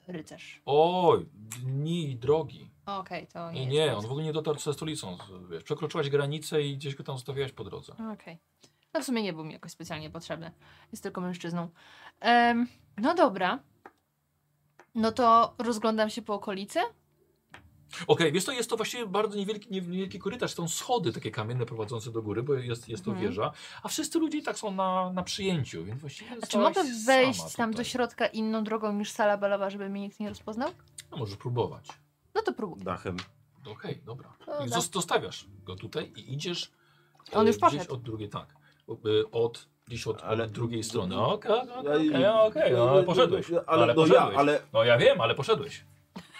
S4: rycerz?
S1: Oj, dni drogi.
S4: Okej, to nie.
S1: Nie,
S4: jest
S1: nie,
S4: nic.
S1: on w ogóle nie dotarł ze stolicą. z- Wiesz, przekroczyłaś granicę i gdzieś go tam zostawiłaś po drodze.
S4: Okej. No w sumie nie był mi jakoś specjalnie potrzebny. Jest tylko mężczyzną. Em, no dobra. No to rozglądam się po okolicy.
S1: Okej, wiesz to jest to właściwie bardzo niewielki, nie- niewielki korytarz. Są schody takie kamienne prowadzące do góry, bo jest, jest to
S4: Mhm.
S1: wieża. A wszyscy ludzie i tak są na, na przyjęciu, więc właściwie
S4: A czy Znaczy, mogę
S1: zostałaś sama
S4: wejść tam do
S1: tutaj.
S4: środka inną drogą niż sala balowa, żeby mnie nikt nie rozpoznał?
S1: No, możesz próbować.
S4: No to próbuję.
S2: Dachem.
S1: Okej, dobra.
S4: No,
S1: Więc
S4: da-
S1: zos- zostawiasz go tutaj i idziesz.
S4: On
S1: e,
S4: już
S1: gdzieś
S4: poszedł.
S1: od drugiej, tak. O- e, Od, gdzieś od,
S2: Ale-
S1: od drugiej strony. Okej, okej, okej, okej, no, ale poszedłeś.
S2: Ale,
S1: ale
S2: no ja,
S1: poszedłeś.
S2: ale
S1: No ja wiem, ale poszedłeś.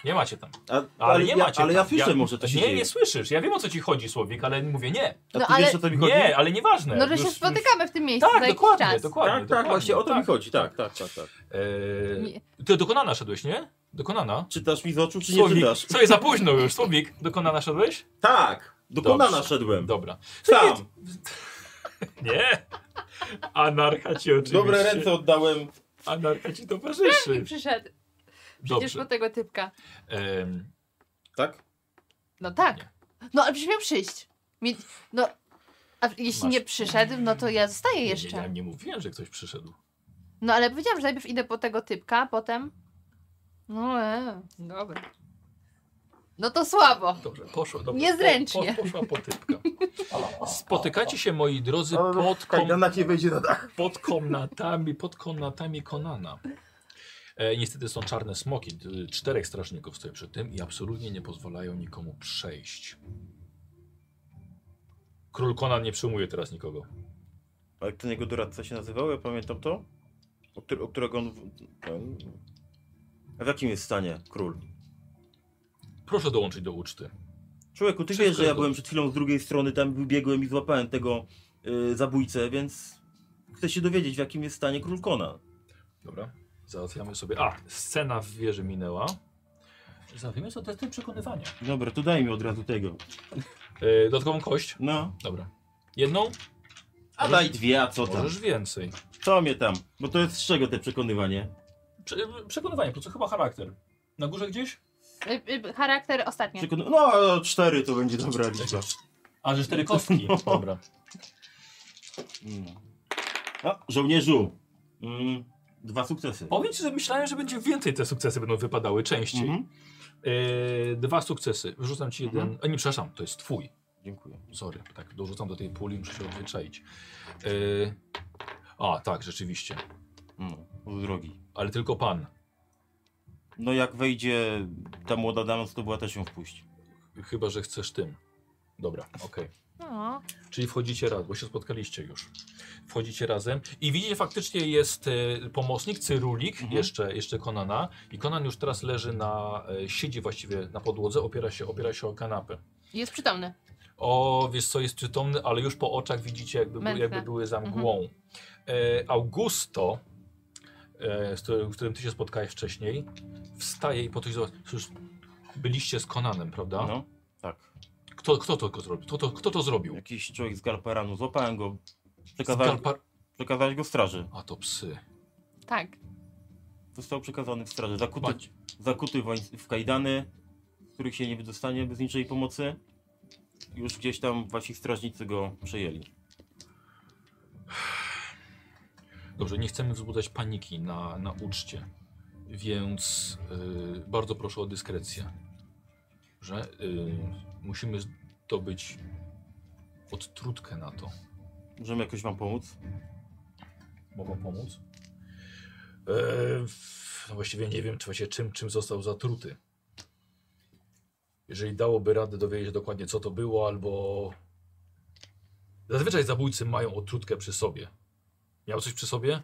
S3: Nie macie tam.
S2: A, ale,
S3: Ale nie
S2: ja,
S3: macie
S2: Ale
S3: tam.
S2: ja słyszę może, to się
S3: Nie,
S2: dzieje.
S3: nie słyszysz. Ja wiem o co ci chodzi, Słowik, ale mówię nie.
S2: A
S4: No,
S2: ty
S4: ale-
S2: wiesz, o co mi chodzi?
S3: Nie, ale nieważne.
S4: No, że
S3: Już-
S4: się
S3: już-
S4: spotykamy w tym miejscu za
S3: Tak,
S4: jakiś
S3: dokładnie,
S4: czas.
S3: dokładnie.
S2: Tak, tak,
S3: dokładnie,
S2: właśnie o to mi
S3: tak.
S2: chodzi, tak, tak, tak, tak.
S3: Eee,
S4: Nie.
S3: ty dokonana szedłeś, nie? Dokonana?
S2: Czytasz mi z oczu, czy nie
S3: Słowik,
S2: czytasz?
S3: co jest za późno już, Słowik? Dokonana szedłeś?
S2: Tak, dokonana
S3: Dobrze.
S2: szedłem.
S3: Dobra.
S2: Sam,
S3: Nie! Anarcha ci oczywiście.
S2: dobre ręce oddałem.
S3: Anarcha ci
S4: I
S3: towarzyszy.
S4: przyszedł. Przecież po
S3: Dobrze.
S4: tego typka.
S3: Em,
S2: Tak?
S4: No tak.
S3: Nie.
S4: No ale przecież miał przyjść. Mi... No, a jeśli
S3: Masz.
S4: nie przyszedł, no to ja zostaję
S3: nie,
S4: jeszcze.
S3: Nie, ja nie mówiłem, że ktoś przyszedł.
S4: No ale powiedziałam, że najpierw idę po tego typka, potem... No e, dobra. No to słabo.
S3: Dobrze, poszło. Dobrze.
S4: Niezręcznie.
S3: Po, po, poszła potybka. Spotykacie się, moi drodzy,
S2: Ale no,
S3: pod, kom,
S2: cię wejdzie na dach.
S3: pod komnatami, pod komnatami Konana. E, niestety są czarne smoki. D- Czterech strażników stoi przy tym i absolutnie nie pozwalają nikomu przejść. Król Konan nie przyjmuje teraz nikogo.
S2: A jak ten jego doradca się nazywał, ja pamiętam to? O, któr- o którego on... w- ten- A w jakim jest stanie król?
S3: Proszę dołączyć do uczty.
S2: Człowieku, ty
S3: Wszystko
S2: wiesz, że ja
S3: jest
S2: byłem przed chwilą z drugiej strony, tam wybiegłem i złapałem tego y, zabójcę, więc chcę się dowiedzieć, w jakim jest stanie król Kona.
S3: Dobra. Załatwiamy sobie. A, scena w wieży minęła. Załatwimy sobie testy przekonywania.
S2: Dobra, to daj mi od razu tego.
S3: E, dodatkową kość.
S2: No.
S3: Dobra. Jedną?
S2: A daj dwie, a co tam?
S3: Możesz więcej.
S2: Co mnie tam? Bo to jest z czego te przekonywanie?
S3: Prze przekonywanie, po co chyba charakter. Na górze gdzieś?
S4: Y, y, Charakter ostatni.
S2: Przekon... No, a cztery to będzie dobra liczba.
S3: A, że cztery kostki. Dobra.
S2: Mm. A, żołnierzu. Mm, dwa sukcesy.
S3: Powiem ci, że myślałem, że będzie więcej te sukcesy będą wypadały częściej.
S2: Mhm.
S3: E, dwa sukcesy. Wyrzucam ci jeden.
S2: Mhm.
S3: A nie, przepraszam, to jest twój.
S2: Dziękuję.
S3: Sorry, tak dorzucam do tej puli, muszę się odzwyczaić. E, a, tak, rzeczywiście.
S2: No, z drogi.
S3: Ale tylko pan.
S2: No jak wejdzie ta młoda dama, to była też ją wpuść.
S3: Chyba, że chcesz tym. Dobra, okej.
S4: No.
S3: Czyli wchodzicie razem, bo się spotkaliście już. Wchodzicie razem i widzicie faktycznie jest e, pomocnik, cyrulik,
S2: Mhm.
S3: jeszcze, jeszcze Konana. I Konan już teraz leży na, e, siedzi właściwie na podłodze, opiera się, opiera się o kanapę.
S4: Jest przytomny.
S3: O, wiesz co, jest przytomny, ale już po oczach widzicie jakby, były-
S4: Mętne.
S3: jakby były za mgłą. E, Augusto, e, z którym, którym ty się spotkałeś wcześniej, wstaje i po to już byliście z Konanem, prawda?
S2: No, tak.
S3: Kto, kto, to, kto, zrobił? Kto, to, kto to zrobił?
S2: Jakiś człowiek z Galperanu, złapałem go. Przekazałem,
S3: Skalpar...
S2: przekazałeś go straży.
S3: A to psy.
S4: Tak.
S2: Został przekazany w straży. Zakuty,
S3: Chodź.
S2: zakuty woń- w kajdany, z których się nie wydostanie bez niczej pomocy. Już gdzieś tam wasi strażnicy go przejęli.
S3: Dobrze, nie chcemy wzbudzać paniki na, na uczcie, więc y, bardzo proszę o dyskrecję, że y, musimy zdobyć odtrutkę na to.
S2: Możemy jakoś wam pomóc?
S3: Mogą pomóc? E, w- no właściwie nie wiem, czy właśnie czym, czym został zatruty. Jeżeli dałoby radę dowiedzieć się dokładnie, co to było, albo... Zazwyczaj zabójcy mają odtrutkę przy sobie. Miał coś przy sobie?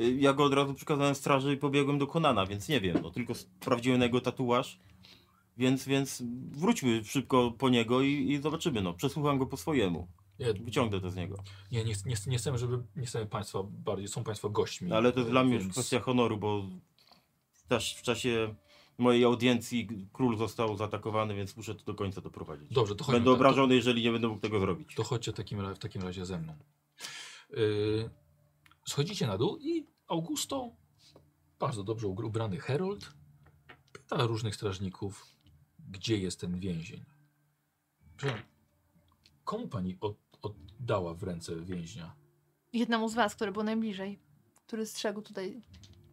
S2: Y, Ja go od razu przekazałem straży i pobiegłem do Konana, więc nie wiem, no tylko sprawdziłem jego tatuaż. Więc, więc wróćmy szybko po niego i, i zobaczymy, no. Przesłucham go po swojemu.
S3: Nie,
S2: Wyciągnę to z niego.
S3: Nie, nie, ch- nie, ch- nie chcemy, żeby. Nie chcemy Państwa bardziej. Są Państwo gośćmi.
S2: No, ale to jest dla mnie już
S3: więc-
S2: kwestia honoru, bo też w czasie mojej audiencji król został zaatakowany, więc muszę to do końca doprowadzić.
S3: Dobrze, to chodźmy.
S2: będę
S3: tak,
S2: obrażony, jeżeli nie będę mógł tego zrobić.
S3: To, to chodźcie w takim, ra- w takim razie ze mną. Yy, schodzicie na dół i Augusto, bardzo dobrze ugr- ubrany Herold, pyta różnych strażników, gdzie jest ten więzień. Przepraszam, komu pani od, oddała w ręce więźnia?
S4: Jednemu z was, który był najbliżej. Który strzegł tutaj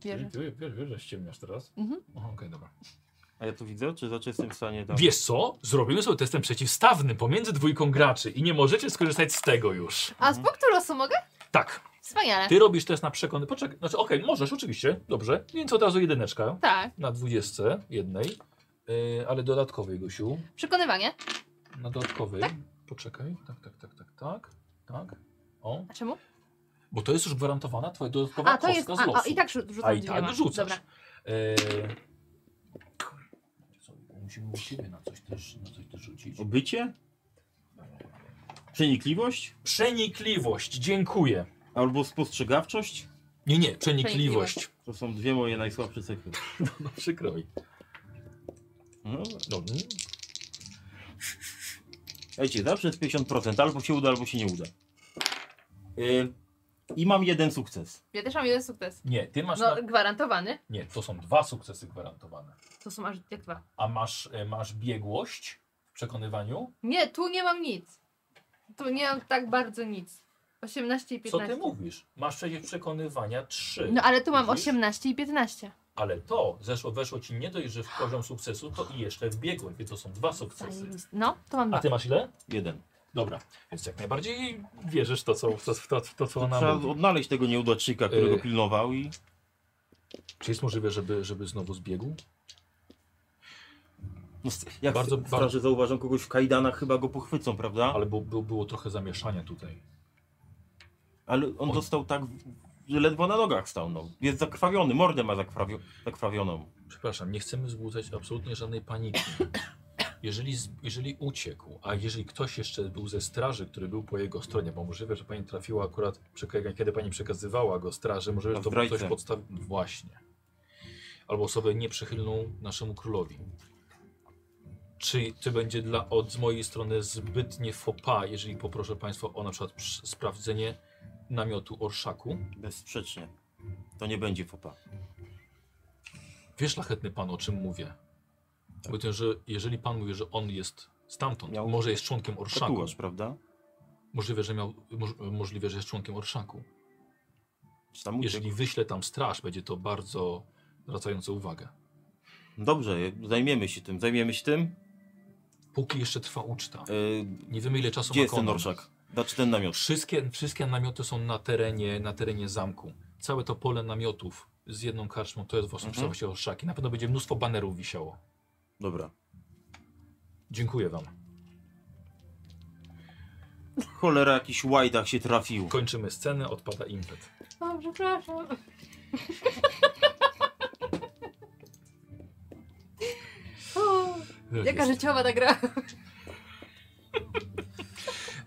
S4: wieży.
S3: Ty wiesz, wiesz, że ściemniasz teraz?
S4: Mhm.
S3: Aha, Okej, dobra.
S2: A ja to widzę? Czy znaczy jestem w stanie tam...
S3: Wiesz co? Zrobimy sobie testem przeciwstawny pomiędzy dwójką graczy i nie możecie skorzystać z tego już.
S4: A z punktu losu mogę?
S3: Tak,
S4: Wspaniale.
S3: Mhm. ty robisz test na przekony. Poczekaj, znaczy okej, możesz oczywiście, dobrze. Więc od razu jedyneczka
S4: Tak.
S3: na dwudziestce jednej, yy, ale dodatkowej, Gosiu.
S4: Przekonywanie.
S3: Na dodatkowej. Poczekaj, tak, tak, tak, tak, tak, tak. O,
S4: A czemu?
S3: bo to jest już gwarantowana twoja dodatkowa
S4: A tak- to jest.
S3: kostka z
S4: A,
S3: losu.
S4: a i tak rzu- rzucam
S3: A i tak
S4: dwiema.
S3: rzucasz.
S4: Dobra.
S3: Yy, Musimy u ciebie na coś też, na coś też rzucić.
S2: Obycie? Przenikliwość?
S3: Przenikliwość, dziękuję.
S2: Albo spostrzegawczość?
S3: Nie, nie, przenikliwość.
S2: To są dwie moje najsłabsze cechy.
S3: No, przykro mi.
S2: No,
S3: No, mm,
S2: słuchajcie, zawsze jest 50%. Albo się uda, albo się nie uda. Y, I mam jeden sukces.
S4: Ja też mam jeden sukces.
S3: nie, ty masz.
S4: No,
S3: Na...
S4: gwarantowany.
S3: Nie, to są dwa sukcesy gwarantowane.
S4: To są aż jak dwa.
S3: A masz, e, masz biegłość w przekonywaniu?
S4: Nie, tu nie mam nic. Tu nie mam tak bardzo nic. 18 i
S3: Co
S4: 15.
S3: ty mówisz? Masz przecież przekonywania trzy.
S4: No ale tu mam
S3: Widzisz?
S4: 18 i 15.
S3: Ale to zeszło, weszło ci nie dość, że w poziom sukcesu, to i jeszcze w biegłość, więc to są dwa sukcesy.
S4: Zajebiste. No, to mam
S3: A
S4: dwa.
S3: ty masz ile?
S2: Jeden.
S3: Dobra, więc jak najbardziej wierzysz to, co, w to, w to, w to co ona
S2: Trzeba
S3: mówi.
S2: odnaleźć tego nieudaczyka, którego
S3: Y.
S2: pilnował i...
S3: Czy jest możliwe, żeby, żeby znowu zbiegł?
S2: No, st- jak bardzo,
S3: Bardzo- bardzo-
S2: straże zauważą kogoś w kajdanach, chyba go pochwycą, prawda? Ale,
S3: Ale bu, bu, było trochę zamieszania tutaj.
S2: on
S3: on-
S2: dostał tak, że ledwo na nogach stał. No. Jest zakrwawiony, mordę ma zakrwawio- zakrwawioną.
S3: Przepraszam, nie chcemy wzbudzać absolutnie żadnej paniki. Jeżeli, z- jeżeli uciekł, a jeżeli ktoś jeszcze był ze straży, który był po jego stronie, bo możliwe, że pani trafiła akurat, przeka- kiedy pani przekazywała go straży, możliwe, że to był
S2: Zdrajcę.
S3: ktoś podstawił. Właśnie. Albo osobę nieprzychylną naszemu królowi. Czy to będzie dla, od z mojej strony zbytnie fopa, jeżeli poproszę państwa o na przykład przy- sprawdzenie namiotu orszaku?
S2: Bezsprzecznie. To nie będzie fopa.
S3: Wiesz, szlachetny pan, o czym mówię. Bo to, że jeżeli pan mówi, że on jest stamtąd,
S2: Tak. Miał
S3: może jest członkiem orszaku.
S2: Tatuaż, prawda?
S3: Możliwe, że miał, moż, możliwe, że jest członkiem orszaku.
S2: Czy tam uciekł?
S3: Jeżeli wyślę tam straż, będzie to bardzo zwracające uwagę.
S2: Dobrze, zajmiemy się tym, zajmiemy się tym.
S3: Póki jeszcze trwa uczta.
S2: Yy,
S3: Nie wiemy, ile czasu
S2: gdzie
S3: ma
S2: jest ten
S3: konan.
S2: orszak? Znaczy ten namiot.
S3: Wszystkie, wszystkie namioty są na terenie, na terenie zamku. Całe to pole namiotów z jedną karczmą, to jest właśnie,
S2: Mhm.
S3: właśnie orszaki. Na pewno będzie mnóstwo banerów wisiało.
S2: Dobra.
S3: Dziękuję wam.
S2: Cholera, jakiś łajdak się trafił.
S3: Kończymy scenę, odpada impet.
S4: O, No, przepraszam. O, Jaka życiowa ta gra.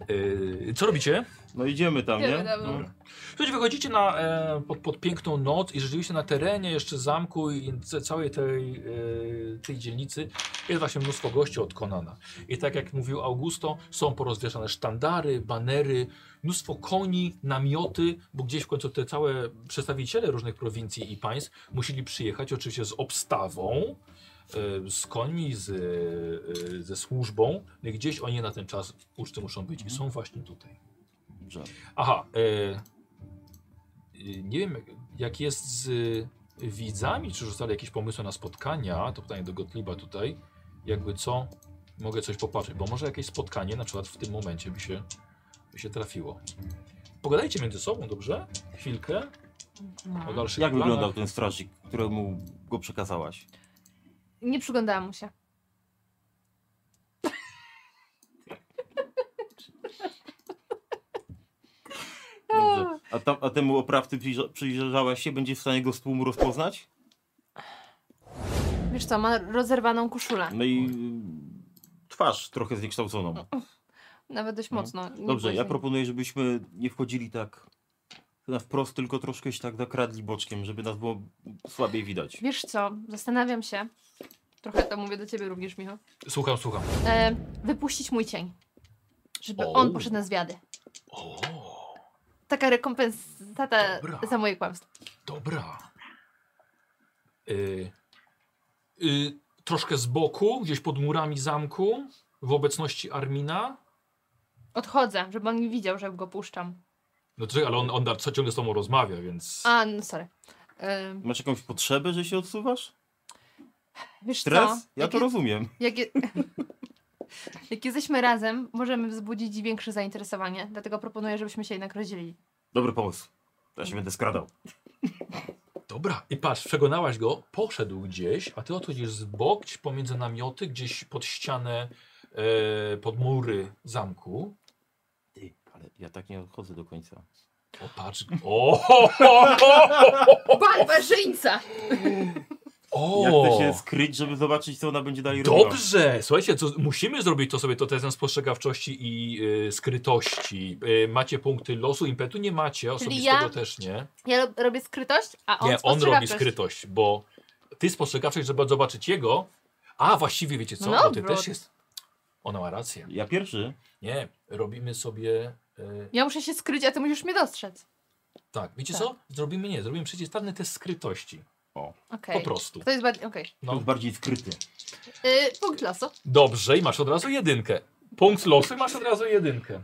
S3: Yy, co robicie?
S2: No idziemy tam,
S4: Idziemy
S2: nie?
S4: tam, no.
S2: No.
S3: Słuchajcie, wychodzicie na, e, pod, pod piękną noc i rzeczywiście na terenie jeszcze zamku i ce- całej tej, e, tej dzielnicy jest właśnie mnóstwo gości od Konana. I tak jak mówił Augusto, są porozwieszane sztandary, banery, mnóstwo koni, namioty, bo gdzieś w końcu te całe przedstawiciele różnych prowincji i państw musieli przyjechać oczywiście z obstawą, e, z końmi, z, e, ze służbą. No i Gdzieś oni na ten czas uczty muszą być i są właśnie tutaj.
S2: Dobrze.
S3: Aha, e, y, nie wiem jak- jak jest z y, widzami, czy rzucali jakieś pomysły na spotkania, to pytanie do Gottlieba tutaj, jakby co, mogę coś popatrzeć, bo może jakieś spotkanie na przykład w tym momencie by się, by się trafiło. Pogadajcie między sobą, dobrze? Chwilkę o dalszych
S2: Jak
S3: planach.
S2: wyglądał ten strażnik, któremu go przekazałaś?
S4: Nie przyglądałam mu się.
S2: Dobrze. A, tam, a temu oprawcy przyjrza- przyjrzałaś się? Będziesz w stanie go z tłumu rozpoznać?
S4: Wiesz co, ma rozerwaną koszulę.
S2: No i y, twarz trochę zniekształconą.
S4: Nawet dość
S2: No.
S4: mocno. Nie
S2: Dobrze,
S4: byłeś-
S2: ja proponuję, żebyśmy nie wchodzili tak na wprost, tylko troszkę się tak zakradli boczkiem, żeby nas było słabiej widać.
S4: Wiesz co, zastanawiam się. Trochę to mówię do ciebie również, Michał.
S3: Słucham, słucham.
S4: E, wypuścić mój cień. Żeby
S3: O.
S4: on poszedł na zwiady.
S3: O,
S4: Taka rekompensata
S3: Dobra.
S4: za moje kłamstwo.
S3: dobra. Y, y, troszkę z boku, gdzieś pod murami zamku, w obecności Armina.
S4: Odchodzę, żeby on nie widział, że go puszczam.
S3: No czekaj, ale on, on da- co ciągle z tobą rozmawia, więc.
S4: A, no sorry. E,
S2: Masz jakąś potrzebę, że się odsuwasz?
S4: wiesz co?
S2: Stres? Ja
S4: Jak
S2: to
S4: je-
S2: rozumiem.
S4: Jak, je... jak jesteśmy razem, możemy wzbudzić większe zainteresowanie. Dlatego proponuję, żebyśmy się jednak rozdzielili.
S2: Dobry pomysł. Ja się będę skradał.
S3: Dobra. I patrz, przegonałaś go, poszedł gdzieś, a ty odchodzisz z bok, gdzieś pomiędzy namioty, gdzieś pod ścianę, e, pod mury zamku.
S2: Ty, ale ja tak nie odchodzę do końca.
S3: O, patrz. O, ho, ho, ho.
S4: Barbarzyńca!
S2: Ja chcę się
S3: O!
S2: skryć, żeby zobaczyć, co ona będzie dalej robiła.
S3: Dobrze! Słuchajcie, co, musimy zrobić to sobie to testem spostrzegawczości i y, skrytości. Y, macie punkty losu, impetu nie macie, osobistego
S4: ja-
S3: też nie.
S4: Ja rob- robię skrytość, a on
S3: Nie, on robi
S4: spostrzegawczość.
S3: skrytość, bo ty spostrzegawczość, żeby zobaczyć jego. A właściwie wiecie co?
S4: No
S3: No, ty
S4: odwrót.
S3: też jest. Ona ma rację.
S2: Ja pierwszy?
S3: Nie, robimy sobie. y,
S4: Ja muszę się skryć, a ty musisz mnie dostrzec.
S3: tak, wiecie
S4: Tak.
S3: co? Zrobimy nie, zrobimy przeciwstawny test skrytości.
S4: Okej.
S3: Po prostu.
S4: To jest bardziej... Okej.
S2: No.
S3: No.
S2: jest bardziej skryty.
S4: Yy, punkt losu.
S3: Dobrze, i masz od razu jedynkę. Punkt losu i masz od razu jedynkę.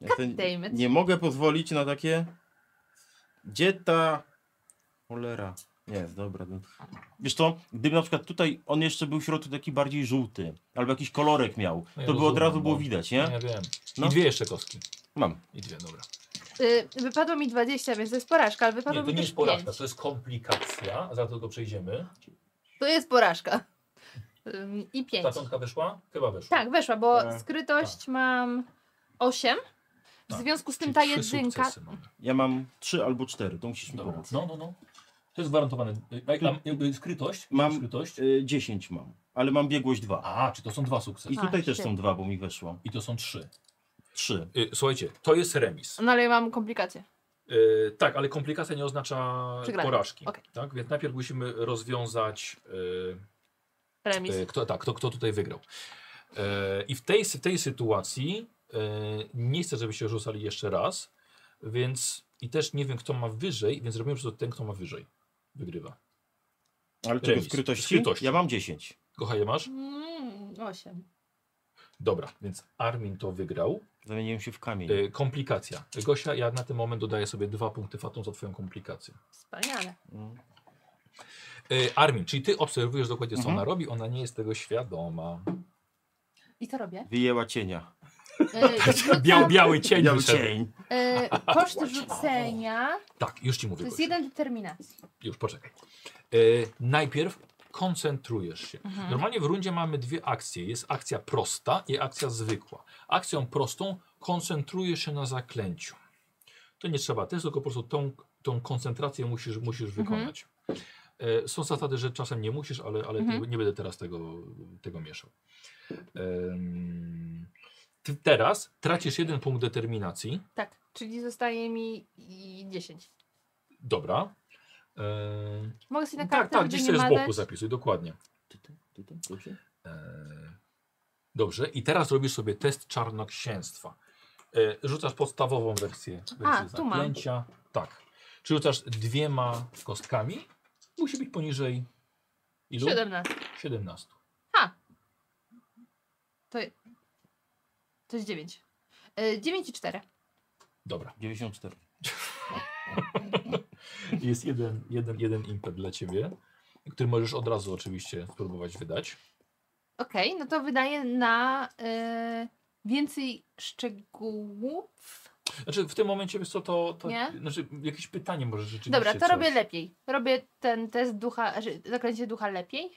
S2: Ja sobie
S4: damn it.
S2: nie mogę pozwolić na takie... Gdzie ta... Cholera. Nie, dobra. no. Wiesz co, gdyby na przykład tutaj on jeszcze był w środku taki bardziej żółty, albo jakiś kolorek miał,
S3: No ja
S2: to by od
S3: rozumiem,
S2: razu
S3: no.
S2: było widać,
S3: Nie,
S2: nie?
S3: wiem.
S2: No.
S3: I dwie jeszcze kostki.
S2: Mam.
S3: I dwie, dobra.
S4: Yy, wypadło mi 20, więc to jest porażka, ale
S3: Nie,
S4: wypadło
S3: to
S4: mi
S3: nie
S4: też
S3: jest porażka,
S4: 5.
S3: to jest komplikacja. Za to go przejdziemy.
S4: To jest porażka. Ym, I 5.
S3: Ta piątka wyszła? Chyba wyszła.
S4: Tak, weszła, bo
S2: Tak.
S4: skrytość mam 8. W
S3: Tak,
S4: związku z tym
S3: Czyli
S4: ta
S3: trzy
S4: jedynka.
S3: sukcesy mamy.
S2: Ja mam trzy albo cztery, to musisz mi
S3: Dobra.
S2: pomóc.
S3: No, no, no. To jest gwarantowane. Y, Jak tam jakby skrytość?
S2: Mam-
S3: skrytość.
S2: Y, Dziesięć mam, ale mam biegłość dwa.
S3: A, czy to są dwa sukcesy?
S2: I
S3: I,
S4: A,
S2: tutaj też
S4: trzy.
S2: są dwa, bo mi weszło.
S3: to są trzy.
S2: Trzy.
S3: Y, Słuchajcie, to jest remis.
S4: No ale ja mam komplikacje.
S3: Y, tak, ale komplikacja nie oznacza
S4: Przegrania.
S3: porażki.
S4: Okej.
S3: Tak? Więc najpierw musimy rozwiązać, y,
S4: Remis.
S3: y, kto, tak, kto, kto tutaj wygrał. Y, I w tej, sy- tej sytuacji y, nie chcę, żebyście rzucali jeszcze raz, więc i też nie wiem, kto ma wyżej, więc robimy, że ten, kto ma wyżej, wygrywa.
S2: Ale czego
S3: Remis.
S2: skrytości?
S3: Skrytości.
S2: Ja mam dziesięć.
S3: Kochaj, masz?
S4: Mm, 8.
S3: Dobra, więc Armin to wygrał.
S2: Zamieniłem się w kamień.
S3: Y, komplikacja. Gosia, ja na ten moment dodaję sobie dwa punkty fatum za twoją komplikację.
S4: Wspaniale.
S2: Mm.
S3: Y, Armin, czyli ty obserwujesz dokładnie, co
S2: Mhm.
S3: ona robi, ona nie jest tego świadoma.
S4: I co robię?
S2: Wyjęła cienia.
S4: Yy, rzucam,
S3: Biał, biały cień.
S2: Biały
S3: wyszedł.
S2: cień.
S4: yy, koszt rzucenia
S3: Tak, już ci
S4: to
S3: mówię.
S4: jest
S3: Gosia.
S4: jeden determinacji.
S3: Już, poczekaj. Y, najpierw koncentrujesz się.
S4: Mhm.
S3: Normalnie w rundzie mamy dwie akcje. Jest akcja prosta i akcja zwykła. Akcją prostą koncentrujesz się na zaklęciu. To nie trzeba testu, tylko po prostu tą, tą koncentrację musisz, musisz
S4: Mhm.
S3: wykonać. E, są zasady, że czasem nie musisz, ale, ale
S4: Mhm.
S3: nie, nie będę teraz tego, tego mieszał. Em, ty teraz tracisz jeden punkt determinacji.
S4: Tak, czyli zostaje mi i 10.
S3: Dobra. Em,
S4: Mogę sobie na kartę
S3: tak, tak,
S4: żeby
S3: gdzieś
S4: nie
S3: sobie z boku
S4: maleć.
S3: zapisuj, dokładnie.
S2: Ty, ty, ty, ty, dobrze?
S3: Eee, Dobrze, i teraz robisz sobie test czarnoksięstwa. Eee, Rzucasz podstawową wersję, wersję
S4: tu mam.
S3: zaklęcia. Tak. Czy rzucasz dwiema kostkami? Musi być poniżej ilu?
S4: 17.
S3: 17.
S4: To jest 9. Yy, 9 i 4.
S3: Dobra.
S2: 94.
S3: Jest jeden, jeden, jeden impet dla ciebie, który możesz od razu oczywiście spróbować wydać.
S4: Okej, no to wydaje na y, więcej szczegółów.
S3: Znaczy w tym momencie wiesz co, to, to
S4: Nie?
S3: znaczy, jakieś pytanie może rzeczywiście
S4: Dobra, to
S3: coś.
S4: robię lepiej. Robię ten test ducha, znaczy zaklęcie ducha lepiej.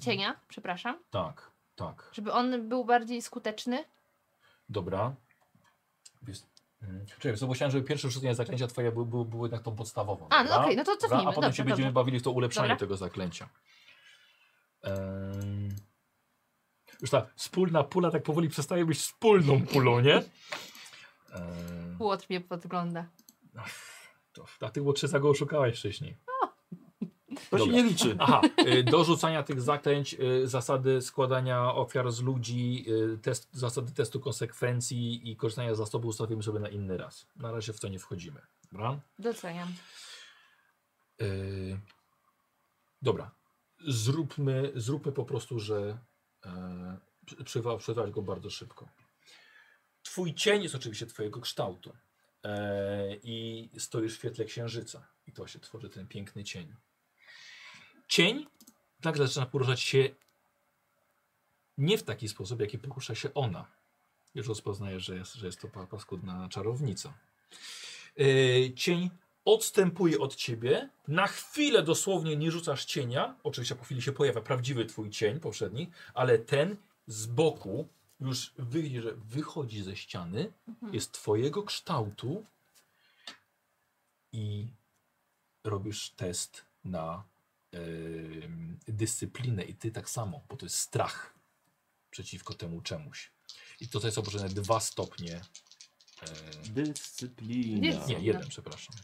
S4: Cienia, przepraszam.
S3: Tak, tak.
S4: Żeby on był bardziej skuteczny.
S3: Dobra. Jest... mm, Czekaj, wiesz co, bo chciałem, żeby pierwsze rzucenie zaklęcia twoje było, było, było jednak tą podstawową.
S4: A, no
S3: dobra?
S4: okej, no to
S3: Dobra?
S4: cofnijmy,
S3: A potem
S4: dobrze,
S3: się będziemy
S4: dobrze.
S3: bawili w to ulepszanie
S4: Dobra.
S3: tego zaklęcia. Em, Już ta wspólna pula tak powoli przestaje być wspólną pulą, nie? Em,
S4: Płot mnie podgląda.
S3: to- A ty Łotrzyca go oszukałeś wcześniej.
S2: To się
S3: Dobra.
S2: nie liczy.
S3: Aha, y, do rzucania tych zaklęć, y, zasady składania ofiar z ludzi, y, test, zasady testu konsekwencji i korzystania z zasobu ustawimy sobie na inny raz. Na razie w to nie wchodzimy. Dobra?
S4: Doceniam.
S3: Y, dobra. Zróbmy, zróbmy po prostu, że yy, przywołać go bardzo szybko. Twój cień jest oczywiście twojego kształtu y, i stoisz w świetle księżyca i to się tworzy ten piękny cień. Cień nagle zaczyna poruszać się nie w taki sposób, jaki porusza się ona. Już rozpoznaje, że jest, że jest to pa- paskudna czarownica. Yy, cień odstępuje od ciebie. Na chwilę dosłownie nie rzucasz cienia. Oczywiście po chwili się pojawia prawdziwy twój cień poprzedni, ale ten z boku już wy, że wychodzi ze ściany, jest twojego kształtu i robisz test na em, dyscyplinę i ty tak samo, bo to jest strach przeciwko temu czemuś. I tutaj są potrzebne dwa stopnie. e,
S2: Dyscyplina.
S3: nie, jeden, przepraszam.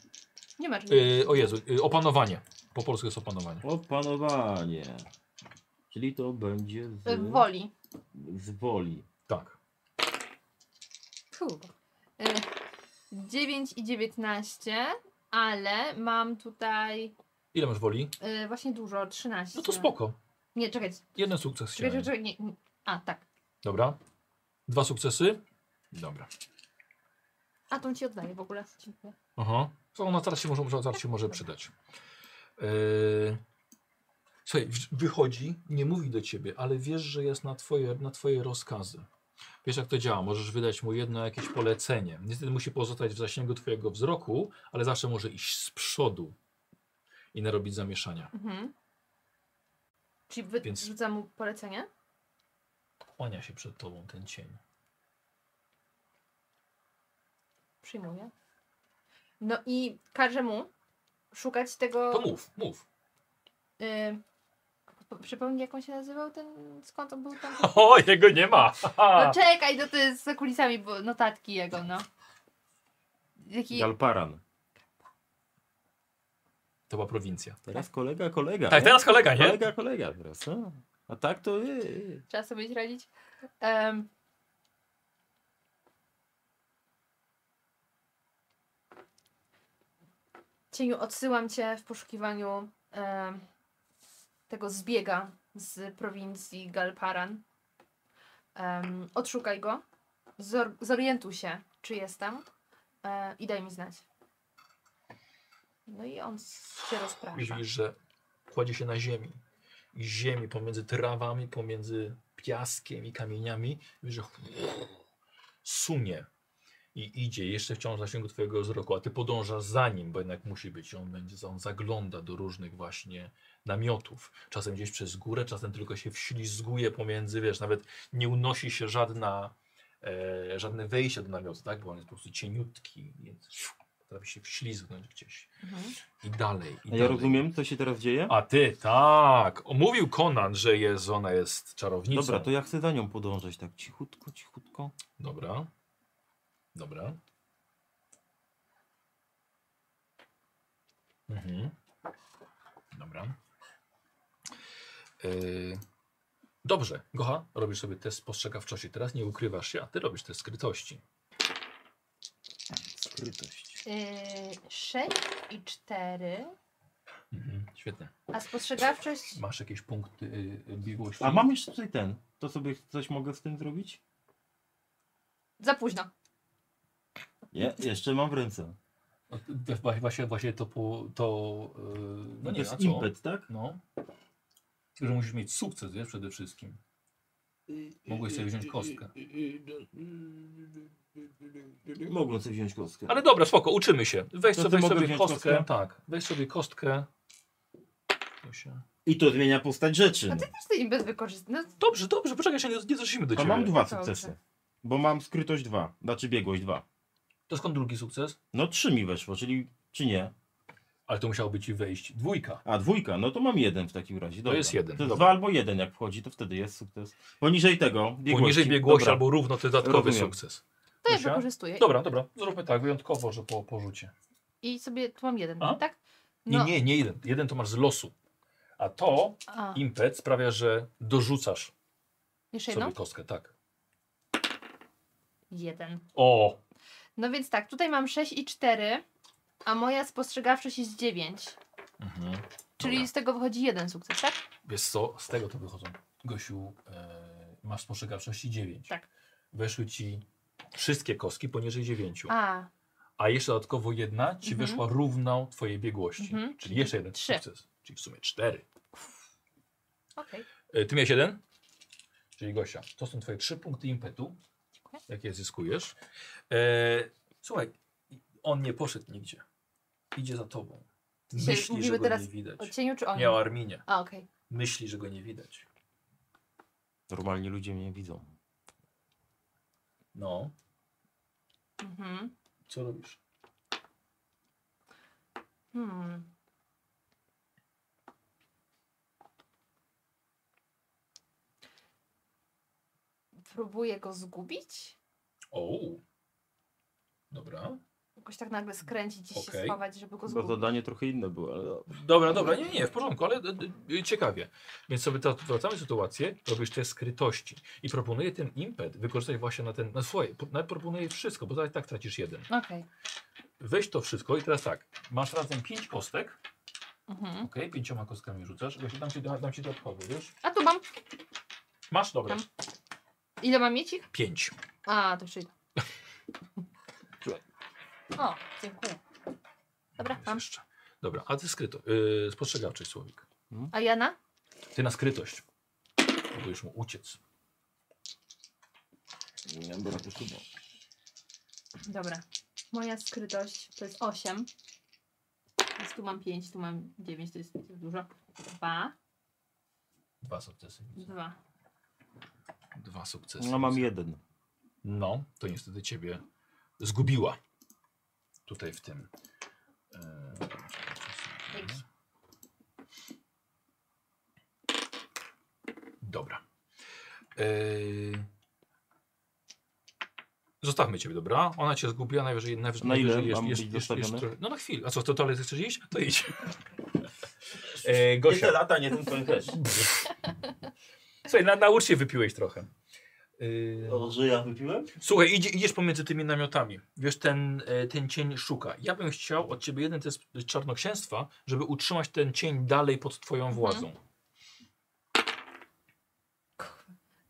S1: Nie ma czym.
S3: E, o Jezu, e, opanowanie. Po polsku jest opanowanie.
S2: Opanowanie. Czyli to będzie
S4: E,
S1: Y,
S2: z,
S1: Woli.
S2: z woli.
S3: Tak.
S4: Kurwa. Y, 9 i 19, ale mam tutaj
S3: Ile masz woli?
S4: y, właśnie dużo, 13.
S3: No to spoko.
S4: Nie, czekaj,
S3: Jeden sukces.
S4: czekaj,
S3: chciałem.
S4: czekaj, czekaj, nie, nie. A, tak.
S3: Dobra. Dwa sukcesy. Dobra.
S4: A tą ci oddaję w ogóle. Dziękuję.
S3: Aha. To ona teraz się może, może- teraz się może przydać. Yy... Słuchaj, w- wychodzi, nie mówi do ciebie, ale wiesz, że jest na twoje, na twoje rozkazy. Wiesz, jak to działa. Możesz wydać mu jedno jakieś polecenie. Niestety musi pozostać w zasięgu twojego wzroku, ale zawsze może iść z przodu i narobić zamieszania.
S4: Mhm. Czyli wy,
S3: Więc-
S4: rzucam mu polecenie?
S3: Kłania się przed tobą ten cień.
S4: Przyjmuję. No i każę mu szukać tego...
S3: To mów, mów.
S4: Y, po- przypomnij, jak on się nazywał ten... Skąd on był tam?
S3: O, jego nie ma!
S4: No czekaj, no to jest za kulisami bo notatki jego, no. Jaki...
S2: Galparan.
S3: To była prowincja.
S2: Teraz kolega, kolega.
S3: Tak,
S2: nie?
S3: teraz kolega, nie?
S2: Kolega, kolega teraz. A, a tak to... y, y.
S4: Trzeba sobie radzić. Em. Cieniu, odsyłam cię w poszukiwaniu em, tego zbiega z prowincji Galparan. Em, odszukaj go, zor- zorientuj się, czy jest tam e, i daj mi znać. No i on s- się rozprasza.
S3: Widzisz, że kładzie się na ziemi. I ziemi pomiędzy trawami, pomiędzy piaskiem i kamieniami. Widzisz, że sunie i idzie jeszcze wciąż w zasięgu twojego wzroku, a ty podążasz za nim, bo jednak musi być. On, będzie, on zagląda do różnych właśnie namiotów. Czasem gdzieś przez górę, czasem tylko się wślizguje pomiędzy, wiesz, nawet nie unosi się żadna, e, żadne wejście do namiotu, tak? Bo on jest po prostu cieniutki, więc potrafi się wślizgnąć gdzieś.
S4: Mhm.
S3: I dalej, i
S2: A ja
S3: dalej.
S2: rozumiem, co się teraz dzieje?
S3: A ty, tak. O, Mówił Conan, że jest, ona jest czarownicą.
S2: Dobra, to ja chcę za nią podążać tak cichutko, cichutko.
S3: Dobra. Dobra. Mhm. Dobra. Yy... Dobrze, Gocha, robisz sobie test spostrzegawczości. Teraz nie ukrywasz się, a ty robisz test skrytości.
S2: Skrytość.
S4: Y, 6 i 4.
S3: Mhm. Świetnie.
S4: A spostrzegawczość
S3: Masz jakieś punkty yy, biegłości?
S2: A mam jeszcze tutaj ten. To sobie coś mogę z tym zrobić?
S4: za późno.
S2: Nie, jeszcze mam w ręce.
S3: O, to- to- Właśnie, właśnie to... po- to yy, no
S2: to
S3: nie, a
S2: jest
S3: co?
S2: impet, tak?
S3: No. Tylko, że musisz mieć sukces, wiesz, przede wszystkim. Mogłeś sobie wziąć kostkę.
S2: Mogłem sobie wziąć kostkę.
S3: Ale dobra, spoko, uczymy się. Weź
S2: To
S3: sobie,
S2: ty
S3: weź
S2: mogę
S3: sobie
S2: wziąć
S3: kostkę.
S2: kostkę?
S3: Tak, weź sobie kostkę. To się...
S2: I to zmienia postać rzeczy.
S4: Też ty im bez wykorzystania. No,
S3: Dobrze, dobrze, poczekaj się, nie, nie zeszliśmy do
S2: To
S3: ciebie.
S2: mam dwa
S4: Dobrze.
S2: sukcesy. Bo mam skrytość dwa, znaczy biegłość dwa.
S3: To skąd drugi sukces?
S2: No trzy mi weszło, czyli czy nie?
S3: Ale to musiało być i wejść. Dwójka.
S2: A dwójka, no to mam jeden w takim razie. Dobra.
S3: jest jeden,
S2: To jest
S3: dobra.
S2: dwa albo jeden jak wchodzi, to wtedy jest sukces. Poniżej tego biegłości.
S3: Poniżej biegłości
S2: Dobra.
S3: albo równo, to dodatkowy
S2: Rozumiem.
S3: sukces.
S4: to ja
S3: Zosia?
S4: wykorzystuję.
S3: Dobra, dobra, zróbmy tak, wyjątkowo, że po porzucie.
S4: I sobie tu mam jeden,
S3: A?
S4: tak?
S3: Nie,
S4: No,
S3: nie, nie jeden. Jeden to masz z losu. A to,
S4: A,
S3: impet, sprawia, że dorzucasz
S4: jeszcze jedną?
S3: sobie kostkę, tak.
S4: Jeden.
S3: O,
S4: No więc tak, tutaj mam 6 i 4, a moja spostrzegawczość jest 9.
S3: Mhm.
S4: Czyli
S3: Dobra.
S4: z tego wychodzi jeden sukces, tak?
S3: Wiesz co, z tego to wychodzą. Gosiu, e, masz spostrzegawczości 9.
S4: Tak.
S3: Weszły ci wszystkie kostki poniżej 9. A,
S4: A,
S3: jeszcze dodatkowo jedna ci
S4: Mhm.
S3: weszła równą twojej biegłości.
S4: Mhm.
S3: Czyli jeszcze jeden
S4: Trzy.
S3: sukces. Czyli w sumie 4.
S4: okej.
S3: E, ty miałeś jeden? Czyli Gosia. To są twoje 3 punkty impetu,
S4: Dziękuję.
S3: jakie zyskujesz. E, słuchaj, on nie poszedł nigdzie. Idzie za tobą.
S4: Dzisiaj
S3: Myśli, że
S4: mówimy
S3: go
S4: teraz
S3: nie widać.
S4: O cieniu czy o nim?
S3: Nie o Arminie.
S4: A, okej.
S3: Myśli, że go nie widać.
S2: Normalnie ludzie mnie widzą.
S3: No,
S4: Mhm.
S3: co robisz?
S4: Hmm. próbuje go zgubić.
S3: O. Dobra.
S4: Jakoś tak nagle skręcić, gdzieś się
S3: Okej.
S4: schować, żeby go
S2: Chyba
S4: zgubić.
S2: zadanie trochę inne było, ale dobra.
S3: Dobra, dobra, nie, nie, w porządku, ale e, e, ciekawie. Więc sobie ta, wracamy sytuację, robisz test skrytości i proponuję ten impet wykorzystać właśnie na ten, na swoje, po- na- proponuję wszystko, bo tak, tak tracisz jeden.
S4: Okej.
S3: Weź to wszystko i teraz tak, masz razem pięć kostek,
S4: Mhm.
S3: okej, pięcioma kostkami rzucasz, ja się dam ci, dam ci dodatkowy, wiesz?
S4: A tu mam.
S3: Masz, dobra,
S4: Tam. Ile mam mieć ich?
S3: pięć.
S4: A, to przyjdę.
S3: Słuchaj.
S4: O, dziękuję. Dobra, mam.
S3: Jeszcze. Dobra, a ty skryto, yy, spostrzegawczy słowik.
S4: A Jana?
S3: Ty na skrytość. Próbujesz mu uciec.
S2: Nie wiem, bo na to chyba.
S4: Dobra. Moja skrytość to jest 8. Więc tu mam 5, tu mam 9, to jest dużo. 2,
S3: Dwa sukcesy.
S4: 2.
S3: Dwa sukcesy.
S2: No mam jeden.
S3: No, to niestety ciebie zgubiła. Tutaj w tym. Eee,
S4: Dzięki.
S3: Dobra. Eee, zostawmy ciebie, dobra? Ona cię zgubiła, najwyżej, najwyżej,
S2: Na ile
S3: najwyżej
S2: mam
S3: jest,
S2: być
S3: jest, jest,
S2: zostawiony?
S3: trochę- No na chwilę. A co, to dalej chcesz iść? To idź. Eee, Gosia,
S2: lata, nie ten koń też.
S3: słuchaj, na, na uczcie wypiłeś trochę. Eee,
S2: O, że ja wypiłem?
S3: Słuchaj, idzie, idziesz pomiędzy tymi namiotami. Wiesz, ten, e, ten cień szuka. Ja bym chciał od ciebie jeden test czarnoksięstwa, żeby utrzymać ten cień dalej pod twoją
S4: Mhm.
S3: władzą.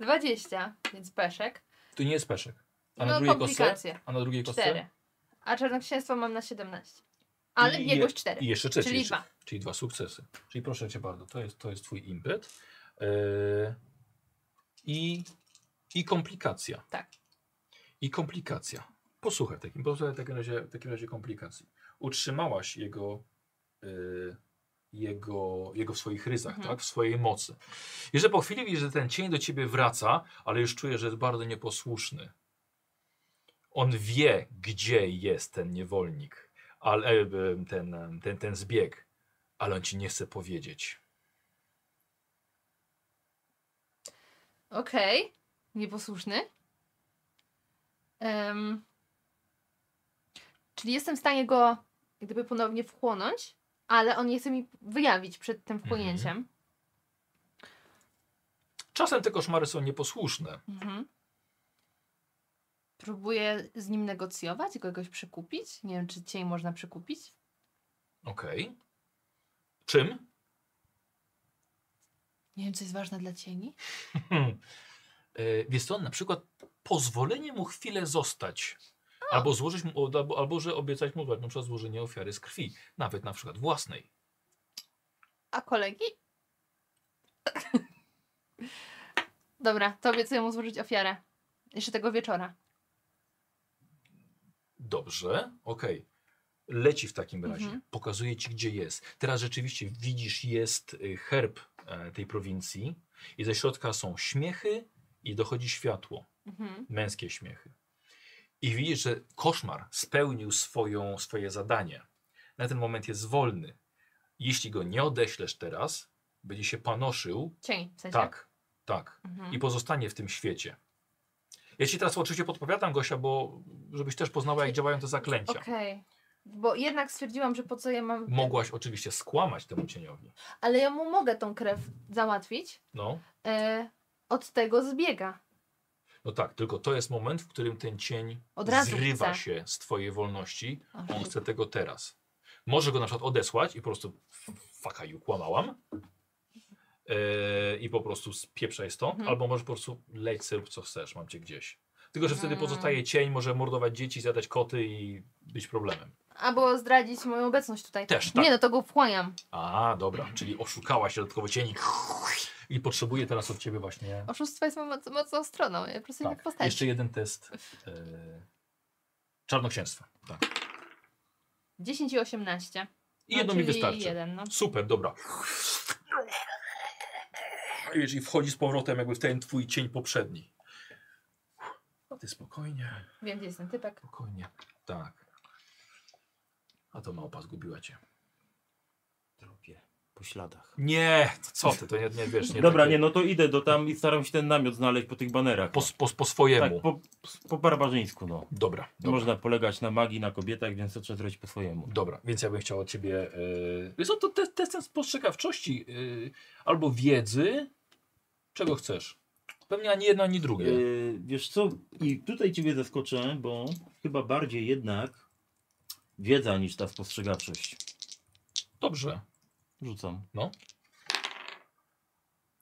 S4: 20, więc peszek.
S3: To nie jest peszek. A na
S4: No
S3: drugiej kostce?
S4: komplikacje.
S3: A na drugiej kostce?
S4: 4. A czarnoksięstwo mam na 17. Ale
S3: I-
S4: biegłość 4.
S3: I jeszcze trzeci.
S4: Czyli
S3: jeszcze.
S4: dwa.
S3: Czyli dwa sukcesy. Czyli proszę cię bardzo, to jest, to jest twój impet. Yy, I, I komplikacja.
S4: Tak.
S3: I komplikacja. Posłuchaj w takim, posłuchaj w takim, razie, w takim razie komplikacji. Utrzymałaś jego, yy, jego, jego w swoich ryzach,
S4: Mhm.
S3: tak? w swojej mocy. Jeżeli po chwili widzisz, że ten cień do ciebie wraca, ale już czujesz, że jest bardzo nieposłuszny. On wie, gdzie jest ten niewolnik ale, e, e, ten, e, ten, ten zbieg, ale on ci nie chce powiedzieć.
S4: Okej. Nieposłuszny. Em, czyli jestem w stanie go jak gdyby ponownie wchłonąć, ale on nie chce mi wyjawić przed tym wchłonięciem.
S3: Czasem te koszmary są nieposłuszne.
S4: Mhm. Próbuję z nim negocjować, go jakoś przekupić. Nie wiem, czy cień można przekupić.
S3: Okej. Czym?
S4: Nie wiem, co jest ważne dla cieni.
S3: E, Wiesz co, na przykład pozwolenie mu chwilę zostać. Albo złożyć mu, albo, albo że obiecać mu na przykład złożenie ofiary z krwi, nawet na przykład własnej.
S4: A kolegi? Dobra, to obiecuję mu złożyć ofiarę. Jeszcze tego wieczora.
S3: Dobrze, okej. Leci w takim razie.
S4: Mhm.
S3: Pokazuje ci, gdzie jest. Teraz rzeczywiście widzisz, jest y, herb e, tej prowincji i ze środka są śmiechy i dochodzi światło.
S4: Mhm.
S3: męskie śmiechy. I widzisz, że koszmar spełnił swoją, swoje zadanie. Na ten moment jest wolny. Jeśli go nie odeślesz teraz, będzie się panoszył.
S4: Cień, w sensie.
S3: Tak, tak.
S4: Mhm.
S3: I pozostanie w tym świecie. Ja ci teraz oczywiście podpowiadam, Gosia, bo żebyś też poznała, jak działają te zaklęcia.
S4: Okej. Bo jednak stwierdziłam, że po co ja mam.
S3: Mogłaś oczywiście skłamać temu cieniowi.
S4: Ale ja mu mogę tą krew załatwić.
S3: No,
S4: E, od tego zbiega.
S3: no tak, tylko to jest moment, w którym ten cień
S4: Od razu
S3: zrywa
S4: chce.
S3: się z twojej wolności
S4: O,
S3: On
S4: shit.
S3: chce tego teraz. Może go na przykład odesłać i po prostu faka ju kłamałam. Yy, I po prostu spieprzaj stąd,
S4: Mhm.
S3: albo może po prostu leć sobie rób co chcesz, mam cię gdzieś. Tylko, że wtedy
S4: Mm.
S3: pozostaje cień, może mordować dzieci, zjadać koty i być problemem.
S4: Albo zdradzić moją obecność tutaj.
S3: Też, tak.
S4: Nie, no to go wchłaniam.
S3: A, dobra, czyli oszukałaś dodatkowo cień i potrzebuje teraz od ciebie właśnie.
S4: Oszustwo jest moją moc- mocną stroną. Ja po prostu tak.
S3: Tak.
S4: nie postawię.
S3: Jeszcze jeden test. Yy, czarnoksięstwa. Tak.
S4: 10 i 18.
S3: I jedno mi
S4: czyli
S3: wystarczy.
S4: Jeden, no.
S3: Super, dobra. I Wiesz, i wchodzi z powrotem jakby w ten twój cień poprzedni. A ty spokojnie,
S4: Wiem, gdzie jest ten typek.
S3: spokojnie. Tak. A to małpa zgubiła cię.
S2: Tropie. po śladach.
S3: Nie, co ty, to nie, nie wiesz. Nie
S2: Dobra,
S3: takie-
S2: nie, no to idę do tam i staram się ten namiot znaleźć po tych banerach.
S3: Po, po, po
S2: tak,
S3: swojemu.
S2: po, po barbarzyńsku, no.
S3: Dobra,
S2: Nie
S3: dobra.
S2: Można polegać na magii, na kobietach, więc to trzeba zrobić po swojemu.
S3: Dobra, więc ja bym chciał od ciebie. Yy, jest to te, testem spostrzegawczości y, albo wiedzy, czego chcesz. Pewnie ani jedno, ani drugie.
S2: Yy, wiesz co, i tutaj ciebie zaskoczę, bo chyba bardziej jednak wiedza niż ta spostrzegawczość.
S3: Dobrze.
S2: Rzucam.
S3: No.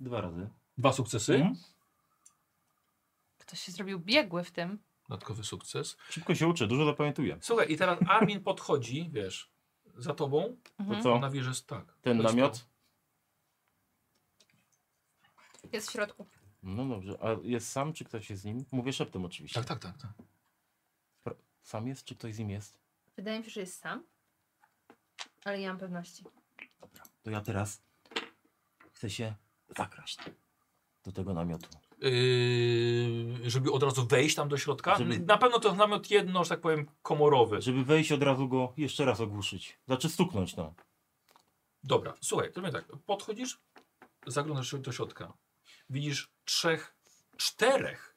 S2: Dwa razy.
S3: Dwa sukcesy.
S2: Mhm.
S4: Ktoś się zrobił biegły w tym.
S3: Dodatkowy sukces.
S2: Szybko się uczę, dużo zapamiętuję.
S3: Słuchaj, i teraz Armin podchodzi, wiesz, za tobą.
S2: To
S4: Mhm.
S2: co?
S3: Ona wie, że jest tak.
S2: Ten
S3: To jest
S2: namiot?
S4: Jest w środku.
S2: No dobrze. A jest sam, czy ktoś jest z nim? Mówię szeptem
S3: to.
S2: oczywiście.
S3: Tak, tak, tak. tak.
S2: Sam jest, czy ktoś z nim jest?
S5: Wydaje mi się, że jest sam. Ale nie mam pewności.
S2: To ja teraz chcę się zakraść do tego namiotu.
S3: Yy, żeby od razu wejść tam do środka.
S2: Żeby-
S3: Na pewno to namiot jedno, że tak powiem, komorowy.
S2: Żeby wejść od razu go jeszcze raz ogłuszyć. Znaczy stuknąć, no.
S3: Dobra, słuchaj, to mnie tak. Podchodzisz, zaglądasz do środka. Widzisz trzech, czterech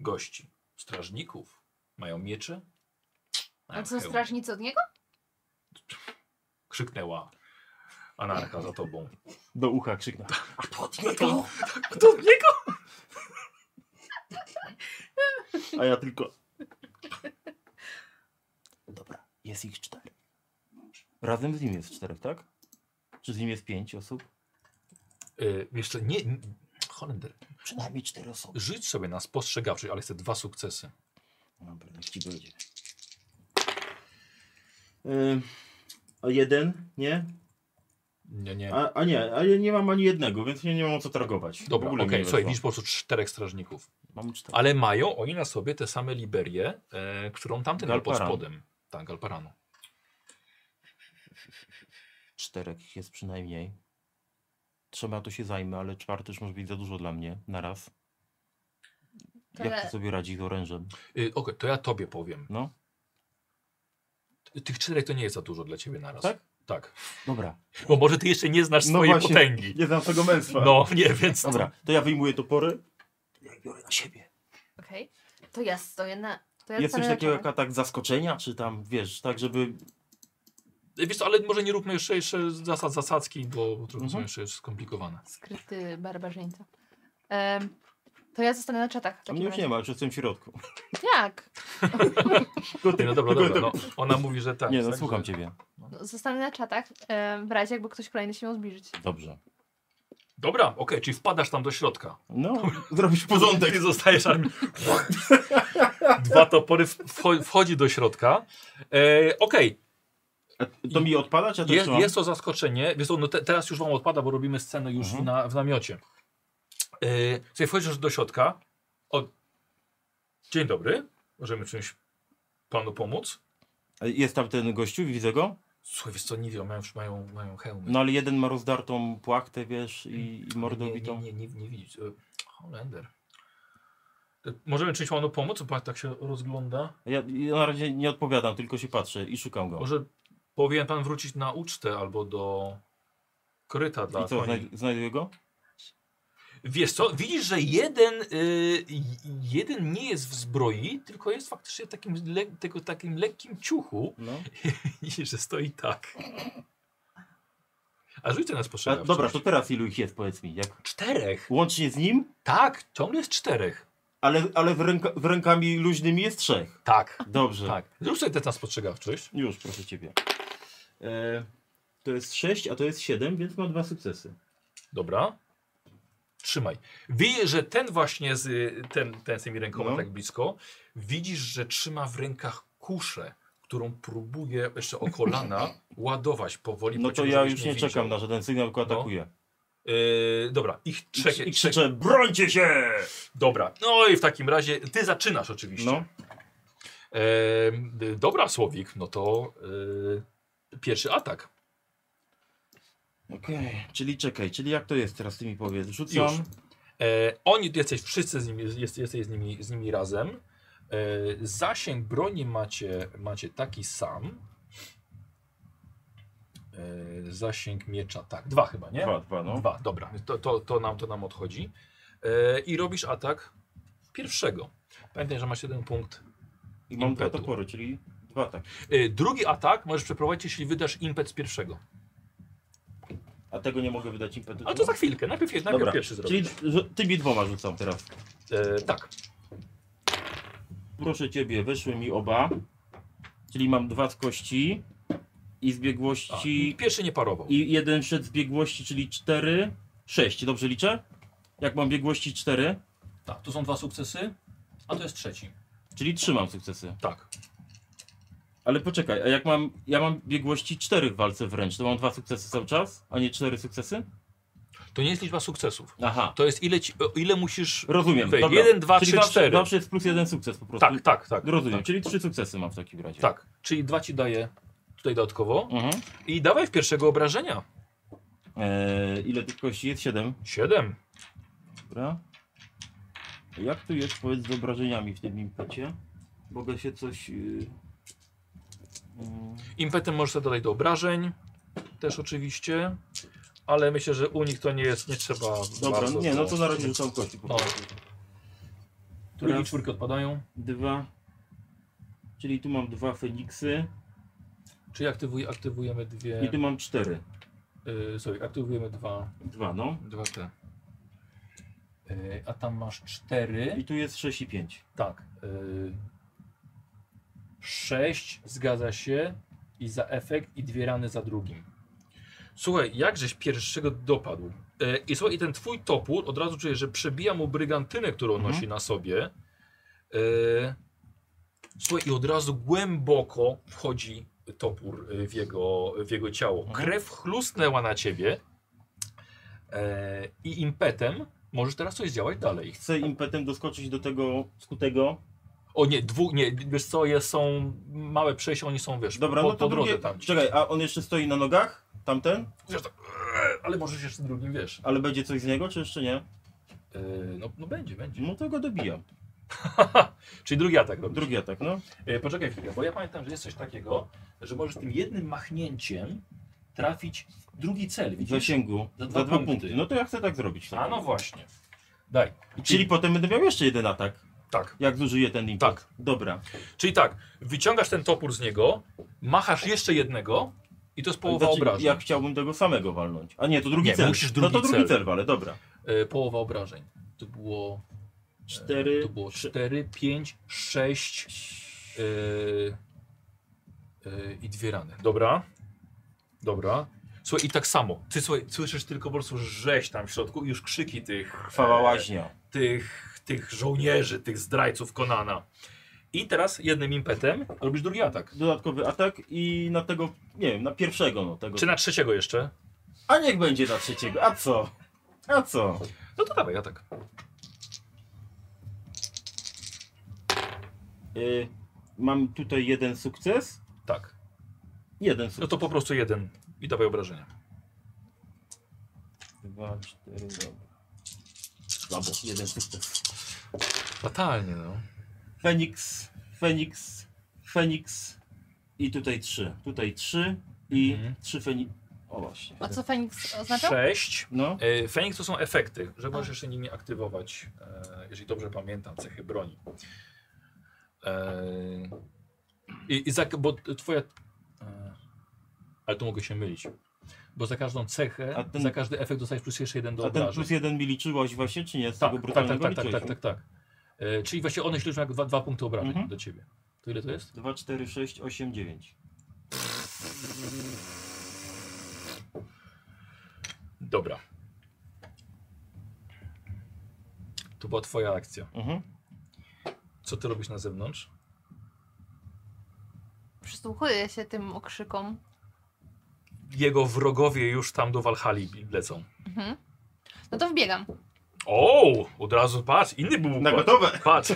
S3: gości, strażników. Mają miecze.
S5: A
S3: Mają
S5: co,
S3: hełmy.
S5: strażnicy od niego?
S3: Krzyknęła anarcha za tobą.
S2: Do ucha krzyknę.
S3: Do niego!
S2: A ja tylko. Dobra, jest ich cztery. Razem z nim jest czterech, tak? Czy z nim jest pięć osób?
S3: Yy, wiesz co, nie, nie... Holender,
S2: Przynajmniej cztery osoby.
S3: rzuć sobie na spostrzegawczy, ale chcę dwa sukcesy.
S2: Dobra, niech ci będzie. Yy, a jeden? Nie?
S3: Nie, nie.
S2: A, a nie, a ja nie mam ani jednego, więc nie, nie mam o co targować.
S3: Dobra,
S2: W
S3: okej,
S2: ogóle mi nie
S3: słuchaj,
S2: weszło.
S3: widzisz po prostu czterech strażników.
S2: Mam cztery.
S3: Ale mają oni na sobie te same liberie, e, którą tamten miał pod
S2: Galparan.
S3: spodem. Tak, Galparanu.
S2: Czterech jest przynajmniej. Trzema to się zajmę, ale czwarty już może być za dużo dla mnie na raz.
S5: To
S2: Jak
S5: le-
S2: ty sobie radzi z orężem?
S3: Yy, Okej, to ja tobie powiem.
S2: No.
S3: Tych czterech to nie jest za dużo dla ciebie naraz.
S2: Tak?
S3: Tak.
S2: Dobra.
S3: Bo może ty jeszcze nie znasz
S2: No
S3: swojej
S2: właśnie.
S3: potęgi.
S2: Nie znam tego męstwa.
S3: No, nie, więc...
S2: Dobra, to ja wyjmuję topory. Ja biorę na siebie.
S5: Okej. To ja stoję na... To ja
S2: Jest coś
S5: stanę na
S2: takiego
S5: czele.
S2: jak atak zaskoczenia, czy tam, wiesz, tak żeby...
S3: Wiesz co, ale może nie róbmy jeszcze, jeszcze zasad zasadzki, bo trochę są
S2: Mhm.
S3: jeszcze skomplikowane.
S4: Skryty barbarzyńca. Em, to ja zostanę na czatach. w
S3: No
S2: A
S4: takim
S2: mnie No już nie
S4: razie. Tak,
S2: ma, już jestem w środku.
S4: Jak?
S2: Tylko ty,
S3: Nie, no dobra,
S2: tylko
S3: dobra.
S2: ty.
S3: No, ona mówi, że tak.
S2: Nie, no
S3: tak,
S2: słucham
S3: że-
S2: ciebie.
S4: No, Zostanę na czatach em, w razie, jakby ktoś kolejny się miał zbliżyć.
S2: Dobrze.
S3: Dobra, okej, czyli wpadasz tam do środka.
S2: No, zrobisz porządek.
S3: Nie zostajesz armii. Dwa topory w- wcho- wchodzi do środka. E, okej,
S2: A To mi odpada, czy ja to
S3: Jest,
S2: jeszcze mam?
S3: jest to zaskoczenie. Wiesz, co, no te, teraz już wam odpada, bo robimy scenę już
S2: Mhm.
S3: na, w namiocie. Yy, słuchaj, wchodzisz do środka. O... Dzień dobry. Możemy czymś panu pomóc?
S2: Jest tam ten gościu, widzę go?
S3: Słuchaj, wiesz co, nie wiem, mają, mają, mają hełmy.
S2: No ale jeden ma rozdartą płachtę, wiesz, i, i mordowitą.
S3: Nie, nie, nie, nie, nie widzieć. E, Holender. E, Możemy czymś panu pomóc? Bo tak się rozgląda.
S2: Ja, ja na razie nie odpowiadam, tylko się patrzę i szukam go.
S3: Może powinien pan wrócić na ucztę albo do koryta dla
S2: I co,
S3: koni.
S2: znaj znajduję go?
S3: Wiesz co, widzisz, że jeden, y, jeden nie jest w zbroi, tylko jest faktycznie w takim, le, tego, takim lekkim ciuchu
S2: No.
S3: i że stoi tak. A rzućcie nas
S2: A,
S3: potrzebę.
S2: dobra, to teraz ilu ich jest, powiedz mi. Jak...
S3: Czterech.
S2: Łącznie z nim,
S3: Tak, ciągle jest czterech.
S2: ale, ale w, ręka w rękami luźnymi jest trzech.
S3: Tak,
S2: Dobrze.
S3: tak. Zrób sobie test na spostrzegawczość.
S2: Już, proszę ciebie. E, to jest sześć, a to jest siedem, więc ma dwa sukcesy.
S3: Dobra. Trzymaj. Widzisz, że ten właśnie z, y, ten, ten z tymi rękoma
S2: No.
S3: tak blisko, widzisz, że trzyma w rękach kuszę, którą próbuje jeszcze o kolana ładować powoli.
S2: No
S3: po
S2: to
S3: cichu,
S2: ja
S3: żebyś
S2: już nie
S3: widział.
S2: czekam na żaden sygnał, tylko
S3: No.
S2: atakuję.
S3: Yy, dobra, ich
S2: I,
S3: trzech.
S2: I
S3: trzech-
S2: krzyczę, brońcie się!
S3: Dobra, no i w takim razie ty zaczynasz oczywiście.
S2: No,
S3: Em, y, dobra, Słowik, no to y, pierwszy atak.
S2: okej. Czyli czekaj, czyli jak to jest teraz, ty mi powiedz. Rzucam.
S3: Już. E, oni, jesteś wszyscy z nimi, jest, jesteś z nimi, z nimi razem. E, zasięg broni macie, macie taki sam. E, zasięg miecza, tak. Dwa chyba, nie?
S2: Dwa, dwa, no.
S3: Dwa, dobra. To, to, to, nam, to nam odchodzi. E, I robisz atak pierwszego. Pamiętaj, że masz jeden punkt.
S2: I mam dwa
S3: Impetu.
S2: topory, czyli dwa tak.
S3: E, drugi atak możesz przeprowadzić, jeśli wydasz impet z pierwszego.
S2: A tego nie mogę wydać impetu.
S3: Ale to za chwilkę. Najpierw, najpierw
S2: No. Dobra.
S3: Tak, pierwszy zrobisz.
S2: Czyli że- tymi dwoma rzucam teraz.
S3: E, tak.
S2: Proszę ciebie, wyszły mi oba. Czyli mam dwa z kości i z
S3: A,
S2: biegłości.
S3: Pierwszy nie parował.
S2: I jeden szedł z biegłości, czyli cztery. Sześć, dobrze liczę? Jak mam biegłości cztery,
S3: Tak, to są dwa sukcesy, a to jest trzeci.
S2: czyli trzymam sukcesy.
S3: Tak.
S2: Ale poczekaj, a jak mam. Ja mam biegłości cztery w walce wręcz, to mam dwa sukcesy cały czas, a nie cztery sukcesy?
S3: To nie jest liczba sukcesów.
S2: Aha.
S3: To jest ile, ci, o ile musisz.
S2: Rozumiem.
S3: Wej,
S2: dobra.
S3: jeden, dwa,
S2: Czyli
S3: trzy,
S2: zawsze,
S3: cztery.
S2: Zawsze jest plus jeden sukces po prostu.
S3: Tak, tak, tak.
S2: Rozumiem, czyli trzy sukcesy mam w takim razie.
S3: Tak. Czyli dwa ci daje tutaj dodatkowo.
S2: Mhm.
S3: I dawaj w pierwszego obrażenia.
S2: Eee, ile tych kości jest? Siedem.
S3: Siedem.
S2: Dobra. Jak tu jest powiedz z obrażeniami w tym impecie? Mogę się coś... Yy... yy,
S3: Impetem możesz sobie dodać do obrażeń. Też oczywiście. Ale myślę, że u nich to nie jest, nie trzeba.
S2: Dobra,
S3: bardzo
S2: nie, no to
S3: to-
S2: na razie rzucam kości po
S3: No.
S2: prostu.
S3: Tu i
S2: Raz.
S3: czwórki odpadają.
S2: Dwa. Czyli tu mam dwa Feniksy
S3: Czyli aktywuj, aktywujemy dwie.
S2: i tu mam cztery.
S3: Y, sorry, aktywujemy dwa.
S2: Dwa, no.
S3: Dwa te. Y, a tam masz cztery.
S2: I tu jest sześć i pięć.
S3: Tak. Y, sześć zgadza się i za efekt i dwie rany za drugim. Słuchaj, jakżeś pierwszego dopadł. Y, I słuchaj, i ten twój topór od razu czujesz, że przebija mu brygantynę, którą
S2: Mhm.
S3: nosi na sobie. Y, słuchaj, i od razu głęboko wchodzi topór y, w jego, w jego ciało.
S2: Mhm.
S3: Krew chlusnęła na ciebie y, i impetem możesz teraz coś zdziałać dalej.
S2: Chcę impetem doskoczyć do tego skutego.
S3: O nie, dwóch, nie, wiesz co, je, są małe przejścia, oni są, wiesz,
S2: Dobra,
S3: po,
S2: no to
S3: po drodze
S2: drugie...
S3: tam.
S2: Czekaj, a on jeszcze stoi na nogach? Tamten?
S3: Wiesz, tak, ale możesz jeszcze drugim, wiesz.
S2: Ale będzie coś z niego, czy jeszcze nie?
S3: Yy, no, no będzie, będzie.
S2: No to go dobijam.
S3: Czyli drugi atak robisz.
S2: Drugi atak, no.
S3: Yy, poczekaj chwilę, bo ja pamiętam, że jest coś takiego, że możesz tym jednym machnięciem trafić w drugi cel,
S2: W
S3: widzisz?
S2: zasięgu. Za dwa, punkty. No to ja chcę tak zrobić.
S3: A no właśnie. Daj. I
S2: Czyli potem będę miał jeszcze jeden atak,
S3: Tak.
S2: jak zużyję ten impet.
S3: Tak.
S2: Dobra.
S3: Czyli tak, wyciągasz ten topór z niego, machasz jeszcze jednego i to jest połowa
S2: Znaczy,
S3: obrażeń.
S2: Ja chciałbym tego samego walnąć. A nie, to drugi
S3: Nie,
S2: cel.
S3: musisz
S2: no
S3: drugi
S2: to drugi
S3: cel.
S2: cel walę, dobra.
S3: Yy, połowa obrażeń. To było...
S2: Cztery.
S3: To było
S2: trzy-
S3: 4, 5, 6 e, i dwie rany. Dobra. Dobra. Słuchaj, i tak samo. Ty słuchaj, słyszysz tylko po prostu rzeź tam w środku i już krzyki tych, e,
S2: Krwawa łaźnia.
S3: tych, tych żołnierzy, tych zdrajców Konana. I teraz jednym impetem robisz drugi atak.
S2: Dodatkowy atak i na tego, nie wiem, na pierwszego no tego.
S3: Czy na trzeciego jeszcze?
S2: A niech będzie na trzeciego. A co? A co?
S3: No to dawaj atak.
S2: Y, mam tutaj jeden sukces.
S3: Tak.
S2: Jeden
S3: No
S2: sukces.
S3: to po prostu jeden i dawaj obrażenia.
S2: Dwa, cztery, dobra. Dobra, jeden sukces.
S3: Fatalnie no.
S2: Feniks, Feniks, Feniks i tutaj trzy. Tutaj trzy i
S3: Mhm.
S2: trzy Feniks. O właśnie.
S4: A co Feniks oznaczał?
S3: 6.
S2: No,
S3: E, Feniks to są efekty, że możesz jeszcze nimi aktywować, e, jeżeli dobrze pamiętam, cechy broni. E, i, i za, bo twoja... E, ale tu mogę się mylić. Bo za każdą
S2: A
S3: cechę,
S2: ten-
S3: za każdy efekt dostajesz plus jeszcze jeden do
S2: a ten
S3: obrażeń.
S2: plus jeden mi liczyłaś właśnie, czy nie? Z
S3: tak,
S2: tego
S3: tak, tak,
S2: brutalnego
S3: tak, tak,
S2: liczyłeś,
S3: tak,
S2: nie?
S3: tak, tak. E, czyli właśnie one się liczą jak dwa, dwa punkty obrażeń
S2: Mhm.
S3: do ciebie. To ile to jest?
S2: Dwa, cztery, sześć, osiem, dziewięć.
S3: Dobra. To była twoja akcja.
S2: Mhm.
S3: Co ty robisz na zewnątrz?
S4: Przysłuchuję się tym okrzykom.
S3: Jego wrogowie już tam do Walhali lecą.
S4: Mhm. No to wbiegam.
S3: O, od razu patrz, inny był
S2: Na
S3: układ.
S2: gotowe!
S3: Patrz.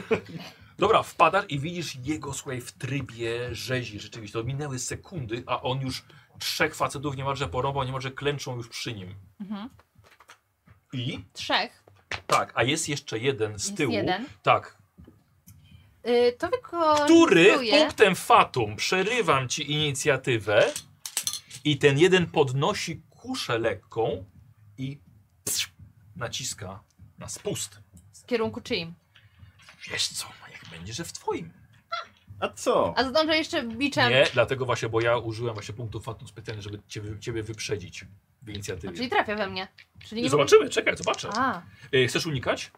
S3: Dobra, wpadasz i widzisz jego, słuchaj, w trybie rzezi rzeczywiście. To minęły sekundy, a on już trzech facetów niemalże porąbał, niemalże klęczą już przy nim.
S4: Mhm.
S3: I?
S4: Trzech.
S3: Tak, a jest jeszcze jeden z
S4: Jest
S3: tyłu.
S4: jeden.
S3: Tak.
S4: Y, to wykorzystuje...
S3: Który punktem fatum przerywam ci inicjatywę I ten jeden podnosi kuszę lekką i psz, naciska na spust.
S4: W kierunku czyim?
S3: Wiesz co, no jak będzie, że w twoim.
S2: A co?
S4: A zdążę jeszcze biczem.
S3: Nie, dlatego właśnie, bo ja użyłem właśnie punktu fatum specjalnie, żeby ciebie, ciebie wyprzedzić w
S4: A, czyli
S3: inicjatywie.
S4: trafia we mnie. Czyli nie
S3: Zobaczymy, czekaj, zobaczę.
S4: mogę- A,
S3: Y, Chcesz unikać?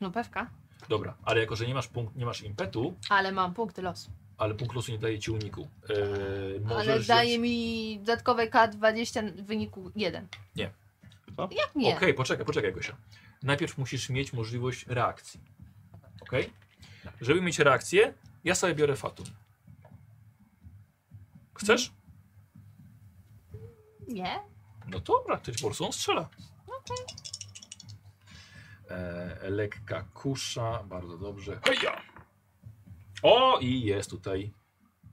S4: no pewka.
S3: Dobra, ale jako, że nie masz, punkt, nie masz impetu,
S4: Ale mam punkty losu.
S3: ale punkt losu nie daje ci uniku. Yy, możesz
S4: Ale daje
S3: wziąć-
S4: mi dodatkowe K20 w wyniku 1.
S3: Nie.
S2: No.
S4: Jak nie?
S3: Okej, poczekaj, poczekaj Gosia. Najpierw musisz mieć możliwość reakcji. Okej? Żeby mieć reakcję, ja sobie biorę fatum. Chcesz?
S4: Nie?
S3: No dobra, ty po prostu on strzela.
S4: No
S3: E, lekka kusza, bardzo dobrze. Heja! O, i jest tutaj.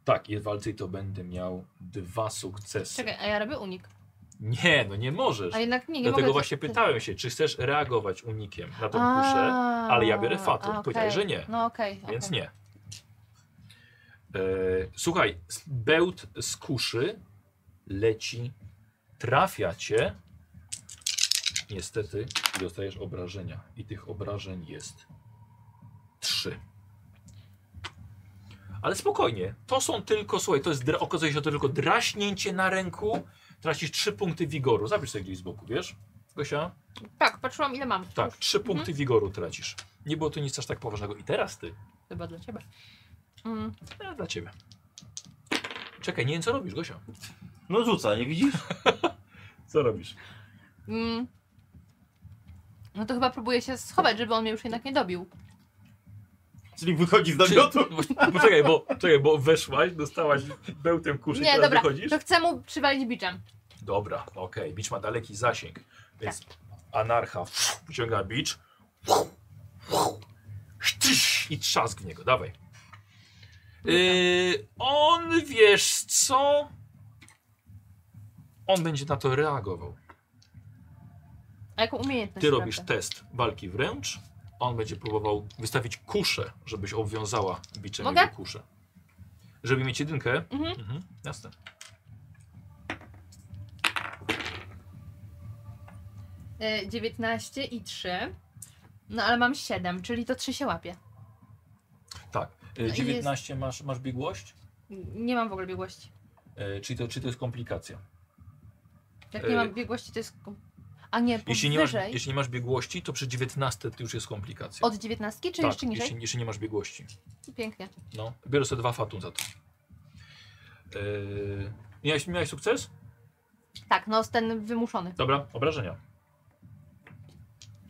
S3: Tak, jest walce i to będę miał dwa sukcesy.
S4: Czekaj, a ja robię unik.
S3: Nie, no nie możesz.
S4: A jednak nie, nie
S3: Dlatego
S4: mogę...
S3: właśnie pytałem się, czy chcesz reagować unikiem na tą
S4: A,
S3: kuszę, ale ja biorę fatum.
S4: a,
S3: Powiedziałeś,
S4: okej.
S3: że nie.
S4: No okej.
S3: więc
S4: okej.
S3: nie. E, słuchaj, s- bełt z kuszy leci, trafia cię. Niestety i dostajesz obrażenia i tych obrażeń jest trzy. Ale spokojnie, to są tylko, słuchaj, to jest, dra- okazuje się to tylko draśnięcie na ręku, tracisz trzy punkty wigoru, zabierz sobie gdzieś z boku, wiesz? Gosia?
S4: Tak, patrzyłam ile mam.
S3: Tak, trzy punkty wigoru tracisz. Nie było to nic aż tak poważnego. I teraz ty.
S4: Chyba dla ciebie. Mm,
S3: Ja dla ciebie. Czekaj, nie wiem co robisz, Gosia.
S2: No rzuca, nie widzisz?
S3: Co robisz?
S4: mm. No to chyba próbuję się schować, żeby on mnie już jednak nie dobił.
S2: Czyli wychodzi z
S3: No
S2: namiotu.
S3: Bo, czekaj, bo, czekaj, bo weszłaś, dostałaś bełtem kurzy,
S4: nie,
S3: teraz
S4: dobra,
S3: wychodzisz.
S4: to chcę mu przywalić biczem.
S3: Dobra, okej, bicz ma daleki zasięg. Więc anarcha wyciąga bicz. Sztyś! I trzask w niego, dawaj. Yy, on, wiesz co? On będzie na to reagował.
S4: A jaką umiejętność?
S3: Ty
S4: sprawdzę?
S3: robisz test walki wręcz. On będzie próbował wystawić kuszę, żebyś obwiązała biczem
S4: Mogę?
S3: jego kuszę. Żeby mieć jedynkę.
S4: Mhm.
S3: Mhm, jasne.
S4: Y, 19 i 3. No ale mam 7, czyli to 3 się łapie.
S3: Tak.
S4: No
S3: E,
S4: i
S3: 19 masz, masz biegłość?
S4: N- Nie mam w ogóle biegłości.
S3: E, Czyli to, czy to jest komplikacja?
S4: Jak
S3: Y,
S4: nie mam biegłości, to jest. kom- A nie,
S3: Jeśli
S4: powyżej.
S3: nie, masz, jeśli nie masz biegłości, to przy 19 to już jest komplikacja.
S4: Od 19 czy
S3: tak,
S4: jeszcze niżej?
S3: Jeśli, jeśli nie masz biegłości.
S4: Pięknie.
S3: No. Biorę sobie dwa fatum za to. E, Miałeś, miałeś sukces?
S4: Tak, no ten wymuszony.
S3: Dobra, obrażenia.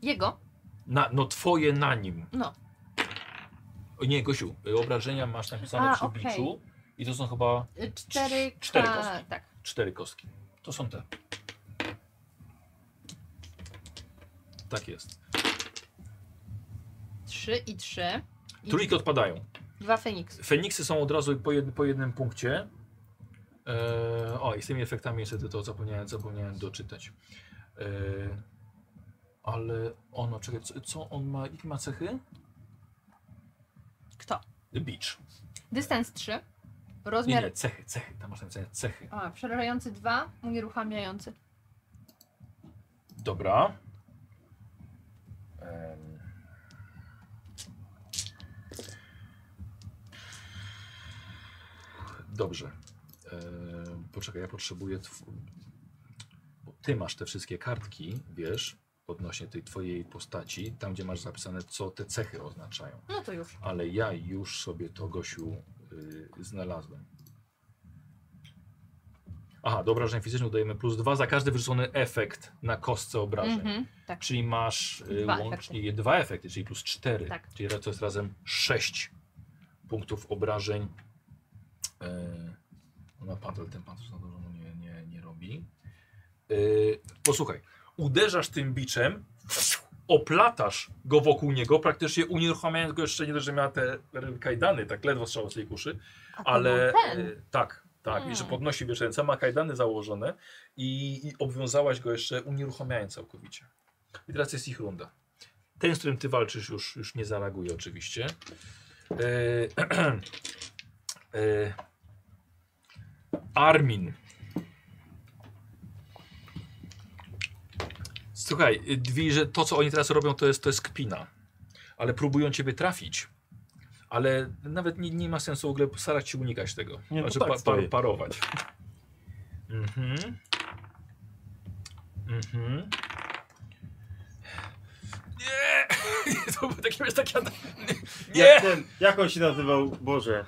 S4: Jego?
S3: Na, no twoje na nim.
S4: No.
S3: O nie, Gosiu, y, obrażenia masz napisane
S4: A,
S3: przy
S4: okej.
S3: biczu i to są chyba
S4: 4
S3: cztery kostki.
S4: Tak.
S3: cztery kostki. To są te. Tak jest.
S4: 3 i 3. I
S3: Trójki odpadają.
S4: Dwa Feniksy.
S3: Feniksy są od razu po, jed, po jednym punkcie. Eee, o, i z tymi efektami niestety to zapomniałem, zapomniałem doczytać. Eee, ale ono, czekaj, co, co on ma, jakie ma cechy?
S4: Kto?
S3: Beach.
S4: Dystans 3.
S3: Nie,
S4: Rozmiar.
S3: nie, cechy, cechy, tam masz napisane cechy.
S4: A, przerażający 2, unieruchamiający.
S3: Dobra. Em. Dobrze. Em, Poczekaj, ja potrzebuję. Tw... Bo ty masz te wszystkie kartki, wiesz, odnośnie tej twojej postaci, tam gdzie masz zapisane, co te cechy oznaczają.
S4: No to już.
S3: Ale ja już sobie to Gosiu y, znalazłem. Aha, do obrażeń fizycznych dajemy plus dwa za każdy wyrzucony efekt na kostce obrażeń.
S4: Mhm, tak.
S3: Czyli masz y,
S4: Dwa
S3: łącznie dwa efekty, czyli plus cztery.
S4: Tak.
S3: Czyli to jest razem sześć punktów obrażeń. Yy, na pantel ten pantel za dużo mu nie, nie, nie robi. Y, posłuchaj, uderzasz tym biczem, oplatasz go wokół niego, praktycznie unieruchamiając go jeszcze nie dość, że miała te kajdany, tak ledwo strzał z tej kuszy
S4: A to
S3: ale
S4: był ten.
S3: e, tak, tak,
S4: Hmm.
S3: i że podnosi wiesz ręce, ma kajdany założone i, i obwiązałaś go jeszcze unieruchamiając całkowicie. I teraz jest ich runda. Ten, z którym ty walczysz już, już nie zareaguje oczywiście. Y, E, e, Armin. Słuchaj, y, dwi, że to co oni teraz robią to jest, to jest kpina. Ale próbują ciebie trafić. Ale nawet nie, nie ma sensu w ogóle starać się unikać tego.
S2: Nie, to
S3: znaczy
S2: tak
S3: pa,
S2: stoję.
S3: par, parować. Mhm. Mhm. Nie! to był taki, wiesz, taki atak.
S2: Jak,
S3: Nie!
S2: ten, jak on się nazywał? Boże.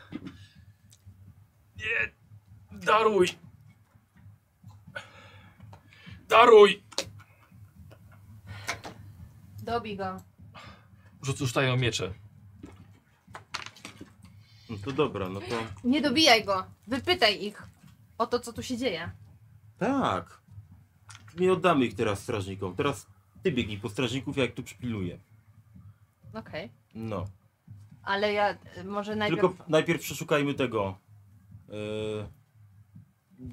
S3: Nie! Daruj! Daruj!
S4: Dobij go.
S3: Rzuc- Rzucają miecze.
S2: No to dobra, no to...
S7: Nie dobijaj go. Wypytaj ich o to, co tu się dzieje.
S2: Tak. Nie oddamy ich teraz strażnikom. Teraz ty biegnij po strażników, jak tu przypiluję.
S4: Okej.
S2: No.
S4: Ale ja y, może najpierw...
S2: Tylko najpierw przeszukajmy tego. Yy,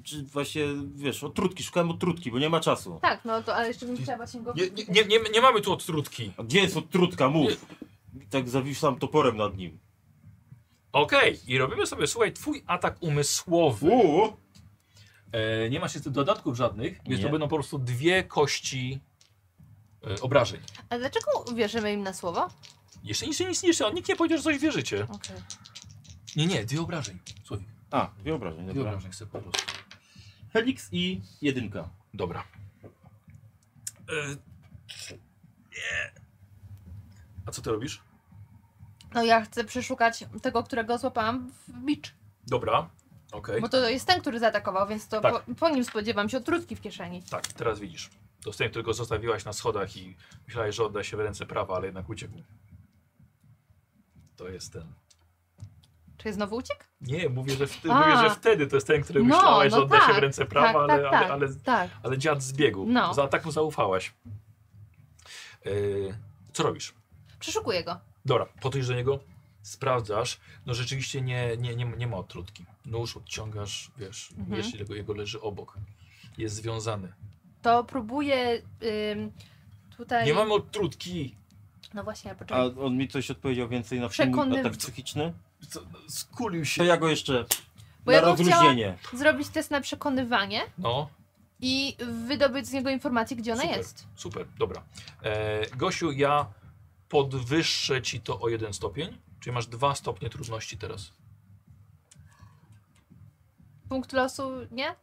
S2: czy właśnie, wiesz, otrutki, szukałem otrutki, bo nie ma czasu.
S4: Tak, no to ale jeszcze bym chciała właśnie go...
S3: Nie, nie, nie, nie, nie mamy tu odtrutki.
S2: A gdzie jest odtrutka? Mów! I tak zawisłam toporem nad nim.
S3: Okej, i robimy sobie, słuchaj, twój atak umysłowy.
S2: Uuu!
S3: E, nie masz jeszcze dodatków żadnych, więc
S2: Nie.
S3: to będą po prostu dwie kości e, obrażeń.
S4: A dlaczego wierzymy im na słowo?
S3: Jeszcze nic, nic, jeszcze, nikt nie powiedział, że coś wierzycie.
S4: Okej.
S3: Nie, nie, dwie obrażeń. Słowik,
S2: A, wyobraźnię,
S3: dwie
S2: dobra.
S3: obrażeń chcę po prostu.
S2: Helix i jedynka.
S3: Dobra. E, nie. A co ty robisz?
S4: No ja chcę przeszukać tego, którego złapałam w bicz.
S3: Dobra, okej.
S4: Bo to jest ten, który zaatakował, więc to
S3: Tak.
S4: po, po nim spodziewam się otrutki w kieszeni.
S3: Tak, teraz widzisz. To z tym, którego zostawiłaś na schodach i myślałeś, że odda się w ręce prawa, ale jednak uciekł. To jest ten.
S4: Czy znowu uciekł?
S3: Nie, mówię, że, wtedy,
S4: A.
S3: mówię, że wtedy to jest ten, który
S4: No,
S3: myślałaś,
S4: no
S3: że odda się
S4: tak,
S3: w ręce prawa,
S4: tak,
S3: ale,
S4: tak,
S3: ale,
S4: tak.
S3: ale,
S4: Tak.
S3: ale dziad zbiegł.
S4: No.
S3: Za tak mu zaufałaś. Yy, co robisz?
S4: Przeszukuję go.
S3: Dobra, podejdziesz do niego, sprawdzasz. No rzeczywiście nie, nie, nie, nie ma odtrutki. Nóż odciągasz, wiesz,
S4: Mhm.
S3: wiesz, jego, jego leży obok. Jest związany.
S4: To próbuję ym, tutaj...
S3: Nie mamy odtrutki.
S4: No właśnie, ja
S2: A
S4: poczekaj.
S2: on mi coś odpowiedział więcej na
S4: Przekonyw-
S2: Przekony... atak psychiczny?
S3: Co, no, Skulił
S2: To
S3: się.
S2: ja go jeszcze
S4: Bo
S2: na
S4: ja bym chciała-
S2: rozluźnienie.
S4: Zrobić test na przekonywanie
S3: No,
S4: i wydobyć z niego informację, gdzie ona
S3: Super.
S4: jest.
S3: super, dobra. E, Gosiu, ja podwyższę ci to o jeden stopień, czyli masz dwa stopnie trudności teraz.
S4: Punkt losu, nie?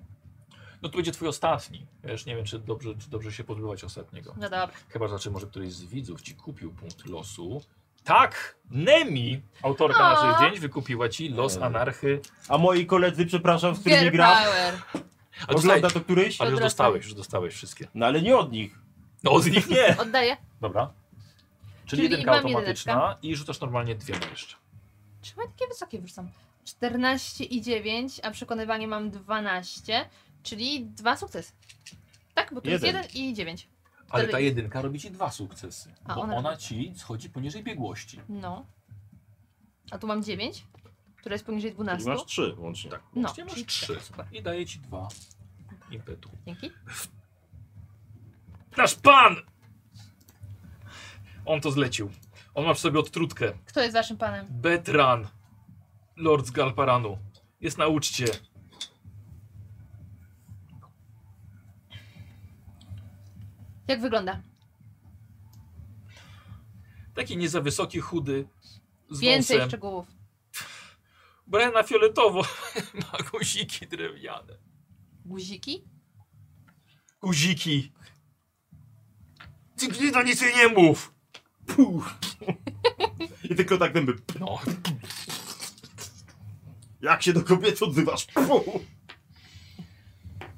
S3: No to będzie twój ostatni. Wiesz, nie wiem, czy dobrze, czy dobrze się podbywać ostatniego.
S4: No dobra.
S3: Chyba znaczy, może któryś z widzów ci kupił punkt losu. Tak! Nemi, autorka
S4: O!
S3: naszych zdjęć, wykupiła ci los
S2: Eee.
S3: anarchy.
S2: A moi koledzy, przepraszam, z którymi
S4: Girl
S2: gra.
S4: power.
S3: Ale, dostaj,
S2: Ogląda to któryś?
S3: ale już
S4: Odrasta-
S3: dostałeś, już dostałeś wszystkie.
S2: No ale nie od nich.
S3: No od nich nie!
S4: Oddaję.
S3: Dobra. Czyli,
S4: Czyli
S3: jedynka
S4: mam
S3: automatyczna i rzucasz normalnie dwiema jeszcze.
S4: Czemu ja takie wysokie wrzucam? 14 i 9, a przekonywanie mam 12, czyli dwa sukcesy. Tak, bo to
S2: Jeden.
S4: jest 1 i 9.
S3: Ale
S4: Wtedy-
S3: ta jedynka robi ci dwa sukcesy,
S4: A,
S3: bo
S4: ona
S3: ona,
S4: robi-
S3: ci schodzi poniżej biegłości.
S4: No. A tu mam 9, która jest poniżej
S2: Czyli
S4: 12.
S2: masz trzy łącznie.
S3: Tak,
S4: No,
S3: no, masz
S4: czyli
S3: trzy
S4: super.
S3: i daje ci dwa impetu.
S4: Dzięki.
S3: Nasz pan! On to zlecił. On ma w sobie odtrutkę.
S4: Kto jest waszym panem?
S3: Betran, lord z Galparanu. Jest na uczcie.
S4: Jak wygląda?
S3: Taki nie za wysoki, chudy, z
S4: Więcej
S3: wąsem.
S4: szczegółów.
S3: Brę na fioletowo, ma guziki drewniane.
S4: Guziki?
S3: Guziki. Ty, ty to nic jej nie mów. Puh.
S2: I tylko tak dęby.
S3: No,
S2: Jak się do kobiet odzywasz? Puh.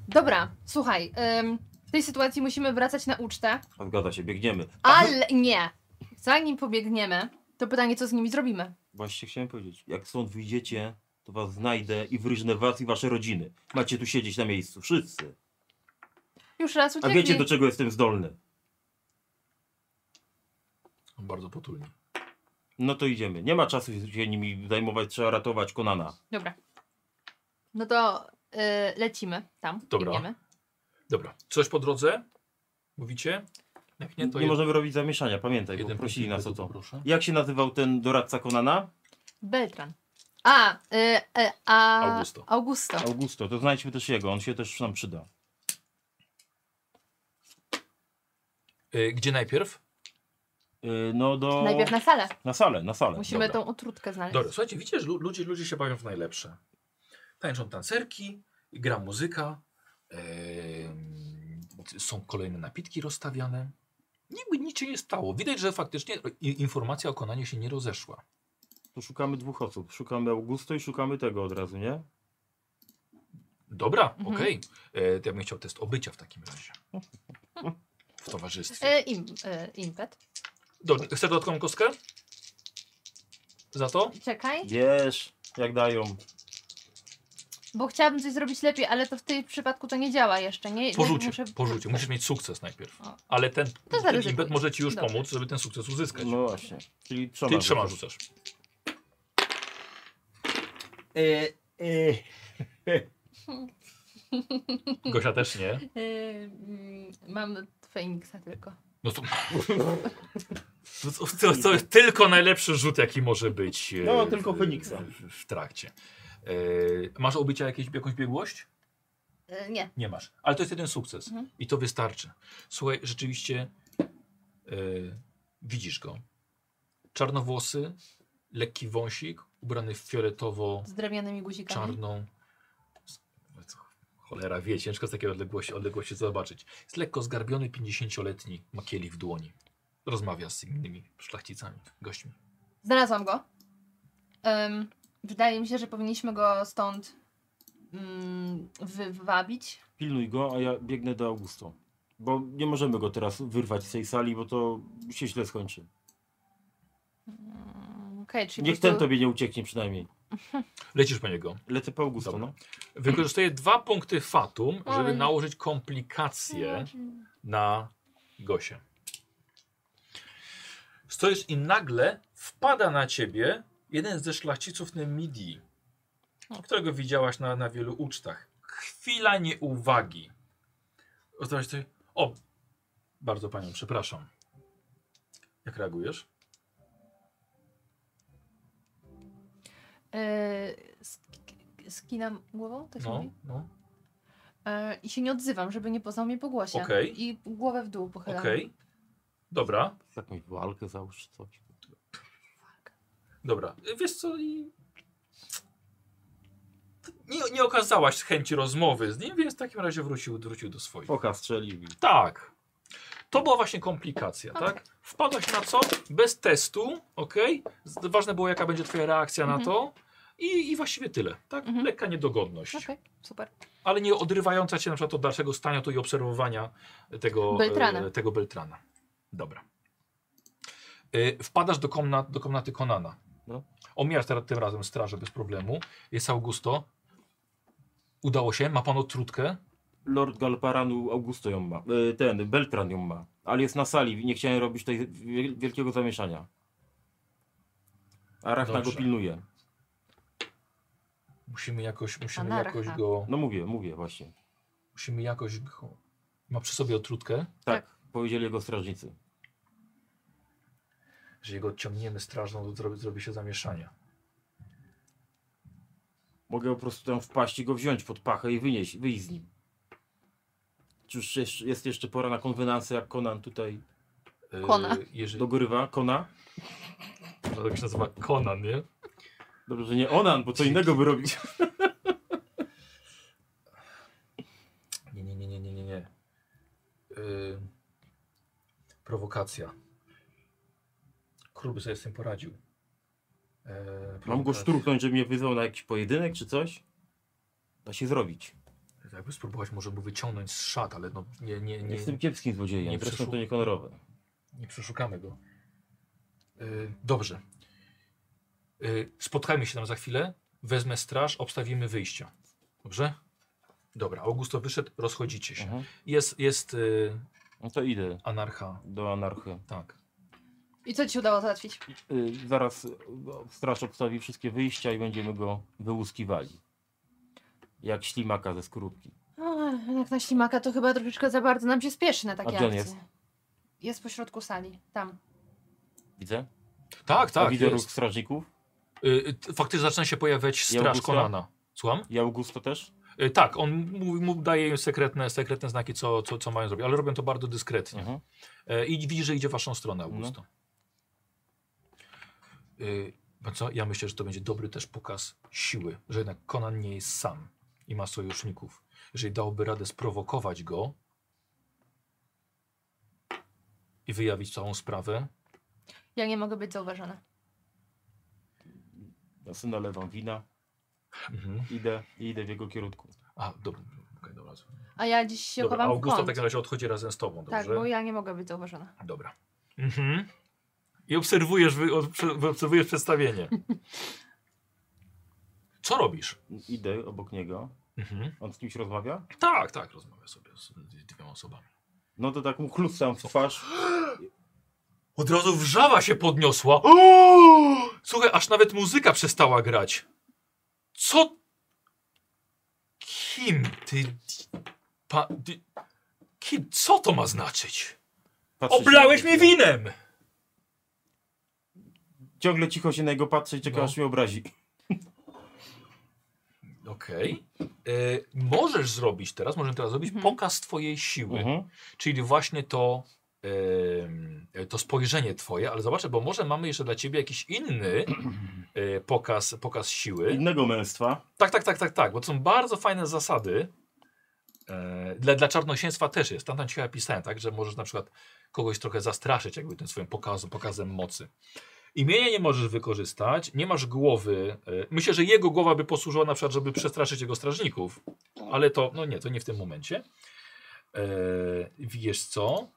S4: Dobra, słuchaj. ym, w tej sytuacji musimy wracać na ucztę,
S2: Zgadza się, biegniemy.
S4: ale nie. Zanim pobiegniemy, to pytanie, co z nimi zrobimy.
S2: Właśnie chciałem powiedzieć, jak stąd wyjdziecie, to was znajdę i wyryżnę was i wasze rodziny. Macie tu siedzieć na miejscu, wszyscy.
S4: Już raz
S2: A
S4: uciekli.
S2: wiecie do czego jestem zdolny.
S3: bardzo potulnie.
S2: No to idziemy. Nie ma czasu się nimi zajmować, trzeba ratować Konana.
S4: Dobra. No to y, lecimy tam.
S3: Dobra.
S4: biegniemy.
S3: Dobra, coś po drodze? Mówicie? Jak nie,
S2: Nie,
S3: to jed-
S2: możemy robić zamieszania, pamiętaj, bo
S3: jeden
S2: prosili nas o
S3: punkt
S2: to.
S3: Proszę.
S2: Jak się nazywał ten doradca Konana?
S4: Beltran. A, y, y, a.
S3: Augusto.
S4: Augusto.
S2: Augusto, to znajdźmy też jego, on się też nam przyda.
S1: Y, Gdzie najpierw?
S2: Y, No do...
S4: Najpierw na salę.
S2: Na salę, na salę.
S4: Musimy
S1: dobra.
S4: tą utrutkę znaleźć.
S1: Dobra, słuchajcie, widzicie, że lu- ludzie, ludzie się bawią w najlepsze. Tańczą tancerki, gra muzyka, em, są kolejne napitki rozstawiane. Niby nic się nie stało. Widać, że faktycznie i- informacja o konaniu się nie rozeszła.
S2: Tu szukamy dwóch osób. Szukamy Augusto i szukamy tego od razu, nie?
S1: Dobra,
S4: Mhm.
S1: okej. E, To ja bym chciał test obycia w takim razie. W towarzystwie.
S4: Y, im, y, impet.
S1: Do, chcę dodatkową kostkę? Za to?
S4: Czekaj,
S2: Wiesz, jak dają.
S4: bo chciałabym coś zrobić lepiej, ale to w tym przypadku to nie działa jeszcze. Nie,
S1: Po
S4: Ja
S1: rzucie,
S4: muszę... E,
S1: po rzucie. Musisz mieć sukces
S2: E,
S1: najpierw.
S4: O.
S1: Ale ten, ten
S4: zaryzykuj.
S1: impet może ci już
S4: Dobra.
S1: pomóc, żeby ten sukces uzyskać.
S2: No właśnie. Czyli trzema.
S1: Ty trzema rzucasz. Gosia też nie.
S4: Y, mm, mam Feniksa tylko.
S1: No to... To, to, to, to jest tylko najlepszy rzut, jaki może być. e,
S2: No, tylko
S1: w-
S2: Feniksa.
S1: W, w trakcie. E, masz obycia jakieś, jakąś biegłość?
S4: Y, nie.
S1: Nie masz. Ale to jest jeden sukces.
S4: Mhm.
S1: I to wystarczy. Słuchaj, rzeczywiście e, widzisz go. Czarnowłosy, lekki wąsik, ubrany w fioletowo
S4: Z drewnianymi guzikami.
S1: czarną. z- co- Cholera wie, ciężko z takiej odległości, odległości zobaczyć. Jest lekko zgarbiony 50-letni, ma kielich w dłoni. Rozmawia z innymi szlachcicami, gośćmi.
S4: Znalazłam go. Em, wydaje mi się, że powinniśmy go stąd mm, wywabić.
S2: Pilnuj go, a ja biegnę do Augusto. Bo nie możemy go teraz wyrwać z tej sali, bo to się źle skończy.
S4: Mm, Okej, czyli
S2: Niech
S4: po
S2: ten
S4: prostu-
S2: tobie nie ucieknie przynajmniej.
S1: Lecisz po niego.
S2: Lecę po Augusto,
S1: Dobra.
S2: no.
S1: Wykorzystuje dwa punkty fatum, żeby
S4: Oj.
S1: nałożyć komplikacje na Gosie. Stoisz i nagle wpada na ciebie jeden ze szlachciców Nemidii, którego widziałaś na, na wielu ucztach. Chwila nieuwagi. Oznacza sobie, o, bardzo panią przepraszam. Jak reagujesz?
S4: Y, sk- skinam głową, to się
S1: No,
S4: mówi.
S1: no,
S4: Y, I się nie odzywam, żeby nie poznał mnie po głosie.
S1: Okej.
S4: I głowę w dół pochylam.
S1: okej. Dobra,
S2: Jakąś walkę załóż, coś.
S1: dobra. Wiesz co, i... Nie, nie okazałaś chęci rozmowy z nim, więc w takim razie wrócił, wrócił do swoich.
S2: Oka strzelił. i-
S1: Tak. To była właśnie komplikacja,
S4: Okej.
S1: tak? Wpadłaś na co? Bez testu, ok? Z- Ważne było, jaka będzie twoja reakcja na
S4: Mhm.
S1: to. I, I właściwie tyle, tak?
S4: Mhm.
S1: Lekka niedogodność.
S4: Okej, super.
S1: Ale nie odrywająca cię na przykład od dalszego stania tu i obserwowania tego
S4: Beltrana.
S1: e, tego Beltrana. Dobra. E, wpadasz do, komnat, do komnaty Konana.
S2: No.
S1: Omijasz teraz tym razem strażę bez problemu. Jest Augusto. Udało się, ma pan odtrutkę.
S2: Lord Galparanu Augusto ją ma. E, Ten, Beltran ją ma. Ale jest na sali, nie chciałem robić tej wiel- wielkiego zamieszania. Arachna go
S1: Dobrze.
S2: pilnuje.
S1: Musimy jakoś, musimy
S4: narach,
S1: jakoś
S4: tak.
S1: go.
S2: No mówię, mówię właśnie.
S1: Musimy jakoś go... Ma przy sobie otrutkę.
S2: Tak, powiedzieli jego strażnicy.
S1: Że jego odciągniemy strażną, to zrobi, zrobi się zamieszanie.
S2: Mogę po prostu tam wpaść i go wziąć pod pachę i wynieść, wyjść z nim. Czyż jest, jest jeszcze pora na konwenansę, jak Conan tutaj
S1: Yy,
S4: Kona.
S1: Jeżeli...
S2: dogorywa? Kona?
S1: No, tak się nazywa Conan, nie?
S2: Dobrze, że nie Onan, bo co innego by robił.
S1: Nie, nie, nie, nie, nie, nie. nie. Yy, prowokacja. Król by sobie z tym poradził. Yy,
S2: Mam
S1: prowokacja.
S2: go szturchnąć, żeby mnie wyzwał na jakiś pojedynek czy coś? Da się zrobić.
S1: Jakby spróbować może mu wyciągnąć z szat, ale no nie, nie, nie,
S2: Jestem kiepskim złodziejem,
S1: nie
S2: nie zresztą
S1: przeszło.
S2: to niekonorowe.
S1: nie przeszukamy go. Yy, dobrze. Yy, spotkajmy się tam za chwilę. Wezmę straż, obstawimy wyjścia. Dobrze? Dobra, Augusto wyszedł, rozchodzicie się.
S2: Mhm.
S1: Jest, jest yy,
S2: No to idę
S1: anarcha,
S2: do anarchy.
S1: tak.
S4: I co ci się udało załatwić?
S2: Y, zaraz y, straż obstawi wszystkie wyjścia i będziemy go wyłuskiwali. Jak ślimaka ze skorupki.
S4: O, No, jak na ślimaka to chyba troszeczkę za bardzo nam się spieszy na
S2: A
S4: takie
S2: gdzie on
S4: akcje.
S2: jest?
S4: Jest? jest pośrodku sali, tam.
S2: Widzę?
S1: Tak,
S2: A
S1: tak,
S2: widzę ruch
S1: jest.
S2: strażników.
S1: Y, t- faktycznie zaczyna się pojawiać straż
S2: Augusta?
S1: Konana. Słucham?
S2: I Augusto też?
S3: E, Tak, on mu, mu daje sekretne, sekretne znaki, co, co, co mają zrobić, ale robią to bardzo dyskretnie.
S2: Mhm.
S3: E, I widzi, że idzie w waszą stronę, Augusto. Y, no co? Ja myślę, że to będzie dobry też pokaz siły, że jednak Conan nie jest sam i ma sojuszników. Jeżeli dałoby radę sprowokować go i wyjawić całą sprawę,
S4: Ja nie mogę być zauważona.
S2: Ja sobie nalewam wina,
S3: mhm.
S2: idę i idę w jego kierunku.
S3: a dobra, okay, dobra.
S4: A ja dziś się
S3: dobra.
S4: chowam w
S3: Augusto w
S4: kąt.
S3: takim razie odchodzi razem z tobą, dobrze?
S4: Tak, bo ja nie mogę być zauważona.
S3: Dobra. Mhm. I obserwujesz, wy, od- prze- obserwujesz przedstawienie. Co robisz?
S2: Idę obok niego.
S3: Mhm.
S2: On z kimś rozmawia?
S3: Tak, tak, rozmawiam sobie z dwiema osobami.
S2: No to tak mu chlustam w twarz.
S3: Od razu wrzawa się podniosła. Słuchaj, aż nawet muzyka przestała grać. Co? Kim ty... Pa, ty kim? Co to ma znaczyć?
S2: Patrzę się-
S3: Oblałeś mnie winem!
S2: Ciągle cicho się na niego patrzę i czekam,
S3: No.
S2: aż mnie obrazi.
S3: Okej. E, Możesz zrobić teraz, możemy teraz zrobić
S4: Mhm.
S3: pokaz twojej siły.
S2: Mhm.
S3: Czyli właśnie to, em, to spojrzenie twoje, ale zobaczę, bo może mamy jeszcze dla ciebie jakiś inny e, pokaz, pokaz siły.
S2: Innego męstwa.
S3: Tak, tak, tak, tak, tak, bo to są bardzo fajne zasady. E, Dla, dla czarnosięstwa też jest. Tam, tam ci chyba pisałem, tak, że możesz na przykład kogoś trochę zastraszyć jakby tym swoim pokazem, pokazem mocy. Imienia nie możesz wykorzystać, nie masz głowy. e, Myślę, że jego głowa by posłużyła na przykład, żeby przestraszyć jego strażników,
S2: Tak.
S3: ale to, no nie, to nie w tym momencie. E, wiesz co?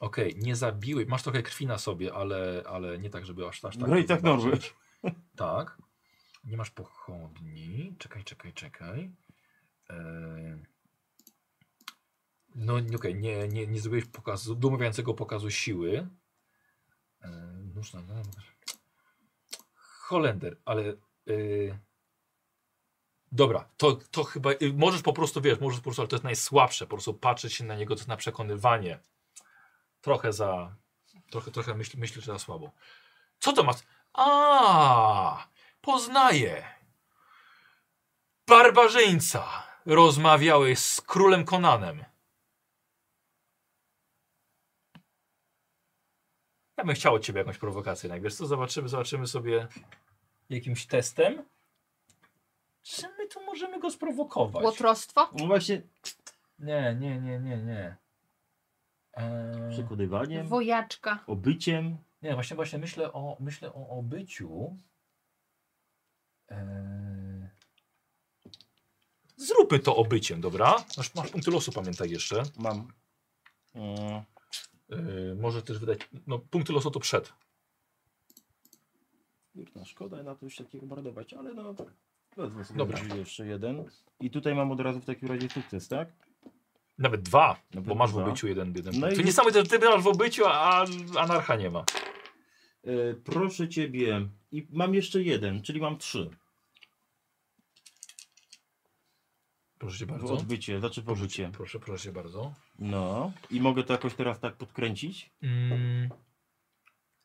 S3: Okej, nie zabiłeś, masz trochę krwi na sobie, ale, ale nie tak, żeby aż, aż tak.
S2: No i tak
S3: zobaczyć.
S2: Norwy.
S3: Tak. Nie masz pochodni. Czekaj, czekaj, czekaj. Eee... No okej, nie, nie, nie zrobiłeś pokazu, domawiającego pokazu siły. Eee, nóż na nóż. Holender, ale... Eee... Dobra, to, to chyba... y, Możesz po prostu, wiesz, możesz po prostu, ale to jest najsłabsze. Po prostu patrzeć się na niego, to jest na przekonywanie. Trochę za... Trochę, trochę myśl, myślę, że za słabo. Co to masz? A, poznaję. Barbarzyńca. Rozmawiałeś z królem Konanem. Ja bym chciał od ciebie jakąś prowokację najpierw. Co zobaczymy, zobaczymy sobie jakimś testem. Czy my tu możemy go sprowokować?
S4: Łotrostwo?
S2: No właśnie
S3: Nie, nie, nie, nie, nie. Eee...
S2: przekonywaniem,
S4: Wojaczka.
S2: obyciem.
S3: Nie, właśnie, właśnie myślę o, myślę o obyciu. Eee... Zróbmy to obyciem, dobra? Masz, masz punkty losu, pamiętaj jeszcze.
S2: Mam. Mm,
S3: Eee, może też wydać. No, punkty losu to przed.
S2: Kurna, szkoda na to już takiego mordować, ale no. Wezmę sobie
S3: Dobra.
S2: jeszcze jeden. I tutaj mam od razu w takim razie sukces, tak?
S3: Nawet dwa,
S2: Nawet
S3: bo masz w
S2: dwa.
S3: obyciu jeden, jeden
S2: No
S3: punkt.
S2: i-
S3: To niesamowite, że ty masz w obyciu, a a anarcha nie ma.
S2: E, proszę ciebie. I mam jeszcze jeden, czyli mam trzy.
S3: Proszę cię
S2: W
S3: bardzo.
S2: odbycie, znaczy w obycie.
S3: Proszę, proszę cię bardzo.
S2: No. I mogę to jakoś teraz tak podkręcić.
S3: Mm.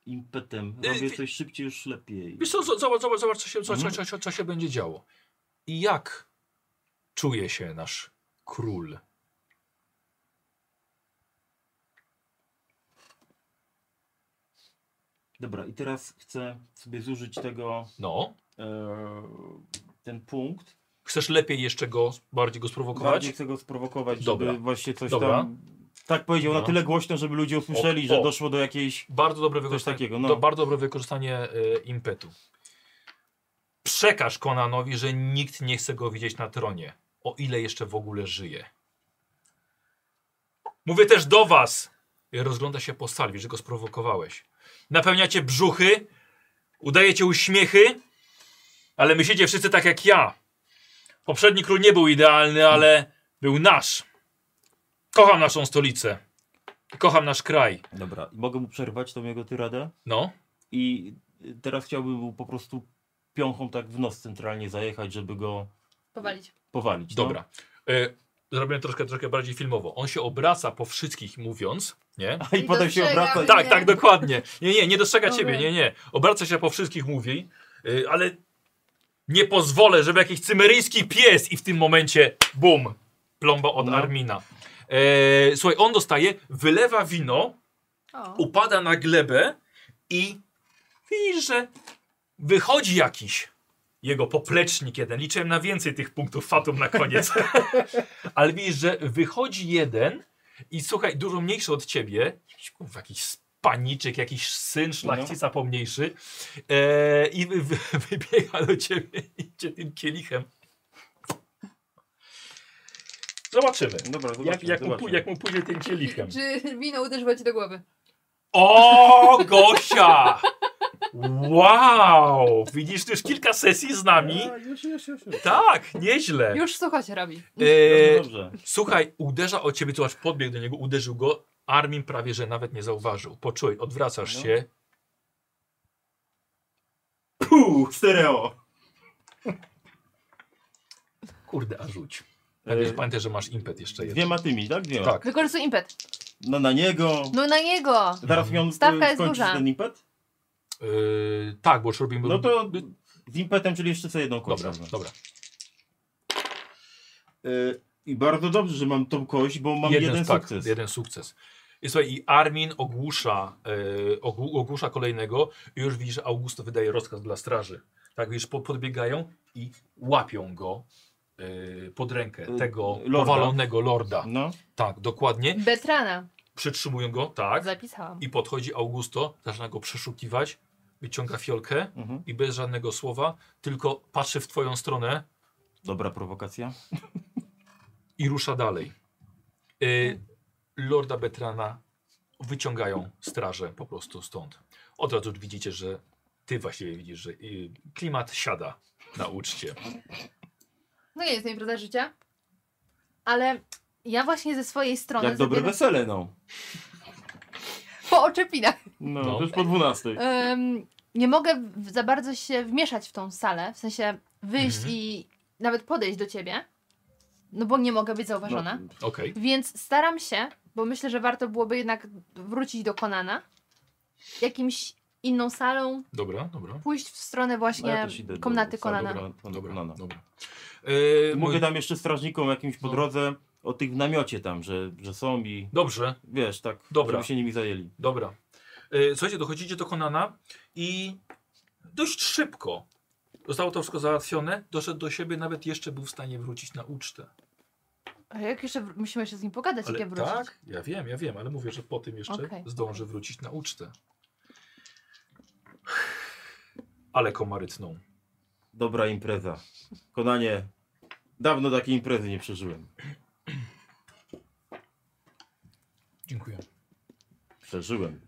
S2: Impetem.
S3: E,
S2: Robię
S3: ty-
S2: coś szybciej, już lepiej.
S3: Wiesz co, z- zobacz, zobacz, zobacz co, się, co, co,
S2: Mhm.
S3: co, co, co się będzie działo. I jak czuje się nasz król?
S2: Dobra, i teraz chcę sobie zużyć tego.
S3: No.
S2: E, ten punkt.
S3: Chcesz lepiej jeszcze go, bardziej go sprowokować?
S2: Bardziej chcę go sprowokować,
S3: Dobra.
S2: żeby właśnie coś
S3: Dobra.
S2: tam... Tak powiedział
S3: Dobra.
S2: na tyle głośno, żeby ludzie usłyszeli,
S3: O, o.
S2: że doszło do jakiejś...
S3: Bardzo dobre wykorzystanie,
S2: takiego, no.
S3: do, bardzo dobre wykorzystanie e, impetu. Przekaż Konanowi, że nikt nie chce go widzieć na tronie, o ile jeszcze w ogóle żyje. Mówię też do was! I Rozgląda się po sali, że go sprowokowałeś. Napełniacie brzuchy, udajecie uśmiechy, ale myślicie wszyscy tak jak ja. Poprzedni król nie był idealny, ale był nasz. Kocham naszą stolicę. Kocham nasz kraj.
S2: Dobra, mogę mu przerwać tą jego tyradę?
S3: No.
S2: I teraz chciałbym mu po prostu piąchą tak w nos centralnie zajechać, żeby go
S4: Powalić.
S2: powalić. tak?
S3: Dobra. Y, zrobiłem troszkę, troszkę bardziej filmowo. On się obraca po wszystkich mówiąc, nie?
S2: No. I potem się
S4: Dostrzegam.
S2: obraca i...
S3: Tak, tak, dokładnie. Nie, nie, nie dostrzega
S4: Dobra.
S3: ciebie, nie, nie. Obraca się po wszystkich mówi, y, e, ale Nie pozwolę, żeby jakiś cymeryjski pies i w tym momencie bum, plomba od
S2: No.
S3: Armina. E, słuchaj, on dostaje, wylewa wino,
S5: O,
S3: upada na glebę i widzisz, że wychodzi jakiś jego poplecznik jeden. Liczyłem na więcej tych punktów fatum na koniec. Ale widzisz, że wychodzi jeden i słuchaj, dużo mniejszy od ciebie, jakiś, kurwa, jakiś spaniczyk, jakiś syn szlachcica pomniejszy e, i wy, wy, wybiega do ciebie i cię tym kielichem. Zobaczymy.
S2: Dobra,
S3: Jak,
S2: zobaczmy,
S3: jak, mu, pój-
S2: zobaczmy.
S3: jak mu pójdzie tym kielichem.
S5: czy wino uderzyło ci do głowy?
S3: O, Gosia! Wow! Widzisz, ty już kilka sesji z nami.
S2: A, No, Już, już, już. już.
S3: Tak, nieźle.
S5: Już słuchajcie, robi.
S3: E,
S2: Dobrze, dobrze.
S3: słuchaj, uderza o ciebie, zobacz, podbiegł do niego, uderzył go. Armin prawie, że nawet nie zauważył. Poczuj, odwracasz
S2: No.
S3: się.
S2: Puh, stereo.
S3: Kurde, a rzuć.
S2: E,
S3: Pamiętaj, pamiętaj, że masz impet jeszcze jeden.
S2: dwiema tymi, tak? Dwiema.
S3: Tak.
S4: Wykorzystuj impet.
S2: No na niego.
S4: No na niego!
S2: Zaraz mi on
S4: Stawka
S2: y,
S4: jest
S2: skończy
S4: duża.
S2: ten impet?
S3: Yy, tak, bo już robimy...
S2: No to z impetem, czyli jeszcze sobie jedną kość.
S3: Dobra,
S2: wezmę.
S3: dobra.
S2: Y, I bardzo dobrze, że mam tą kość, bo mam jeden, sukces.
S3: Tak, jeden sukces. I słuchaj, i Armin ogłusza, e, ogłu- ogłusza kolejnego i już widzisz, że Augusto wydaje rozkaz dla straży. Tak, widzisz, po, podbiegają i łapią go e, pod rękę,
S2: Y,
S3: tego
S2: lorda.
S3: powalonego lorda.
S2: No.
S3: Tak, dokładnie.
S4: Betrana.
S3: Przytrzymują go, tak.
S4: Zapisałam.
S3: I podchodzi Augusto, zaczyna go przeszukiwać, wyciąga fiolkę
S2: Mhm.
S3: i bez żadnego słowa, tylko patrzy w twoją stronę
S2: Dobra prowokacja.
S3: i rusza dalej. Y, Lorda Betrana wyciągają strażę po prostu stąd. Od razu widzicie, że ty właściwie widzisz, że y, klimat siada na uczcie.
S4: No nie jest mi prawda życia. Ale ja właśnie ze swojej strony
S2: Jak dobre
S4: zabieram-
S2: wesele, no.
S4: po oczepinach.
S2: No,
S3: No.
S2: to już po
S4: E,
S2: 12.
S4: Em, nie mogę w, za bardzo się wmieszać w tą salę, w sensie wyjść
S3: Mhm.
S4: i nawet podejść do ciebie, no bo nie mogę być zauważona.
S2: No,
S3: Okej.
S4: Więc staram się, bo myślę, że warto byłoby jednak wrócić do Konana, jakimś inną salą,
S3: Dobra, dobra.
S4: pójść w stronę
S2: no, ja
S4: właśnie
S2: też idę do-
S4: komnaty
S2: do-
S4: Konana.
S2: Dobra, do- do
S3: Dobra,
S2: Konana.
S3: dobra. Y,
S2: Mówię
S3: moi-
S2: tam jeszcze strażnikom jakimś po
S3: No.
S2: drodze o tych w namiocie tam, że, że są i
S3: Dobrze,
S2: wiesz, tak,
S3: Dobra.
S2: żeby się nimi zajęli.
S3: dobra. Y, Słuchajcie, dochodzicie do Konana i dość szybko zostało to wszystko załatwione. Doszedł do siebie, nawet jeszcze był w stanie wrócić na ucztę.
S4: A jak jeszcze wr- musimy jeszcze z nim pogadać,
S3: Ale
S4: jak ja wrócić.
S3: Tak, ja wiem, ja wiem, ale mówię, że po tym jeszcze
S4: Okej.
S3: zdążę wrócić na ucztę. Ale komarytną.
S2: Dobra impreza. Konanie, dawno takiej imprezy nie przeżyłem.
S3: Dziękuję.
S2: Przeżyłem.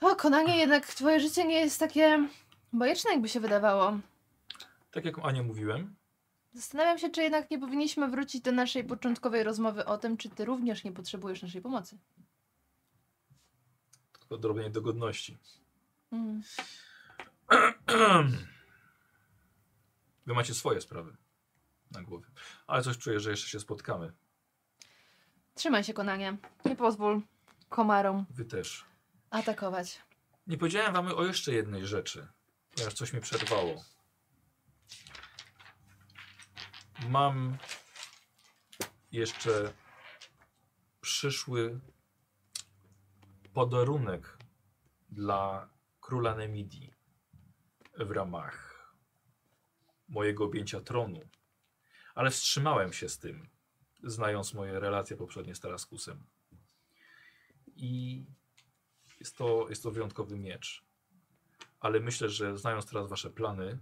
S4: O, Konanie, jednak twoje życie nie jest takie bajeczne, jakby się wydawało.
S3: Tak jak Ania mówiłem,
S4: Zastanawiam się, czy jednak nie powinniśmy wrócić do naszej początkowej rozmowy o tym, czy ty również nie potrzebujesz naszej pomocy.
S3: tylko odrobienie dogodności.
S4: Mm.
S3: Wy macie swoje sprawy na głowie. Ale coś czuję, że jeszcze się spotkamy.
S4: Trzymaj się, Konanie. Nie pozwól komarom
S3: Wy też.
S4: atakować.
S3: Nie powiedziałem wam o jeszcze jednej rzeczy, ponieważ coś mi przerwało. Mam jeszcze przyszły podarunek dla króla Nemidii w ramach mojego objęcia tronu. Ale wstrzymałem się z tym, znając moje relacje poprzednie z Taraskusem. I jest to, jest to wyjątkowy miecz. Ale myślę, że znając teraz wasze plany,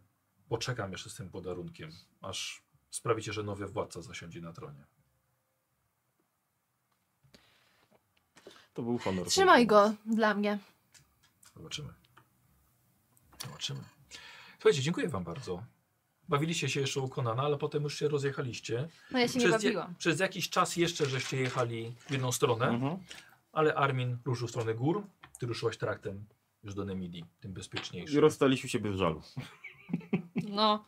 S3: poczekam jeszcze z tym podarunkiem, aż sprawicie, że nowy władca zasiądzie na tronie.
S2: To był honor.
S4: Trzymaj go dla mnie.
S3: Zobaczymy. Zobaczymy. Słuchajcie, dziękuję wam bardzo. Bawiliście się jeszcze u Konana, ale potem już się rozjechaliście.
S4: No ja się nie
S3: Przez,
S4: bawiłam.
S3: przez jakiś czas jeszcze żeście jechali w jedną stronę,
S2: Mhm.
S3: ale Armin ruszył w stronę gór, ty ruszyłaś traktem już do Nemidii, tym bezpieczniejszym.
S2: I rozstaliśmy się bez żalu.
S4: No.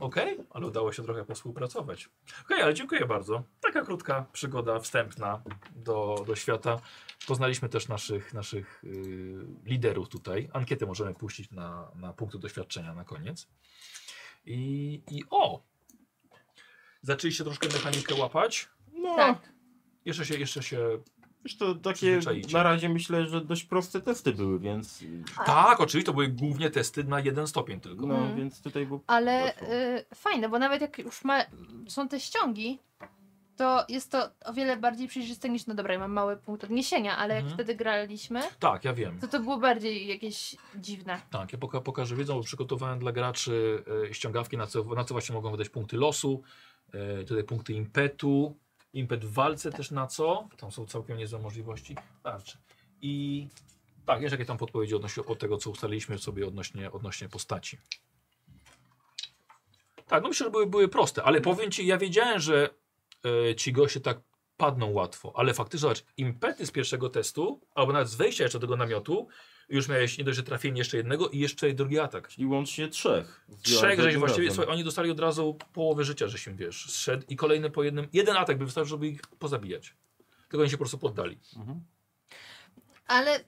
S3: Okej, ale udało się trochę współpracować. Okej, ale dziękuję bardzo. Taka krótka przygoda wstępna do, do świata. Poznaliśmy też naszych, naszych y, yy, liderów tutaj. Ankietę możemy puścić na, na punkty doświadczenia na koniec. I, i o! Zaczęliście troszkę mechanikę łapać.
S2: No,
S4: Tak.
S3: Jeszcze się, jeszcze się.
S2: Wiesz, to takie
S3: Przyzwyczaicie.
S2: na razie myślę, że dość proste testy były, więc.
S4: A-
S3: Tak, oczywiście, to były głównie testy na jeden stopień tylko.
S2: No,
S4: Mhm.
S2: więc tutaj był.
S4: Ale
S2: Łatwo.
S4: y, fajne, bo nawet jak już ma, są te ściągi, to jest to o wiele bardziej przejrzyste niż, no dobra, ja mam mały punkt odniesienia, ale jak
S3: Mhm.
S4: wtedy graliśmy,
S3: Tak, ja wiem.
S4: to to było bardziej jakieś dziwne.
S3: Tak, ja poka pokażę wiedzą, bo przygotowałem dla graczy e, ściągawki, na co, na co właśnie mogą wydać punkty losu, e, tutaj punkty impetu, impet w walce też na co, tam są całkiem niezłe możliwości, tarczy. I tak, jeszcze jakie tam podpowiedzi odnośnie od tego, co ustaliliśmy sobie odnośnie, odnośnie postaci. Tak, no myślę, że były, były proste, ale powiem Ci, ja wiedziałem, że e, ci goście tak padną łatwo, ale faktycznie zobacz, impety z pierwszego testu, albo nawet z wejścia jeszcze do tego namiotu, już miałeś nie dość, że trafienie jeszcze jednego i jeszcze drugi atak.
S2: Czyli łącznie trzech.
S3: Trzech, żeś
S2: Razem.
S3: właściwie, słuchaj, oni dostali od razu połowę życia, że się wiesz, zszedł i kolejny po jednym, jeden atak by wystarczył, żeby ich pozabijać. Tylko oni się po prostu poddali.
S2: Mhm.
S4: Ale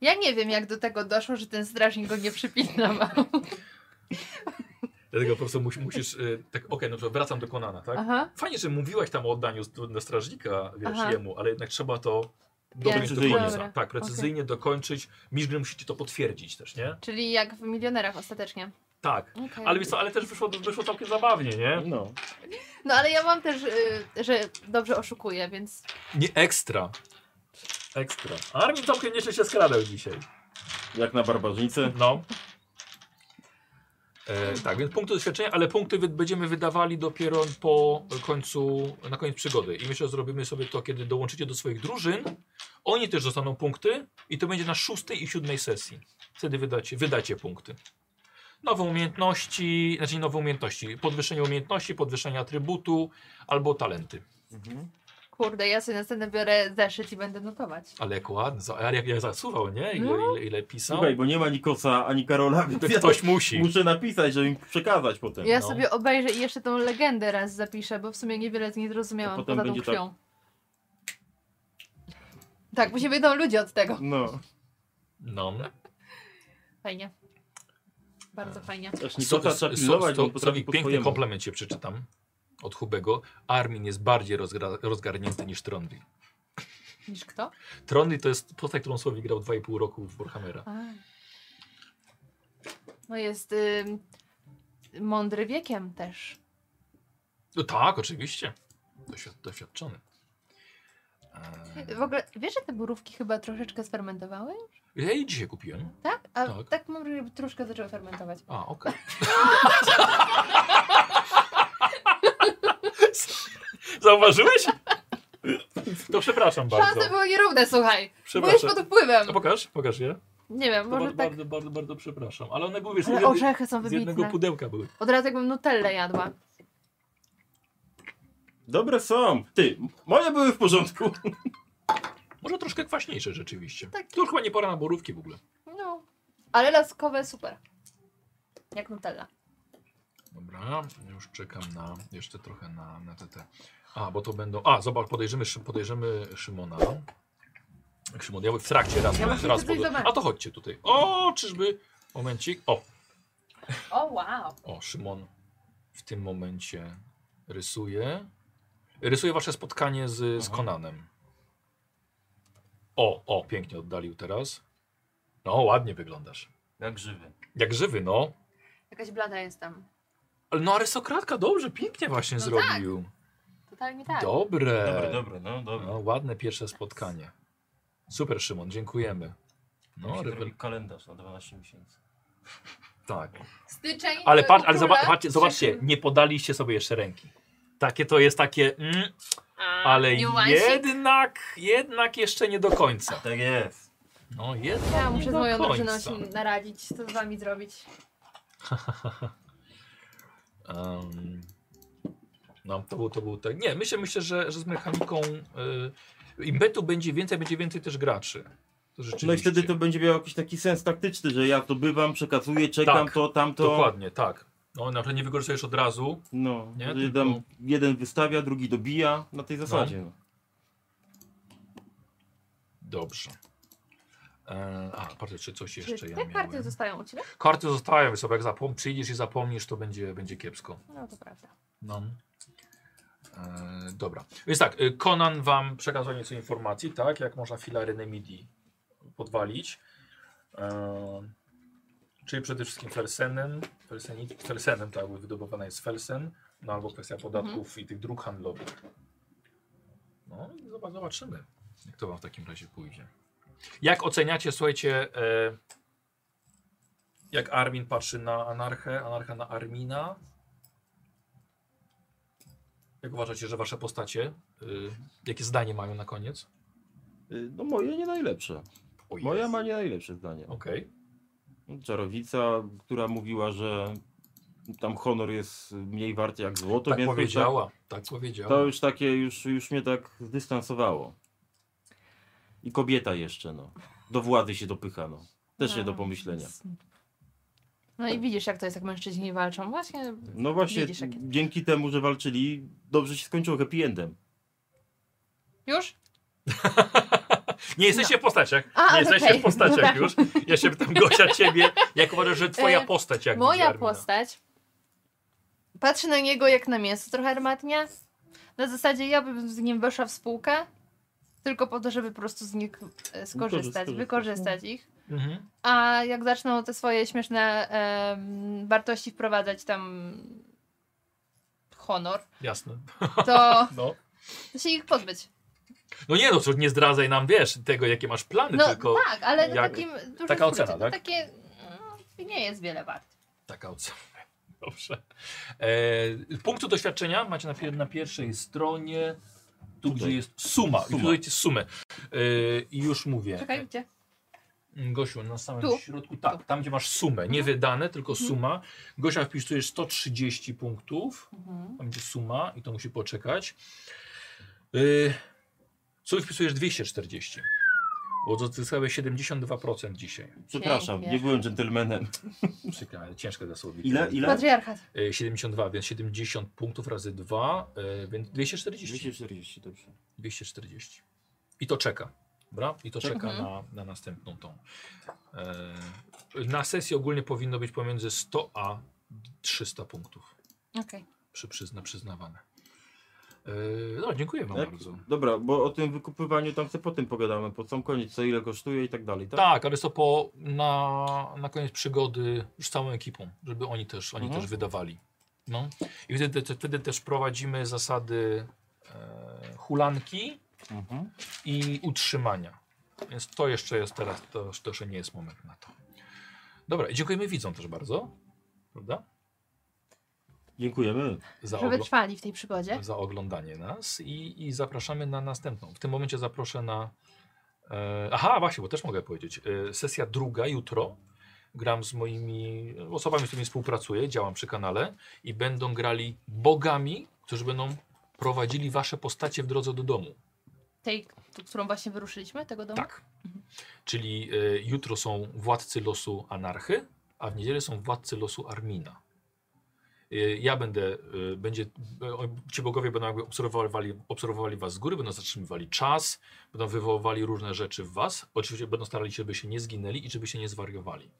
S4: ja nie wiem, jak do tego doszło, że ten strażnik go nie przypilnował.
S3: Tak. Dlatego po prostu musi- musisz, y, tak, okej, no dobrze, wracam do Konana, tak?
S4: Aha.
S3: Fajnie, że mówiłaś tam o oddaniu st- do strażnika, wiesz,
S4: Aha.
S3: jemu, ale jednak trzeba to dokończyć do
S2: Precyzyjnie.
S3: końca.
S4: Dobra,
S3: Tak, precyzyjnie dokończyć. Miżgry musi ci to potwierdzić też, nie?
S4: Czyli jak w milionerach ostatecznie.
S3: Tak.
S4: Okej.
S3: Ale, wiesz co, ale też wyszło, wyszło całkiem zabawnie, nie?
S2: No.
S4: No ale ja mam też, y, że dobrze oszukuję, więc
S3: Nie ekstra. Ekstra. Armin całkiem nieźle się skradał dzisiaj.
S2: Jak na barbarzyńce.
S3: No. E, tak, więc punkty doświadczenia, ale punkty wy, będziemy wydawali dopiero po końcu, na koniec przygody. I myślę, że zrobimy sobie to, kiedy dołączycie do swoich drużyn. Oni też dostaną punkty i to będzie na szóstej i siódmej sesji. Wtedy wydacie, wydacie punkty. Nowe umiejętności, znaczy nie nowe umiejętności, podwyższenie umiejętności, podwyższenie atrybutu albo talenty.
S2: Mhm.
S4: kurde, ja sobie następnie biorę zeszyt i będę notować.
S3: Ale jak ładnie, za- ale jak, jak zasuwał, nie? Ile, ile, ile pisał.
S2: Słuchaj, bo nie ma Nikosa ani Karola, więc
S3: To
S2: ja
S3: ktoś musi.
S2: muszę napisać, żeby im przekazać potem.
S4: Ja
S3: No.
S4: sobie obejrzę i jeszcze tą legendę raz zapiszę, bo w sumie niewiele z niej
S2: A
S4: zrozumiałam
S2: potem
S4: poza tą
S2: będzie tak-
S4: krwią. Tak, bo się wyjdą ludzie od tego.
S2: No.
S3: No.
S4: Fajnie. Bardzo fajnie.
S2: Też
S3: Sto-
S2: Nikosa
S3: sto-
S2: trzeba pilnować,
S3: sto-
S2: bo potrafi
S3: Strowik,
S2: po
S3: piękny
S2: swojemu.
S3: komplement cię przeczytam od Hubego. Armin jest bardziej rozgra, rozgarnięty niż Trondy.
S4: Niż kto?
S3: Trondy to jest postać, którą Słowik grał 2,5 roku w Warhammera.
S4: A. Tak. No jest ym, mądry wiekiem też.
S3: No tak, oczywiście. Doświad, doświadczony.
S4: W ogóle, wiesz, że te borówki chyba troszeczkę sfermentowały?
S3: Eee, ja jej dzisiaj kupiłem.
S4: Tak? A
S3: Tak.
S4: tak, mam wrażenie, że troszkę zaczęły fermentować.
S3: A, okej. Zauważyłeś? To przepraszam bardzo.
S4: Szanse były nierówne, słuchaj. Byłeś
S3: Przepraszam.
S4: pod wpływem.
S3: A pokaż, pokaż je.
S4: Nie
S3: To
S4: wiem, może
S3: bardzo,
S4: tak.
S3: bardzo, bardzo, bardzo przepraszam. Ale one były wiesz,
S4: Ale
S3: z-
S4: orzechy są
S3: z jednego
S4: wybitne.
S3: pudełka były.
S4: Od razu jakbym nutellę jadła.
S2: Dobre są. Ty, moje były w porządku.
S3: Może troszkę kwaśniejsze rzeczywiście.
S4: Tak.
S3: To już chyba nie pora na borówki w ogóle.
S4: No. Ale laskowe super. Jak nutella.
S3: Dobra, już czekam na jeszcze trochę na, na TT. A, bo to będą. A, zobacz, podejrzymy, Szy- podejrzymy Szymona. Szymon, ja w trakcie raz,
S4: Ja
S3: raz,
S4: właśnie
S3: raz
S4: chcę coś
S3: podej-
S4: zobaczyć.
S3: A to chodźcie tutaj. O, czyżby. Momencik. O,
S4: O wow.
S3: o, Szymon w tym momencie rysuje. Rysuje wasze spotkanie z, z
S2: Aha.
S3: Konanem. O, o, pięknie oddalił teraz. No, ładnie wyglądasz.
S2: Jak żywy.
S3: Jak żywy, no.
S4: Jakaś blada jestem.
S3: Ale no arystokratka, dobrze, pięknie właśnie
S4: No
S3: zrobił.
S4: Totalnie tak.
S3: Dobre.
S2: Dobre, dobre, no dobre.
S3: No, ładne pierwsze spotkanie. Super Szymon, dziękujemy. No,
S2: No,
S3: rewel...
S2: kalendarz na 12 miesięcy.
S3: tak.
S4: Styczeń.
S3: Ale,
S4: u
S3: patrz, ale
S4: króla.
S3: zoba- patrzcie, zobaczcie, nie podaliście sobie jeszcze ręki. Takie to jest takie, mm, ale
S4: Niuansik.
S3: jednak, jednak jeszcze nie do końca.
S2: Tak jest.
S3: No jednak
S4: Ja
S3: nie
S4: muszę z
S3: do
S4: moją drużyną
S3: końca.
S4: się naradzić, co z wami zrobić.
S3: Em, no, to był, to był tak. Nie, myślę, myślę że, że z mechaniką y, impetu będzie więcej, będzie więcej też graczy. To
S2: No i
S3: rzeczywiście.
S2: wtedy to będzie miało jakiś taki sens taktyczny, że ja to bywam, przekazuję, czekam
S3: Tak,
S2: to, tamto.
S3: Dokładnie, tak. No, na przykład nie wykorzystujesz od razu.
S2: No,
S3: Nie,
S2: że
S3: tylko-
S2: dam- jeden wystawia, drugi dobija na tej zasadzie. No.
S3: Dobrze. E, a, patrzę, czy coś
S1: Czy
S3: jeszcze ja
S4: tak
S1: te
S3: miałem.
S1: karty zostają u ciebie?
S3: Karty zostają sobie, jak zapom przyjdziesz i zapomnisz, to będzie, będzie kiepsko.
S1: No to prawda.
S3: No. E, dobra. Więc tak, e, Conan wam przekazał nieco informacji, tak? Jak można filarynę MIDI podwalić. E, czyli przede wszystkim Felsenem, Felseni, Felsenem, tak, bo wydobywana jest Felsen, no albo kwestia podatków i tych dróg handlowych. No i zobac- zobaczymy, jak to wam w takim razie pójdzie. Jak oceniacie, słuchajcie, e, jak Armin patrzy na Anarchę, Anarcha na Armina? Jak uważacie, że wasze postacie, y, jakie zdanie mają na koniec?
S2: Y, No moje nie najlepsze.
S3: Oj,
S2: Moja ma nie najlepsze zdanie.
S3: Okej.
S2: Czarowica, która mówiła, że tam honor jest mniej wart jak złoto,
S3: Tak
S2: więc to już tak-
S3: powiedziała, tak powiedziała.
S2: To już takie, już, już mnie tak zdystansowało. I kobieta jeszcze, no. Do władzy się dopycha, no. Też nie do pomyślenia.
S4: No i widzisz, jak to jest, jak mężczyźni walczą. Właśnie
S2: No właśnie,
S4: Widzisz, jakie-
S2: dzięki temu, że walczyli, dobrze się skończyło happy endem.
S4: już?
S3: Tak Nie jesteście w postaciach.
S4: No. A,
S3: nie jesteście
S4: okej. No tak.
S3: w postaciach już. Ja się pytam Gosia ciebie, jak uważasz, że twoja
S4: E,
S3: postać jak no. widzi
S4: Moja
S3: Armina?
S4: postać patrzy na niego jak na mięso trochę armatnie. Na zasadzie ja bym z nim weszła w spółkę, tylko po to, żeby po prostu z nich e, skorzystać,
S2: skorzystać,
S4: wykorzystać ich.
S3: Mhm.
S4: A jak zaczną te swoje śmieszne em, wartości wprowadzać tam honor,
S3: Jasne.
S4: to
S3: No.
S4: to się ich pozbyć.
S3: no nie no, co, nie zdradzaj nam, wiesz, tego jakie masz plany,
S4: No
S3: tylko
S4: tak, ale na
S3: jak-
S4: takim dużym
S3: taka ocena,
S4: skrócie,
S3: tak?
S4: To takie no, nie jest wiele wart.
S3: taka ocena. Dobrze. E, punktu doświadczenia macie na, pier na pierwszej stronie, tu
S2: Tutaj.
S3: gdzie jest suma. I
S2: Suma.
S3: tutaj jest sumę. E, I już mówię.
S4: Czekaj, gdzie?
S3: Gosiu, na samym
S4: Tu?
S3: środku, tak, tam gdzie masz sumę, nie wydane, tylko
S4: Mhm.
S3: suma. Gosia wpisujesz 130 punktów,
S4: Mhm.
S3: tam będzie suma i to musi poczekać. Yy, co wpisujesz 240? Bo odzyskałeś 72% dzisiaj.
S2: Przepraszam,
S4: Pięknie.
S2: nie byłem dżentelmenem.
S3: Przykre, ale ciężko dla słownika.
S2: Ile? Ile?
S4: Patriarchat.
S3: Yy, 72, więc 70 punktów razy 2, yy, więc 240.
S2: 240, dobrze.
S3: 240. I to czeka. Dobra? I to czeka
S4: Mhm.
S3: na, na następną tą. E, na sesji ogólnie powinno być pomiędzy 100 a 300 punktów
S4: Okej.
S3: przy, przyzna, przyznawane. E, no, dziękuję Wam
S2: Tak?
S3: bardzo.
S2: Dobra, bo o tym wykupywaniu tam sobie potem pogadamy, po sam koniec, co ile kosztuje i tak dalej, tak?
S3: Tak, ale to po, na, na koniec przygody już z całą ekipą, żeby oni też, oni
S2: Mhm.
S3: też wydawali. No. I wtedy, te, wtedy też prowadzimy zasady e, hulanki
S2: Mhm.
S3: i utrzymania. Więc to jeszcze jest teraz, to, to jeszcze nie jest moment na to. Dobra, i dziękujemy widzom też bardzo, prawda?
S2: Dziękujemy.
S3: Za,
S4: Żeby
S3: oglo-
S4: trwali w tej przygodzie.
S3: za oglądanie nas i, i zapraszamy na następną. W tym momencie zaproszę na. E, aha, właśnie, bo też mogę powiedzieć. E, sesja druga jutro. Gram z moimi e, osobami, z którymi współpracuję, działam przy kanale i będą grali bogami, którzy będą prowadzili wasze postacie w drodze do domu.
S4: Tej, t- którą właśnie wyruszyliśmy, tego domu.
S3: Tak. Czyli e, jutro są władcy losu anarchy, a w niedzielę są władcy losu Armina. E, ja będę, e, będzie, e, o- ci bogowie będą jakby obserwowali, obserwowali was z góry, będą zatrzymywali czas, będą wywoływali różne rzeczy w was. Oczywiście będą starali się, by się nie zginęli i żeby się nie zwariowali.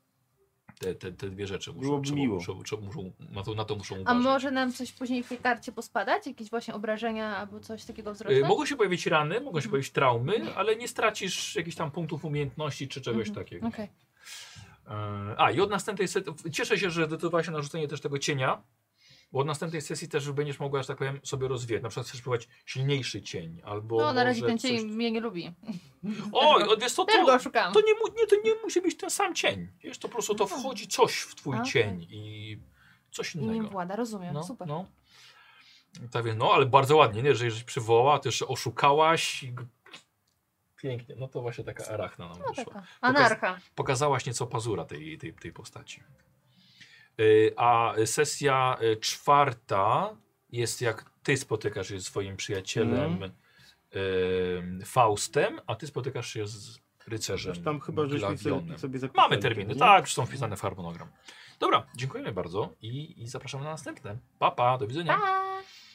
S3: Te, te, te dwie rzeczy muszą,
S2: Byłoby miło.
S3: muszą, muszą, muszą na, to, E, na to muszą
S4: A
S3: uważać.
S4: może nam coś później w tej karcie pospadać? Jakieś właśnie obrażenia albo coś takiego
S3: Y,
S4: wzrostu?
S3: Mogą się pojawić rany, mogą się
S4: Mhm.
S3: pojawić traumy, ale nie stracisz jakichś tam punktów umiejętności czy czegoś
S4: Mhm.
S3: takiego.
S4: Okej.
S3: E, A, i od następnej sesji. Cieszę się, że zdecydowałaś się na rzucenie też tego cienia, bo od następnej sesji też będziesz mogła, że tak powiem, sobie rozwijać. Na przykład chcesz próbować silniejszy cień, albo.
S4: No na razie
S3: może
S4: ten cień
S3: coś-
S4: mnie nie lubi.
S3: Oj, od wiesz co,
S4: Też go
S3: to,
S4: oszukałam.
S3: to, nie, mu- nie, to nie musi być ten sam cień. Wiesz, to po prostu to
S4: Aha.
S3: wchodzi coś w twój
S4: Okej.
S3: cień i coś
S4: I nim
S3: innego.
S4: włada, rozumiem,
S3: No,
S4: super.
S3: no. Tak więc, no ale bardzo ładnie, nie? Że jeżeli przywołała, to jeszcze oszukałaś. i g- Pięknie, no to właśnie taka arachna nam
S4: No
S3: wyszła
S4: taka. Anarcha.
S3: pokazałaś nieco pazura tej, tej, tej postaci. Y, A sesja y, czwarta jest jak ty spotykasz się ze swoim
S2: Mhm.
S3: przyjacielem y, Faustem, a ty spotykasz się z rycerzem.
S2: Już tam chyba żeśmy sobie,
S3: Glawionem.
S2: sobie zapisali,
S3: Mamy terminy,
S2: nie?
S3: tak, już są wpisane w harmonogram. Dobra, dziękujemy bardzo i, i zapraszamy na następne. Pa, pa, do widzenia.
S4: Pa!